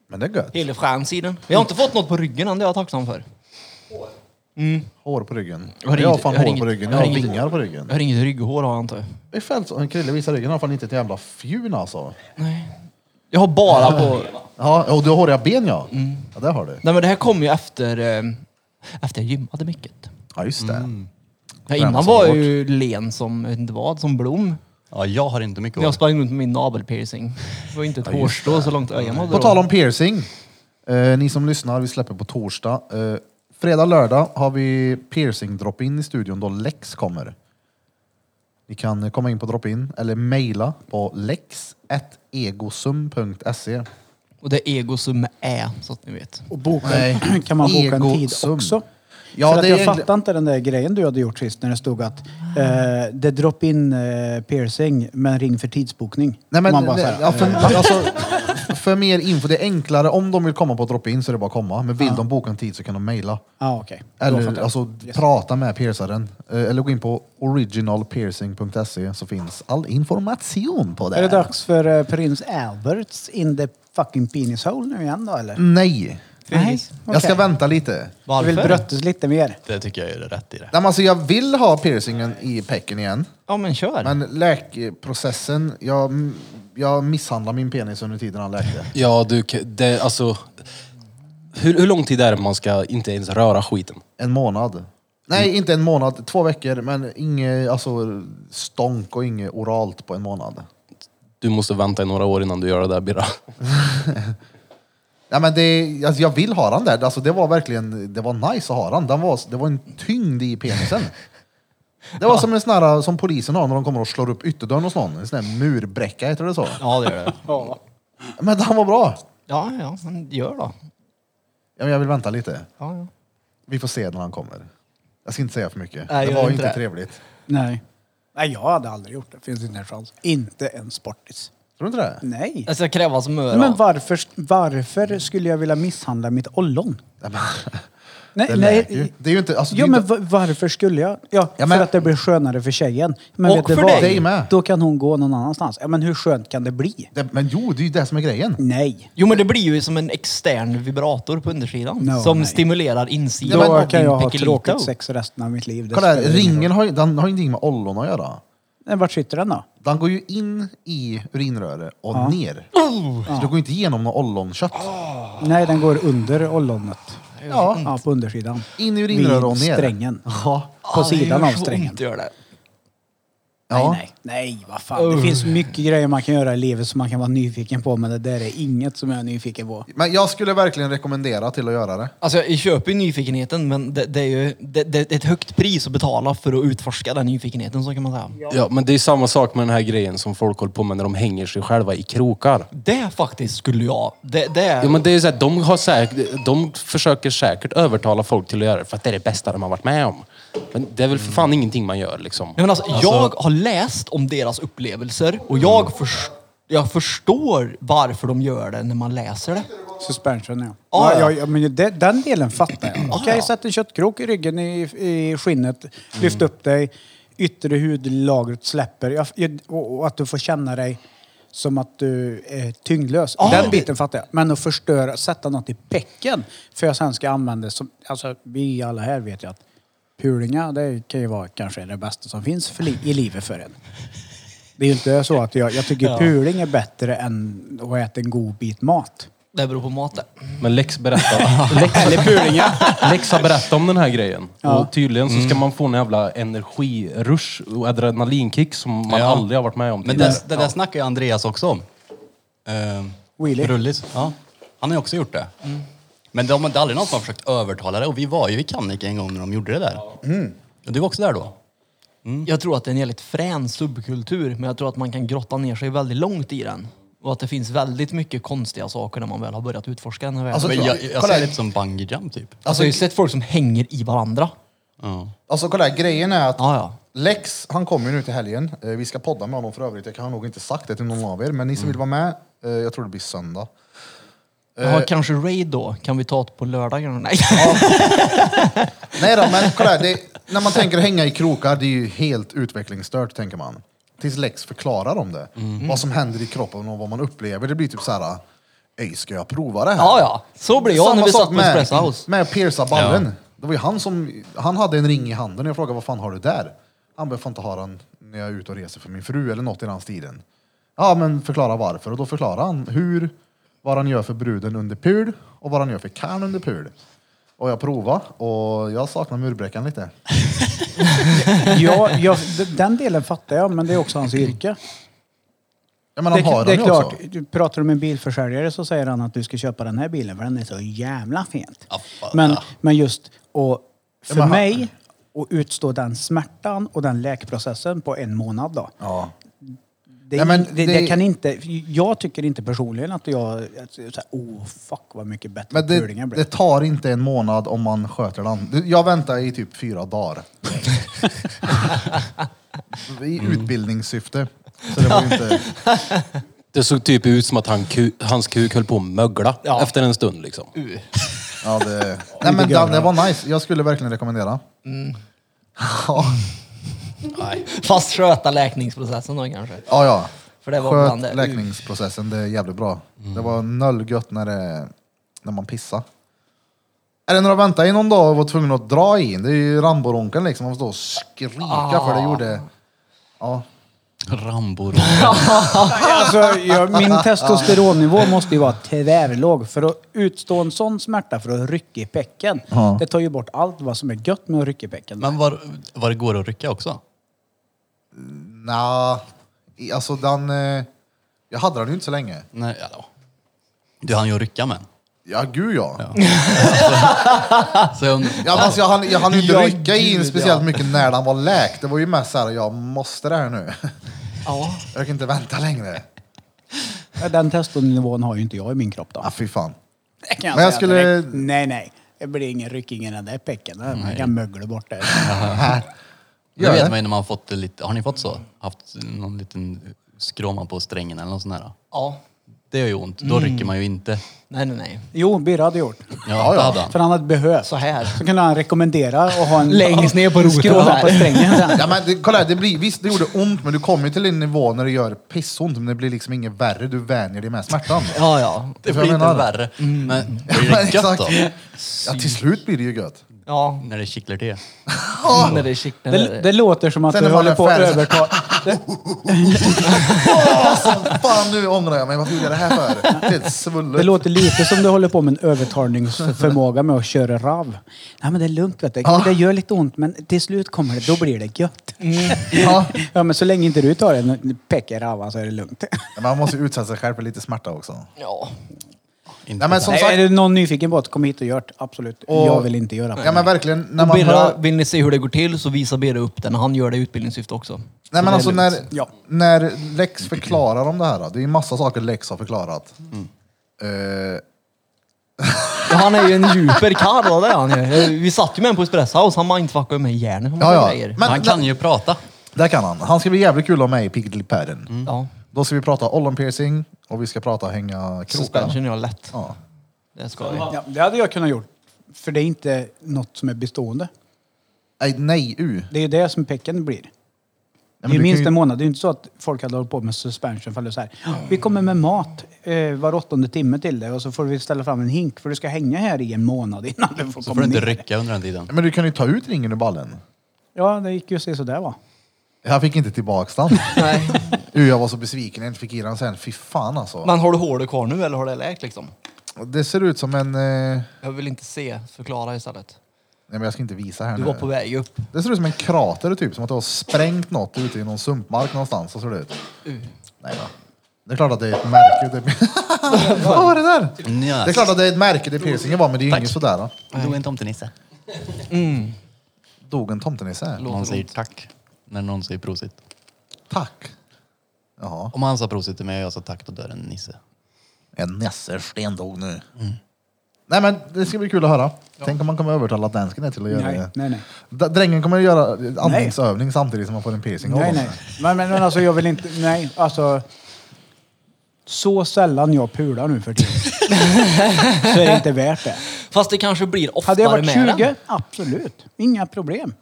C: Men det är gött.
D: Hela skärmsidan. Jag har inte fått något på ryggen än, det är jag tacksam för.
C: Hår på ryggen.
D: Jag har
C: Jag har
D: inget-
C: fan
D: jag har
C: hår på
D: inget-
C: ryggen.
D: jag
C: Jag
D: har
C: har
D: inget-
C: vingar på ryggen.
D: Jag har inget rygghår har jag inte.
C: Det är fält som Krille visar ryggen. Han har fan inte ett jävla fjun alltså.
D: Jag har bara på...
C: Ja, och du har håriga ben ja.
D: Mm.
C: Ja, det har du.
D: Nej men det här kom ju efter... eh, Efter jag gymmade mycket.
C: Ja, just det.
D: Mm. Ja, innan
C: Tränas
D: var jag
C: hårt.
D: ju len som, jag vet inte vad, som Blom.
A: Ja, jag har inte mycket
D: När jag
A: hår.
D: sprang runt med min nabelpiercing. Det var ju inte ett hårstrå så långt ögat nådde
C: På
D: då.
C: tal om piercing. Eh, ni som lyssnar, vi släpper på torsdag. Eh, fredag, lördag har vi piercing drop-in i studion då Lex kommer. Ni kan eh, komma in på drop-in eller mejla på lex.egosum.se.
D: Och det är ego som är, så att ni vet.
B: Och boka,
C: Nej.
B: kan man boka en tid
C: Egosum.
B: också?
C: Ja,
B: För att
C: det är
B: jag
C: egentligen-
B: fattar inte den där grejen du hade gjort sist när det stod att eh, det drop in eh, piercing men ring för tidsbokning.
C: Nej, men,
B: Man bara
C: nej,
B: så här, eh,
C: ja, för, alltså, för mer info, det är enklare. Om de vill komma på drop-in så är det bara att komma. Men vill de boka en tid så kan de mejla.
B: ah, okej. Då fattar
C: Eller
B: jag.
C: alltså, prata med piercaren. Eh, Eller gå in på originalpiercing.se så finns all information på det.
B: Är det dags för eh, prins Alberts in the fucking penis hole nu igen då eller?
C: Mm. Nej!
B: Nej.
C: Jag
B: okej.
C: ska vänta lite.
B: Jag vill
D: Varför?
B: bröttes lite mer.
A: Det tycker jag är rätt i det.
C: Nej, men alltså, jag vill ha piercingen i pecken igen.
D: Ja men kör.
C: Men läkprocessen, jag, jag misshandlade min penis under tiden han läkte.
H: Ja, du, k- det, alltså... Hur, hur lång tid är det man ska inte ens röra skiten?
C: En månad. Nej, inte en månad. Två veckor, men inget alltså, stånk och inget oralt på en månad.
H: Du måste vänta i några år innan du gör det där Birra.
C: Ja, men det, alltså, jag vill ha den där. Alltså, det var verkligen det var nice att ha den. den var, det var en tyngd i penisen. Det var som en sån här, som polisen har när de kommer och slår upp ytterdörren hos någon. En sån här murbräcka, heter det så?
D: Ja det gör det.
C: Men den var bra!
D: Ja, ja, men gör då.
C: Ja, men jag vill vänta lite.
D: Ja, ja.
C: Vi får se när han kommer. Jag ska inte säga för mycket.
D: Nej,
C: det
D: gör
C: var
D: inte
C: inte
D: det.
C: trevligt.
B: Nej. Nej, jag hade aldrig gjort det. Finns inte en chans. Inte en sportis.
C: Tror du inte det?
B: Nej.
D: Jag ska kräva smör
B: Men
D: av.
B: varför, varför skulle jag vilja misshandla mitt ollon?
C: Ja, men,
B: Nej,
C: det lät ju.
B: nej.
C: Det är ju inte... Alltså, det
B: Ja,
C: är ju
B: men
C: inte-
B: va- varför skulle jag? Ja,
C: Ja, men-
B: för att det blir skönare för tjejen. Men
D: Och
B: vet du
D: för
B: vad?
D: dig.
C: Dig med.
B: Då kan hon gå någon annanstans. Ja, men hur skönt kan det bli?
C: Det, men jo, det är ju det som är grejen.
B: Nej.
D: Jo men det blir ju som en extern vibrator på undersidan.
B: No,
D: som
B: nej.
D: stimulerar insidan
B: Då
D: av
B: kan
D: din
B: jag ha
D: pekelito.
B: tråkigt sex resten av mitt liv. Det
C: Kolla här,
B: spelar ingen
C: ringen
B: roll.
C: har, ju- den har ju ingenting med ollon att göra.
B: Nej, Eh, Vart sitter den då?
C: Den går ju in i urinröret och ner.
D: Oh!
C: Så det går inte igenom något ollonkött.
B: Nej, den går under ollonet.
C: Ja.
B: ja, på undersidan.
C: In i urinröret och
B: Vid
C: ner.
B: strängen.
C: Ja.
B: På sidan av strängen.
D: Gör det.
C: Ja.
B: Nej, nej, nej, vad fan. Det finns mycket grejer man kan göra i livet som man kan vara nyfiken på, men det där är inget som jag är nyfiken på.
C: Men jag skulle verkligen rekommendera till att göra det.
D: Alltså jag köper ju nyfikenheten men det, det är ju det, det är ett högt pris att betala för att utforska den nyfikenheten så kan man säga.
H: Ja, men det är samma sak med den här grejen som folk håller på med när de hänger sig själva i krokar.
D: Det faktiskt skulle jag. Det, det är...
H: Ja, men det är ju så här, de, har säkert, de försöker säkert övertala folk till att göra det för att det är det bästa de har varit med om. Men det är väl för fan ingenting man gör liksom.
D: Nej, men alltså, jag har läst om deras upplevelser och jag, förs- jag förstår varför de gör det när man läser det.
B: Suspension, ja.
D: Ah,
B: ja,
D: ja.
B: ja,
D: Ah,
B: ja men det, den delen fattar jag. Okej,
D: ja.
B: sätt en köttkrok i ryggen i, i skinnet, lyft upp dig, yttre hudlagret släpper jag, jag, och, och att du får känna dig som att du är tyngdlös.
D: Ah,
B: Den
D: det-
B: biten fattar jag. Men att förstöra, sätta något i pecken för jag sen ska använda det som... Alltså, vi alla här vet ju att pulingar, det kan ju vara kanske det bästa som finns för li, i livet för en. Det är ju inte så att jag, jag tycker puling är bättre än att äta en god bit mat.
D: Det beror på maten.
H: Men Lex berättar... Lex, Lex har berättat om den här grejen. Och tydligen så ska man få en jävla energirush och adrenalinkick som man
A: Ja.
H: aldrig har varit med om
A: Men
H: tidigare.
A: det, det där snackar ju Andreas också om. Ehm,
B: Wheelie.
A: Rullis. Ja. Han har ju också gjort det.
D: Mm.
A: Men de, det är aldrig någon som har försökt övertala det. Och vi var ju i Kannik en gång när de gjorde det där.
D: Mm.
A: Och du var också där då?
D: Jag tror att det är en jävligt frän subkultur, men jag tror att man kan grotta ner sig väldigt långt i den. Och att det finns väldigt mycket konstiga saker när man väl har börjat utforska den här världen.
C: Alltså,
D: Alltså,
A: Men jag, jag ser
C: Kolla.
A: det lite som bungee jump typ.
D: jag har ju sett folk som hänger i varandra.
A: Ja.
C: Alltså kolla här, grejen är att
D: Ja, ja.
C: Lex, han kommer ju nu till helgen. Eh, Vi ska podda med honom för övrigt. Jag kan nog inte sagt det till någon av er, men ni som
D: Mm.
C: vill vara med, eh, jag tror det blir söndag.
D: Jaha, kanske raid då? Kan vi ta det på lördagar? Nej.
C: Nej då, men kolla här, det, när man tänker hänga i krokar, det är ju helt utvecklingsstört tänker man. Tills Lex förklarar om det.
D: Mm.
C: Vad som händer i kroppen och vad man upplever. Det blir typ så här, "Ey, ska jag prova det här?
D: Ja, ja. Så blir jag
C: Samma
D: när vi
C: sak
D: satt på
C: med-
D: Espresso House.
C: Med att pierca ballen. Det var ju han som, han hade en ring i handen och jag frågade vad fan har du där? Han bara, "Jag får inte ha den när jag är ute och reser för min fru eller något i den stilen. Ja men förklara varför och då förklarar han hur, vad han gör för bruden under pul och vad han gör för karln under pul. Och jag provade och jag saknar murbräckan lite.
B: Ja, jag, d- den delen fattar jag, men det är också hans yrke.
C: Ja, men
B: Det,
C: han har
B: det är
C: den ju
B: klart,
C: också.
B: du pratar du med en bilförsäljare så säger han att du ska köpa den här bilen för den är så jävla fint.
A: Ja, fan,
B: Men,
A: ja.
B: men just och för
C: men han-
B: mig att utstå den smärtan och den läkprocessen på en månad då.
C: Ja.
B: Det,
C: Nej, men
B: det, det,
C: det-
B: kan inte, jag tycker inte personligen att jag... Att, så här, oh fuck vad mycket bättre
C: Men det,
B: kulingen
C: det
B: blev.
C: tar inte en månad om man sköter den. Du, Jag väntar i typ fyra dagar. I utbildningssyfte. Så det var ju inte...
H: Det såg typ ut som att han, ku, hans kuk höll på att mögla
D: Ja.
H: efter en stund liksom.
C: Ja, det, nej, men det, det var nice. Jag skulle verkligen rekommendera. Ja,
D: Fast sköta läkningsprocessen då kanske.
C: ja. ja.
D: För det var bland det. Mm.
C: Sköt läkningsprocessen, det är jävligt bra. Det var noll gött när, det, när man pissade. Eller när de väntade i någon dag och var tvungna att dra in. Det är ju Rambo-ronken liksom. Man får stå och skrika för
D: Ah.
C: det gjorde... Ja.
A: Rambo.
B: Alltså, jag, min testosteronnivå måste ju vara tvärlåg. För att utstå en sån smärta för att rycka i pecken,
C: Ja.
B: det tar ju bort allt vad som är gött med att rycka i pecken.
A: Men var, var det går att rycka också?
C: Nja, i- alltså den... eh, Jag hade den ju inte så länge.
A: Nej, ja. Du hann ju rycka med.
C: Ja, gud ja. Ja,
A: Så jag und-
C: fast jag hann, jag hann ju inte
D: Ja,
C: rycka in
D: gud,
C: speciellt
D: ja.
C: mycket när den var läkt. Det var ju mest såhär, jag måste det här nu.
D: Ja.
C: Jag kan inte vänta längre.
B: Den testonivån har ju inte jag i min kropp då.
C: Ja, fy fan.
B: Det kan jag
C: Men jag
B: säga
C: skulle-
B: direkt. Nej, nej. Det blir ingen ryckning i den där pecken. Man kan mögla bort det.
A: Det
C: Gör
A: vet
C: det.
A: man ju när man har fått det lite, har ni fått så? Haft någon liten skråma på strängen eller något sånt där?
D: ja.
A: Det gör ju ont, då
C: Mm.
A: rycker man ju inte.
D: Nej, nej, nej.
B: Jo, Birre hade gjort.
A: Ja, det hade han.
B: För han hade behövt.
D: Så här.
B: Så kunde han rekommendera att ha en...
D: Längst ner på roten.
B: Skråla på strängen sen.
C: Ja, men det, kolla här, det blir, visst, det gjorde ont, men du kommer ju till en nivå när det gör pissont, men det blir liksom inget värre. Du vänjer dig med smärtan.
D: Ja, ja.
A: Det
C: För
A: blir
C: jag
A: inte
C: menar-
A: värre. Men blir
C: Ja,
A: det gött
C: exakt.
A: då?
C: Ja, till slut blir det ju gött.
D: Ja.
A: När det kittlar till.
D: När det är chic, när det
B: Det,
D: är-
B: det låter som att
C: Sen
B: du
C: är man
B: håller
C: en
B: på att
C: färg.
B: överta... Det,
C: Alltså, fan, nu ångrar jag mig. Varför gjorde jag det här för? Det är ett svullet.
B: det låter lite som du håller på med en övertalningsförmåga med att köra rav. Nej men det är lugnt vet du. Det gör lite ont men till slut kommer det, då blir det gött.
C: Ja.
B: Mm. Ja men så länge inte du tar en peck i ravan så är det lugnt.
C: Man måste utsätta sig själv för lite smärta också.
D: Ja.
A: Inte
C: Nej, men som
B: Nej,
C: sagt,
B: är det någon nyfiken på att komma hit och gör det? Absolut.
C: Och-
B: jag vill inte göra det.
C: ja, men verkligen, när
D: Och
C: man
D: Birra,
C: hör,
D: vill ni se hur det går till så visar Birra upp den. Han gör det i utbildningssyfte också.
C: nej,
D: Så det
C: men
D: är
C: alltså,
D: lugnt.
C: när,
B: Ja.
C: när Lex förklarar om det här, då, det är ju massa saker Lex har förklarat.
D: Mm.
C: Eh,
D: Och Han är ju en djuper karl, vad det är han ju. Eh, Vi satt ju med honom på Espresso House. Han mindfuckade med hjärnan på massa
C: ja, ja.
D: grejer.
C: Men,
A: Han kan ju prata.
C: Där kan han. Han ska bli jävligt kul att ha med i Piggly Padden.
D: Ja.
C: Då ska vi prata ollonpiercing och vi ska prata hänga krokar.
D: Suspension är lätt.
C: Ja.
D: Det ska vi.
B: Ja, det hade jag kunnat gjort. För det är inte något som är bestående.
C: Nej, nej, u.
B: Det är ju det som pecken blir.
C: men
B: det är
C: du
B: minst
C: kan ju-
B: en månad. Det är ju inte så att folk hade hållit på med suspension. För det är så här, vi kommer med mat eh, var åttonde timme till dig och så får vi ställa fram en hink för du ska hänga här i en månad innan du
A: Så
B: får
A: får
B: komma
A: du inte
C: Mm.
B: ner.
A: rycka under den tiden.
C: Men du kan ju ta ut ringen ur ballen.
B: Ja, det gick ju så sådär va.
C: Jag fick inte tillbaks den.
D: Nej.
C: U, jag var så besviken när jag inte fick i den sen. Fy fan alltså.
D: Men har du håret kvar nu eller har det läkt liksom?
C: Det ser ut som en... Eh...
D: Jag vill inte se. Förklara istället.
C: Nej men jag ska inte visa här
D: Du
C: nu.
D: var på väg upp.
C: Det ser ut som en krater typ. Som att du har sprängt något ute i någon sumpmark någonstans. Så ser det ut.
B: Mm.
C: Nej då. Det är klart att det är ett märke. Det... Vad var det där? Det är
A: Nja,
C: klart att det är ett märke det piercingen var, men det är ju inget sådär. Då.
A: dog en tomtenisse.
C: Dog en tomtenisse?
A: Man säger tack när någon säger prosit.
C: Tack. Jaha.
A: Om han sa prosit till mig och jag sa tack, då dör en nisse.
C: En nässelsten dog nu.
B: Mm.
C: Nej men det ska bli kul att höra. Tänk om man kommer övertala dansken till att göra
B: Nej,
C: det.
B: nej, nej.
C: D- Drängen kommer att göra andningsövning samtidigt som man får en piercing av
B: Nej,
C: honom.
B: nej. Men, men, men alltså jag vill inte, nej, alltså. Så sällan jag pular nu för tiden. så är det inte värt det.
D: Fast det kanske blir oftare
B: Hade jag varit
D: med
B: 20?
D: den.
B: Absolut. Inga problem.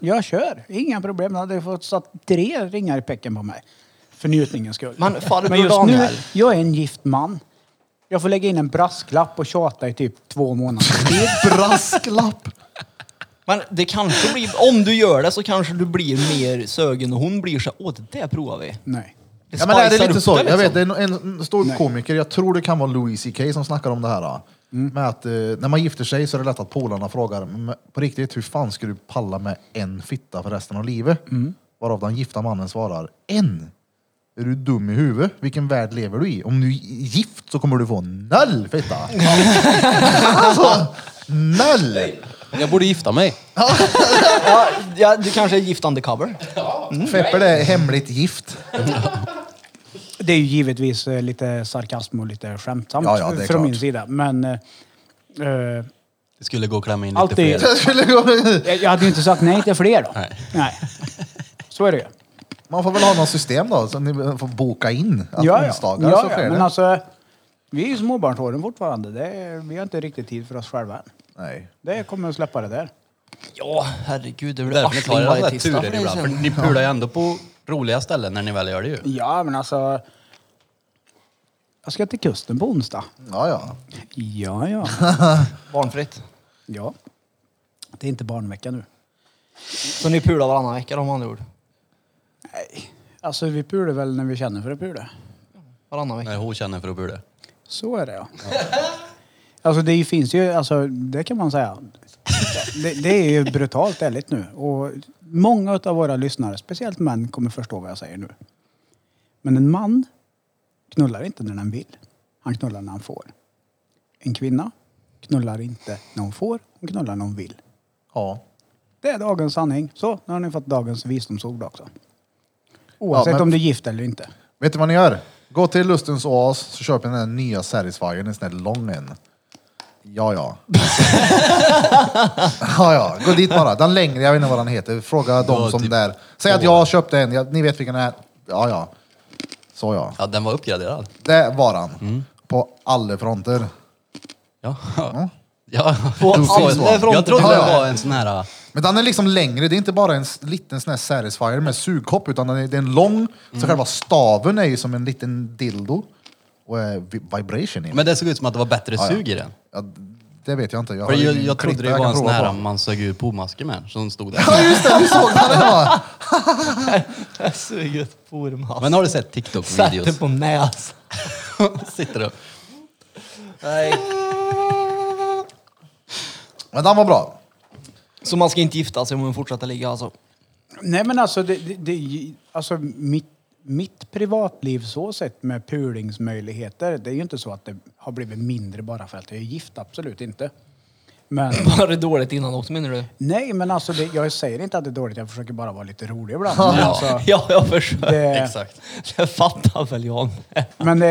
B: Jag kör. Inga problem. Jag hade fått satt tre ringar i pecken på mig. För njutningens skull.
D: Men farbror
B: Men just nu,
D: Daniel.
B: jag är en gift man. Jag får lägga in en brasklapp och tjata i typ två månader.
C: Brasklapp!
D: Men det kanske blir, om du gör det så kanske du blir mer sögen och hon blir så åh det där provar vi.
B: Nej.
D: Det
C: Ja, men det är
D: spicar
C: lite
D: upp
C: så.
D: det,
C: Jag
D: liksom.
C: vet, det är en, en stor komiker, jag tror det kan vara Louis CK som snackar om det här. då.
B: Mm.
C: Med att eh, när man gifter sig så är det lätt att polarna frågar, "Men på riktigt, hur fan ska du palla med en fitta för resten av livet?
B: Mm.
C: Varav den gifta mannen svarar, en? Är du dum i huvudet? Vilken värld lever du i? Om du är gift så kommer du få noll fitta! alltså, noll!
H: Jag borde gifta mig.
D: Ja, ja, du kanske är gift undercover.
C: Fepper det är hemligt gift.
B: Det är ju givetvis eh, lite sarkasm och lite skämtsamt
C: Ja, ja, det
B: från
C: är klart.
B: min sida. Men eh, eh,
A: Det skulle gå att klämma in lite
B: Alltid.
A: fler.
C: Skulle gå-
B: jag jag hade ju inte sagt nej till fler då.
A: Nej.
B: Så är det ju.
C: Man får väl ha något system då, så ni får boka in att onsdagar
B: ja,
C: så sker
B: ja. Men
C: det.
B: alltså, vi är ju småbarnsåren fortfarande. Det är, vi har inte riktigt tid för oss själva än.
C: Nej.
B: Det kommer att släppa det där.
D: Ja, herregud. Det blir
A: Därför ni tar
D: arsling
A: era sådana
D: varje
A: här
D: tisdag. för
A: turer
D: dig
A: ibland. För
D: sen.
A: ni pular ju ändå på roliga ställen när ni väl gör det ju.
B: Ja, men alltså... Jag ska till kusten på onsdag.
C: Ja, ja.
B: Ja, ja.
D: Barnfritt.
B: ja. Det är inte barnvecka nu.
D: Så ni pular varannan vecka då, med andra ord?
B: Nej. Alltså, vi pular väl när vi känner för att pula.
D: Varannan vecka.
A: När hon känner för att bula.
B: Så är det ja. Alltså det finns ju, alltså det kan man säga. Det, det är ju brutalt ärligt nu. Och många av våra lyssnare, speciellt män, kommer förstå vad jag säger nu. Men en man knullar inte när den vill. Han knullar när han får. En kvinna knullar inte när hon får. Hon knullar när hon vill.
C: ja.
B: Det är dagens sanning. Så, nu har ni fått dagens visdomsord också. Oavsett
C: men-
B: om du är gift eller inte.
C: Vet du vad ni gör? Gå till Lustens Oas så köper ni den här nya Satisfyern, en sån här lång en. Ja, ja. ja, ja. Gå dit bara. Den längre, jag vet inte vad den heter. Fråga de
A: Ja,
C: som
A: typ
C: där. Säg att
A: två.
C: jag köpte en, jag, ni vet vilken det är. Ja, ja. Så ja.
A: Ja, den var uppgraderad.
C: Det var han.
A: Mm.
C: På alla fronter.
A: Ja. Ja,
D: På
A: jag
D: alla
A: såg det.
D: fronter.
A: Jag trodde
C: Ja,
A: det
C: ja.
A: var en sån här...
C: Men den är liksom längre, det är inte bara en s- liten sån här Satisfyer med sugkopp utan den är, det är en lång, så
A: Mm.
C: själva staven är ju som en liten dildo. Och eh, vi- vibration i den.
A: Men det såg ut som att det var bättre
C: ja.
A: sug i den.
C: Ja, det vet jag inte. Jag,
A: För
C: har
A: jag,
C: ingen
A: jag trodde
C: klitta
A: det
C: jag
A: var
C: kan
A: en sån
C: prova
A: här
C: på.
A: man sög ur pomasker med, som stod där.
C: Ja just det, du såg den där va?
D: Jag suger ett pormask.
A: Men har du sett
D: Sätt den
A: TikTok-videos?
D: på näsan.
A: Sitter du?
D: Nej.
C: Men den var bra.
D: Så man ska inte gifta sig om man fortsätter ligga alltså?
B: Nej men alltså, det, det, det, alltså mitt, mitt privatliv så sett med pulingsmöjligheter, det är ju inte så att det har blivit mindre bara för att jag är gift, absolut inte. Men
D: Var det dåligt innan också menar du?
B: nej men alltså, det, jag säger inte att det är dåligt, jag försöker bara vara lite rolig ibland. Men,
D: Ja,
B: alltså,
D: ja jag försöker.
B: det,
A: Exakt.
D: Det fattar väl jag med.
B: men det,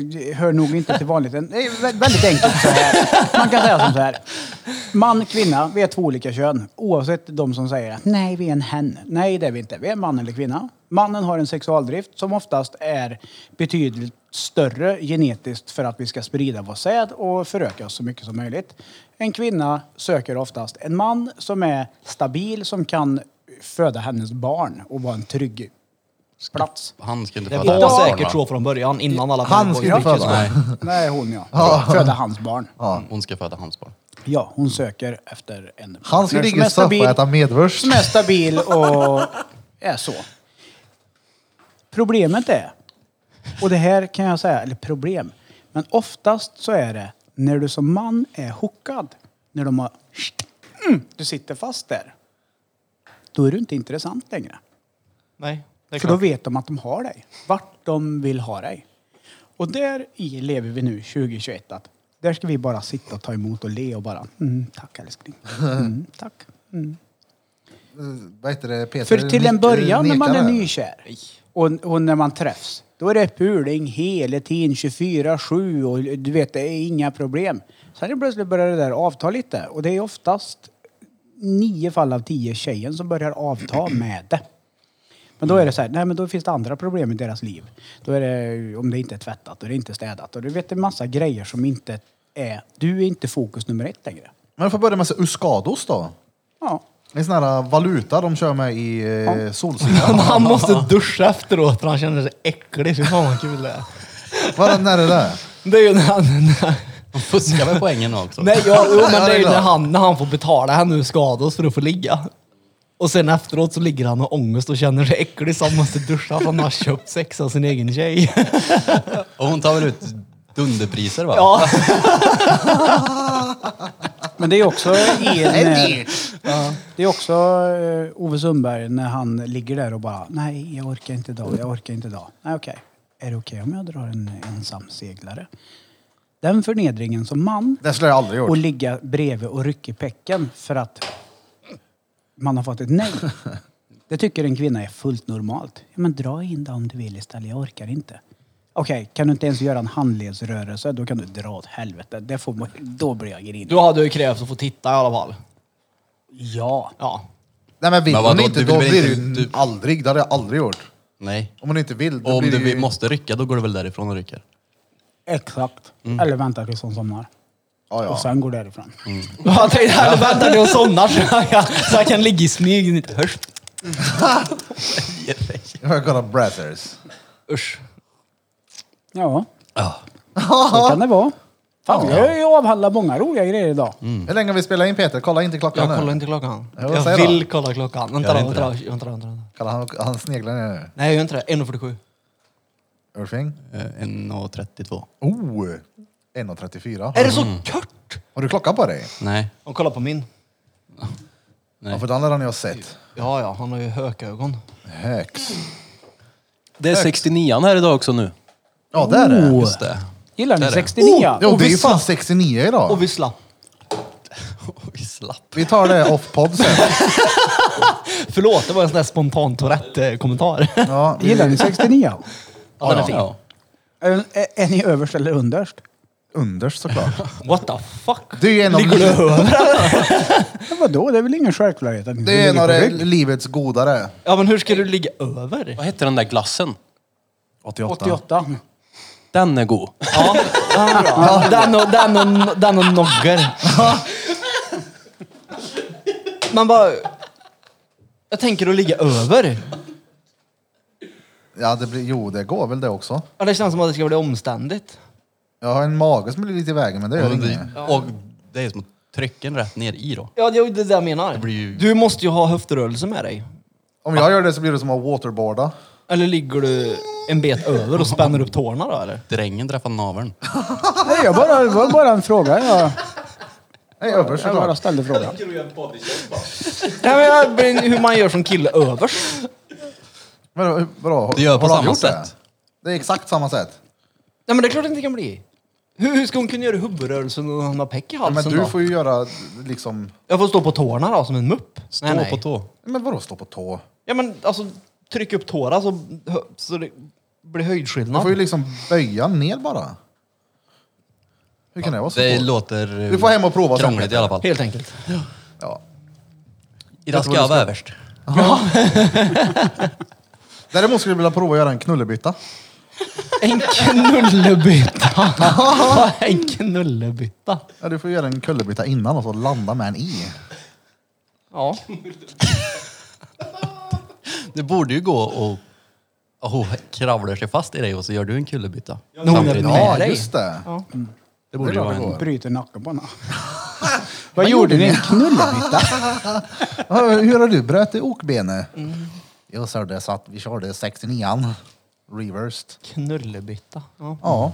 B: det hör nog inte till vanligheten. Det är vä- väldigt enkelt så här. Man kan säga som så här. Man, kvinna, vi är två olika kön. Oavsett de som säger att nej, vi är en hen. Nej, det är vi inte. Vi är man eller kvinna. Mannen har en sexualdrift som oftast är betydligt större genetiskt för att vi ska sprida vår säd och föröka oss så mycket som möjligt. En kvinna söker oftast en man som är stabil, som kan föda hennes barn och vara en trygg plats.
A: Han skulle inte
D: Det
A: få
D: var
A: det här
D: säkert
A: barn, va?
D: så från början, innan alla
C: Han ska inte
D: pennor
C: föda.
A: Nej,
B: Nej, hon ja. Föda hans barn.
A: hon ska föda hans barn.
B: Ja, hon söker efter en
C: Han ska
B: partner
C: ligga i soffa och äta medvurst.
B: som är stabil och är så. Problemet är, och det här kan jag säga, eller problem, men oftast så är det när du som man är hookad, när de har, mm, du sitter fast där, då är du inte intressant längre.
D: Nej, det är
B: För då
D: klart.
B: vet de att de har dig. Vart de vill ha dig. Och där i lever vi nu 2021 att där ska vi bara sitta och ta emot och le och bara mm, tack älskling. Mm, tack. Mm.
C: Eh, Vad heter det? eh, Peter
B: För till en
C: Nick-
B: början när man
C: nekar
B: är
C: här.
B: nykär och, och när man träffs, då är det puling hela tiden 24-7 och du vet det är inga problem. Sen är det plötsligt börjar det där avta lite och det är oftast nio fall av tio tjejen som börjar avta med det. Men då är det så här, nej men då finns det andra problem i deras liv. Då är det om det inte är tvättat och det är inte städat och du vet det är massa grejer som inte är, du är inte fokus nummer ett längre.
C: Men får börja med så Uskados då.
B: Ja.
C: Det är sån här eh, valuta de kör med i eh,
D: Men
C: Solsidan.
D: han måste duscha efteråt för han känner sig äcklig. Fy fan vad kul det är.
C: Vad är det när det där?
D: Det är ju när han... När,
A: Hon fuskar med poängen också.
D: nej, ja, jo, men det är ju
C: Ja, det är
D: när han, när han får betala henne ur skados för att få ligga. Och sen efteråt så ligger han och ångest och känner sig äcklig så han måste duscha för han har köpt sex av sin egen tjej.
A: Och hon tar väl ut dunderpriser va?
D: Ja.
B: Men det är också i
C: Det är
B: en, eh,
C: dyrt.
B: Ja. Det är också eh, Ove Sundberg när han ligger där och bara nej, jag orkar inte idag, jag orkar inte idag. Nej, okej. Är det okej om jag drar en ensam seglare? Den förnedringen som man
C: Det skulle jag aldrig
B: och
C: gjort.
B: ligga bredvid och rycka i pecken för att man har fått ett nej. Det tycker en kvinna är fullt normalt. Ja, men dra in det om du vill istället, jag orkar inte. Okej, kan du inte ens göra en handledsrörelse, då kan du dra åt helvete. Det får man, då blir jag grinig.
D: Du hade ju krävt att få titta i alla fall.
B: Ja.
D: Ja.
C: Nej men vill
A: Men
C: man
A: vadå,
C: inte
A: du
C: då
A: vill väl
C: blir det ju
A: inte- du-
C: aldrig, det hade jag aldrig gjort.
A: Nej.
C: Om man inte vill,
A: Och
C: då
A: om
C: blir
A: du
C: det ju...
A: vill- måste rycka, då går du väl därifrån och rycker?
B: Exakt. Eller vänta tills hon somnar.
C: Ja, ja.
B: Och sen går därifrån.
D: Jag tänkte jag väntar till hon somnar så jag, kan- så jag kan ligga i smyg och inte hörs.
C: Jag kollar Brothers.
D: Usch.
B: Ja,
A: Ja.
B: så kan det vara. Fan, vi har ju avhandlat många roliga grejer idag.
C: Hur länge har vi spelat in Peter? Kolla inte klockan
D: Jag
C: nu.
D: kollar inte klockan.
C: Ja, vad
D: Jag
C: säger du?
D: vill kolla klockan. Vänta
A: Gör
D: då,
A: inte
D: vänta då. Vänta då, vänta då.
C: Kolla, han, han sneglar ner nu.
D: Nej, jag gör inte det. 1.47.
C: Örfing?
A: Eh, 1.32.
C: Oh! 1.34.
D: Är det så kort?
C: Har du klockan på dig?
A: Nej.
D: Hon kollar på min.
A: Nej.
C: Ja, för den har jag sett.
D: Ja, ja, han har ju hökögon.
C: Högs.
H: Det är 69 här idag också nu.
C: Ja, där är det.
A: Just det.
B: Gillar
A: Där
B: ni
A: är den.
B: 69?
C: Oh, Jo,
D: Och
C: vi är ju
D: vi
C: fan 69 idag.
D: Och vi slapp.
A: Vi slapp.
C: Vi tar det off-podd sen.
D: Förlåt, det var en sån där spontan Tourette-kommentar.
C: Ja, vi
B: Gillar ni 69?
D: Ja, den är fin.
A: Ja.
B: Är, är, är ni överst eller underst?
C: underst såklart.
D: What the fuck?
C: Det är ju en av,
D: Ligger du över?
B: Ja, vadå? Det är väl ingen självklarhet att ni
C: det är en
B: ligger
C: av
B: på
C: det
B: rygg?
C: livets godare.
D: Ja, men hur ska du ligga över?
H: Vad hette den där glassen?
B: 88.
H: Den är god.
D: Ja, den är bra. Den och, den och, den och nogger. Man bara... Jag tänker att ligga över.
C: Ja, det blir, jo, det går väl det också.
D: Ja, det känns som att det ska bli omständigt.
C: Jag har en mage som blir lite i vägen, men det gör
A: Och
C: inget.
A: det, och det är som att trycka en rätt ner i då.
D: Ja, det är ju det jag menar.
A: blir ju-
D: Du måste ju ha höftrörelse med dig.
C: Om jag gör det så blir det som att waterboarda.
D: Eller ligger du en bet över och spänner upp tårna då, eller?
A: Drängen träffar naveln.
B: Nej, jag bara, det var bara en fråga. Jag,
C: Nej, överst
B: jag bara
C: såklart.
B: ställde frågan.
D: Nej, men jag blir, hur man gör som kille övers.
C: Men, vadå,
A: Du gör på
C: har de
A: samma
C: gjort det?
A: sätt.
C: Det är exakt samma sätt.
D: Nej, men det är klart det inte kan bli. Hur, hur ska hon kunna göra huvudrörelsen när hon har peck i
C: Ja,
D: halsen
C: men du
D: då?
C: får ju göra liksom...
D: Jag får stå på tårna då, som en mupp.
A: Stå
D: Nej, nej.
A: på tå.
C: Men vadå stå på tå?
D: Ja men alltså, tryck upp tårna så, så det blir
C: Du
D: höjdskillnad.
C: får ju liksom böja ner bara. Hur kan det vara så?
A: Det
C: svårt?
A: låter eh,
C: Du får hem och prova sen,
A: krångligt
C: Peter.
A: i alla fall.
D: Helt enkelt.
C: Ja.
A: Idag ska jag vara överst.
C: Däremot skulle jag vilja prova att göra en knullebytta.
D: En knullebytta. en knullebytta.
C: Ja, du får göra en kullerbytta innan och så landa med en i.
D: Ja.
A: Det borde ju gå och och hon kravlar sig fast i dig och så gör du en kullerbytta.
D: Hon är med
C: Ja,
D: dig.
C: just det.
D: Ja.
A: Det borde ju
C: klart
A: vara
C: det
A: en...
C: går.
B: Bryter nacken på henne. Vad gjorde ni? Knullebytta?
C: Ja, Hur har du bröt i okbenet? Jag sa det så att vi körde 69an. Reversed.
D: Knullebytta. Ja.
C: Ja.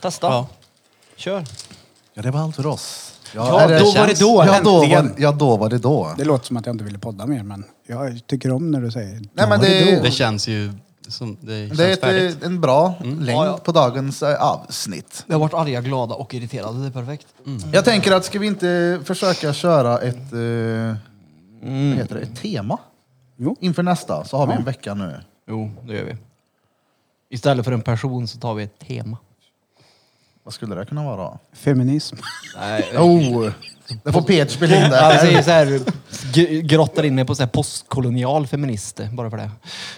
D: Testa. Kör.
C: ja, det var allt för oss.
B: Ja,
C: är
B: då var det då,
C: Ja, då var,
B: äntligen.
C: ja, då var det då.
B: Det låter som att jag inte ville podda mer, men jag tycker om när du säger
C: Nej, men det,
A: Det känns ju som... Det känns
C: det är ett,
A: färdigt.
C: eh, en bra längd
D: Ja, ja.
C: på dagens eh, avsnitt.
D: Vi har varit arga, glada och irriterade. Det är perfekt.
C: Jag tänker att ska vi inte försöka köra ett, eh, vad heter det, ett tema?
B: Jo.
C: Inför nästa så har vi en vecka nu.
D: Jo, det gör vi. Istället för en person så tar vi ett tema.
C: Vad skulle det kunna vara?
B: feminism.
D: Nej.
C: Oh, det får Peter spela in
D: Alltså,
C: där.
D: jag så här, g- grottar in mig på så här postkolonial feminist, bara för det.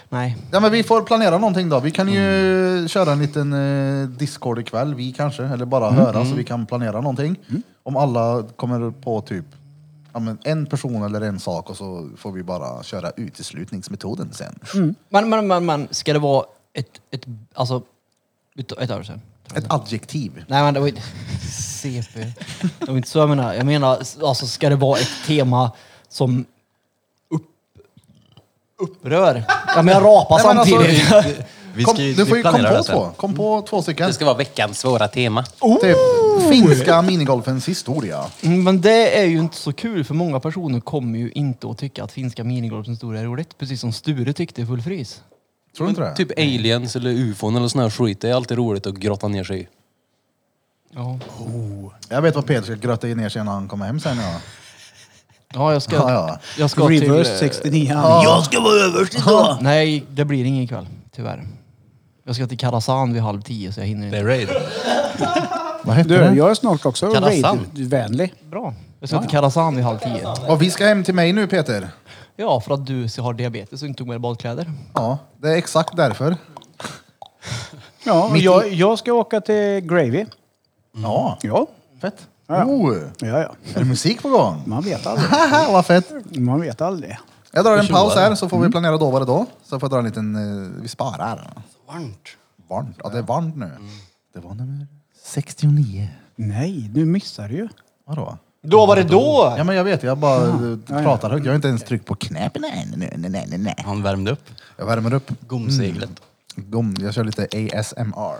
D: Nej.
C: Ja, men vi får planera någonting då. Vi kan ju köra en liten eh, Discord ikväll, vi kanske, eller bara höra så vi kan planera någonting. Om alla kommer på typ ja, men en person eller en sak och så får vi bara köra uteslutningsmetoden sen.
D: Men, men, men, men ska det vara ett, ett alltså, ett, ett år sedan?
C: Ett adjektiv.
D: Nej men det var inte, CP. Det var inte så jag menar. Jag menar, alltså ska det vara ett tema som upp, upprör? Ja men jag rapar
C: Nej, men alltså-
D: samtidigt.
A: Vi
C: Kom,
A: ska ju,
C: du får
A: vi
C: ju kom
A: planerar
C: på
A: det sen. Mm.
C: två. Kom på två stycken.
H: Det ska vara veckans svåra tema.
C: Typ finska minigolfens historia.
D: Mm, Men det är ju inte så kul för många personer kommer ju inte att tycka att finska minigolfens stora är roligt. Precis som Sture tyckte i Full Frys.
C: Tror du inte det?
H: Typ aliens eller ufon eller sån här skit. Det är alltid roligt att grotta ner sig i.
D: Ja.
C: Jag vet vad Peter ska grötta ner sig när han kommer hem sen. Ja.
D: Ja, jag ska,
C: Ja, ja.
D: Jag ska
B: Reverse
D: till... eh,
B: 69. Jag ska vara överst idag!
D: Nej, det blir ingen ikväll. Tyvärr. Jag ska till Karasan vid halv tio så jag hinner
A: Det
D: inte.
A: är raid.
C: Vad hette
B: Du,
C: det?
B: jag är snart också
A: Karasan.
B: raid-vänlig.
D: Bra. Jag ska till Karasan vid halv tio.
C: Och vi ska hem till mig nu Peter.
D: Ja, för att du har diabetes och inte tog med dig badkläder.
C: Ja, det är exakt därför.
B: Ja, och
C: Mitt i-
B: jag, jag ska åka till Gravy.
C: Mm. Ja,
B: Ja.
C: fett.
B: Ja.
C: Oh,
B: Ja, ja.
C: är det musik på gång?
B: Man vet aldrig.
C: Haha, Vad fett.
B: Man vet aldrig.
C: Jag drar en paus här så får vi planera då vad det då. Så får jag dra en liten, eh, vi sparar.
A: Varmt.
C: Varmt. Ja, det är varmt nu. Det var nummer 69.
B: Nej, du missar ju.
C: Vadå?
D: Då var det då!
C: Ja men jag vet, jag bara eh, pratar högt. Jag har inte ens tryckt på knappen Nej, nej, nej, nej, nej, nej.
A: Han värmde upp
C: Jag värmer upp.
A: gomseglet.
C: Mm. Gom, jag kör lite ASMR.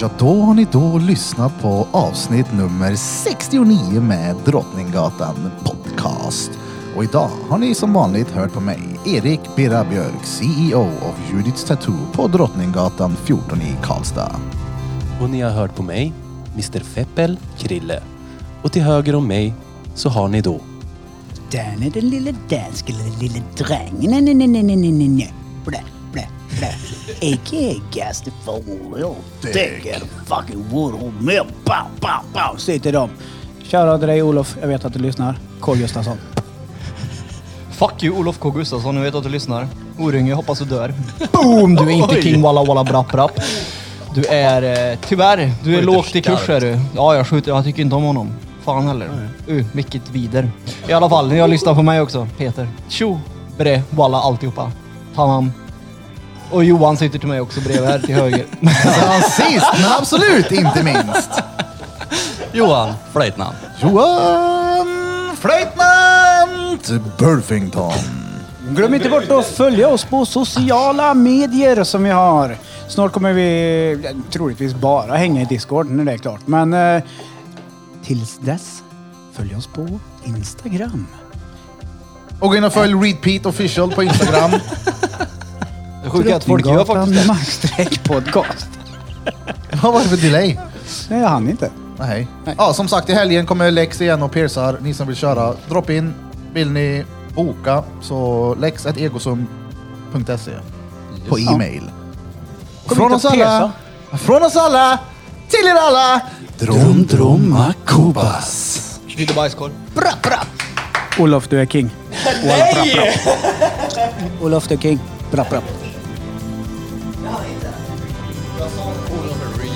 C: Ja, då har ni då lyssnat på avsnitt nummer 69 med Drottninggatan Podcast. Och idag har ni som vanligt hört på mig, Erik Birra Björk, CEO av Judiths Tattoo på Drottninggatan 14 i Karlstad.
H: Och ni har hört på mig, Mr Feppel Krille. Och till höger om mig så har ni då
B: Där är den lille dansken, den lille drängen. Nej, nej, nej, nej, nej, nej, nej. Blä, blä, blä. A.k.a. Gaster Fowl. Dick and fucking Woodhall Mill. Bow, bow, bow. Säg till dem. Shoutout till dig Olof. Jag vet att du lyssnar. Carl Gustafsson.
D: Fuck you Olof K Gustafsson, jag vet att du lyssnar. Orunge, jag hoppas du dör. Boom! Du är inte King Walla Walla Brapp Brapp. Du är, eh, tyvärr, du är
A: Skjuter
D: lågt i kurs
A: skarpt.
D: är du. Ja, jag skjuter. Jag tycker inte om honom. Fan heller. Uh, vilket vider. I alla fall, ni har lyssnat på mig också. Peter. Tjo! Bre, Walla, alltihopa. Tamam. Och Johan sitter till mig också bredvid här till höger.
C: Sen sist men absolut inte minst,
A: Johan Flöjtnant.
C: Johan Flöjtnant Burfington.
B: Glöm inte bort att följa oss på sociala medier som vi har. Snart kommer vi eh, troligtvis bara hänga i Discord när det är klart. Men eh, tills dess, följ oss på Instagram.
C: Och gå in och följ Repeat Official på Instagram.
D: Det sjuka är att folk gör faktiskt det.
B: Maxstreck podcast.
C: Vad var det för delay?
B: Nej, jag hann inte.
C: Nej. Ja, som sagt, i helgen kommer Lex igen och piercar. Ni som vill köra, drop in. Vill ni boka så lex.egosum.se på e-mail.
B: Kom
C: Från
B: hit och
C: oss alla, från oss alla, till er alla, Drom Droma Kubas.
D: Lite bajskorv.
B: Olof, du är king. Nej! Olof, du är king. Bra, bra.
D: Olof är real.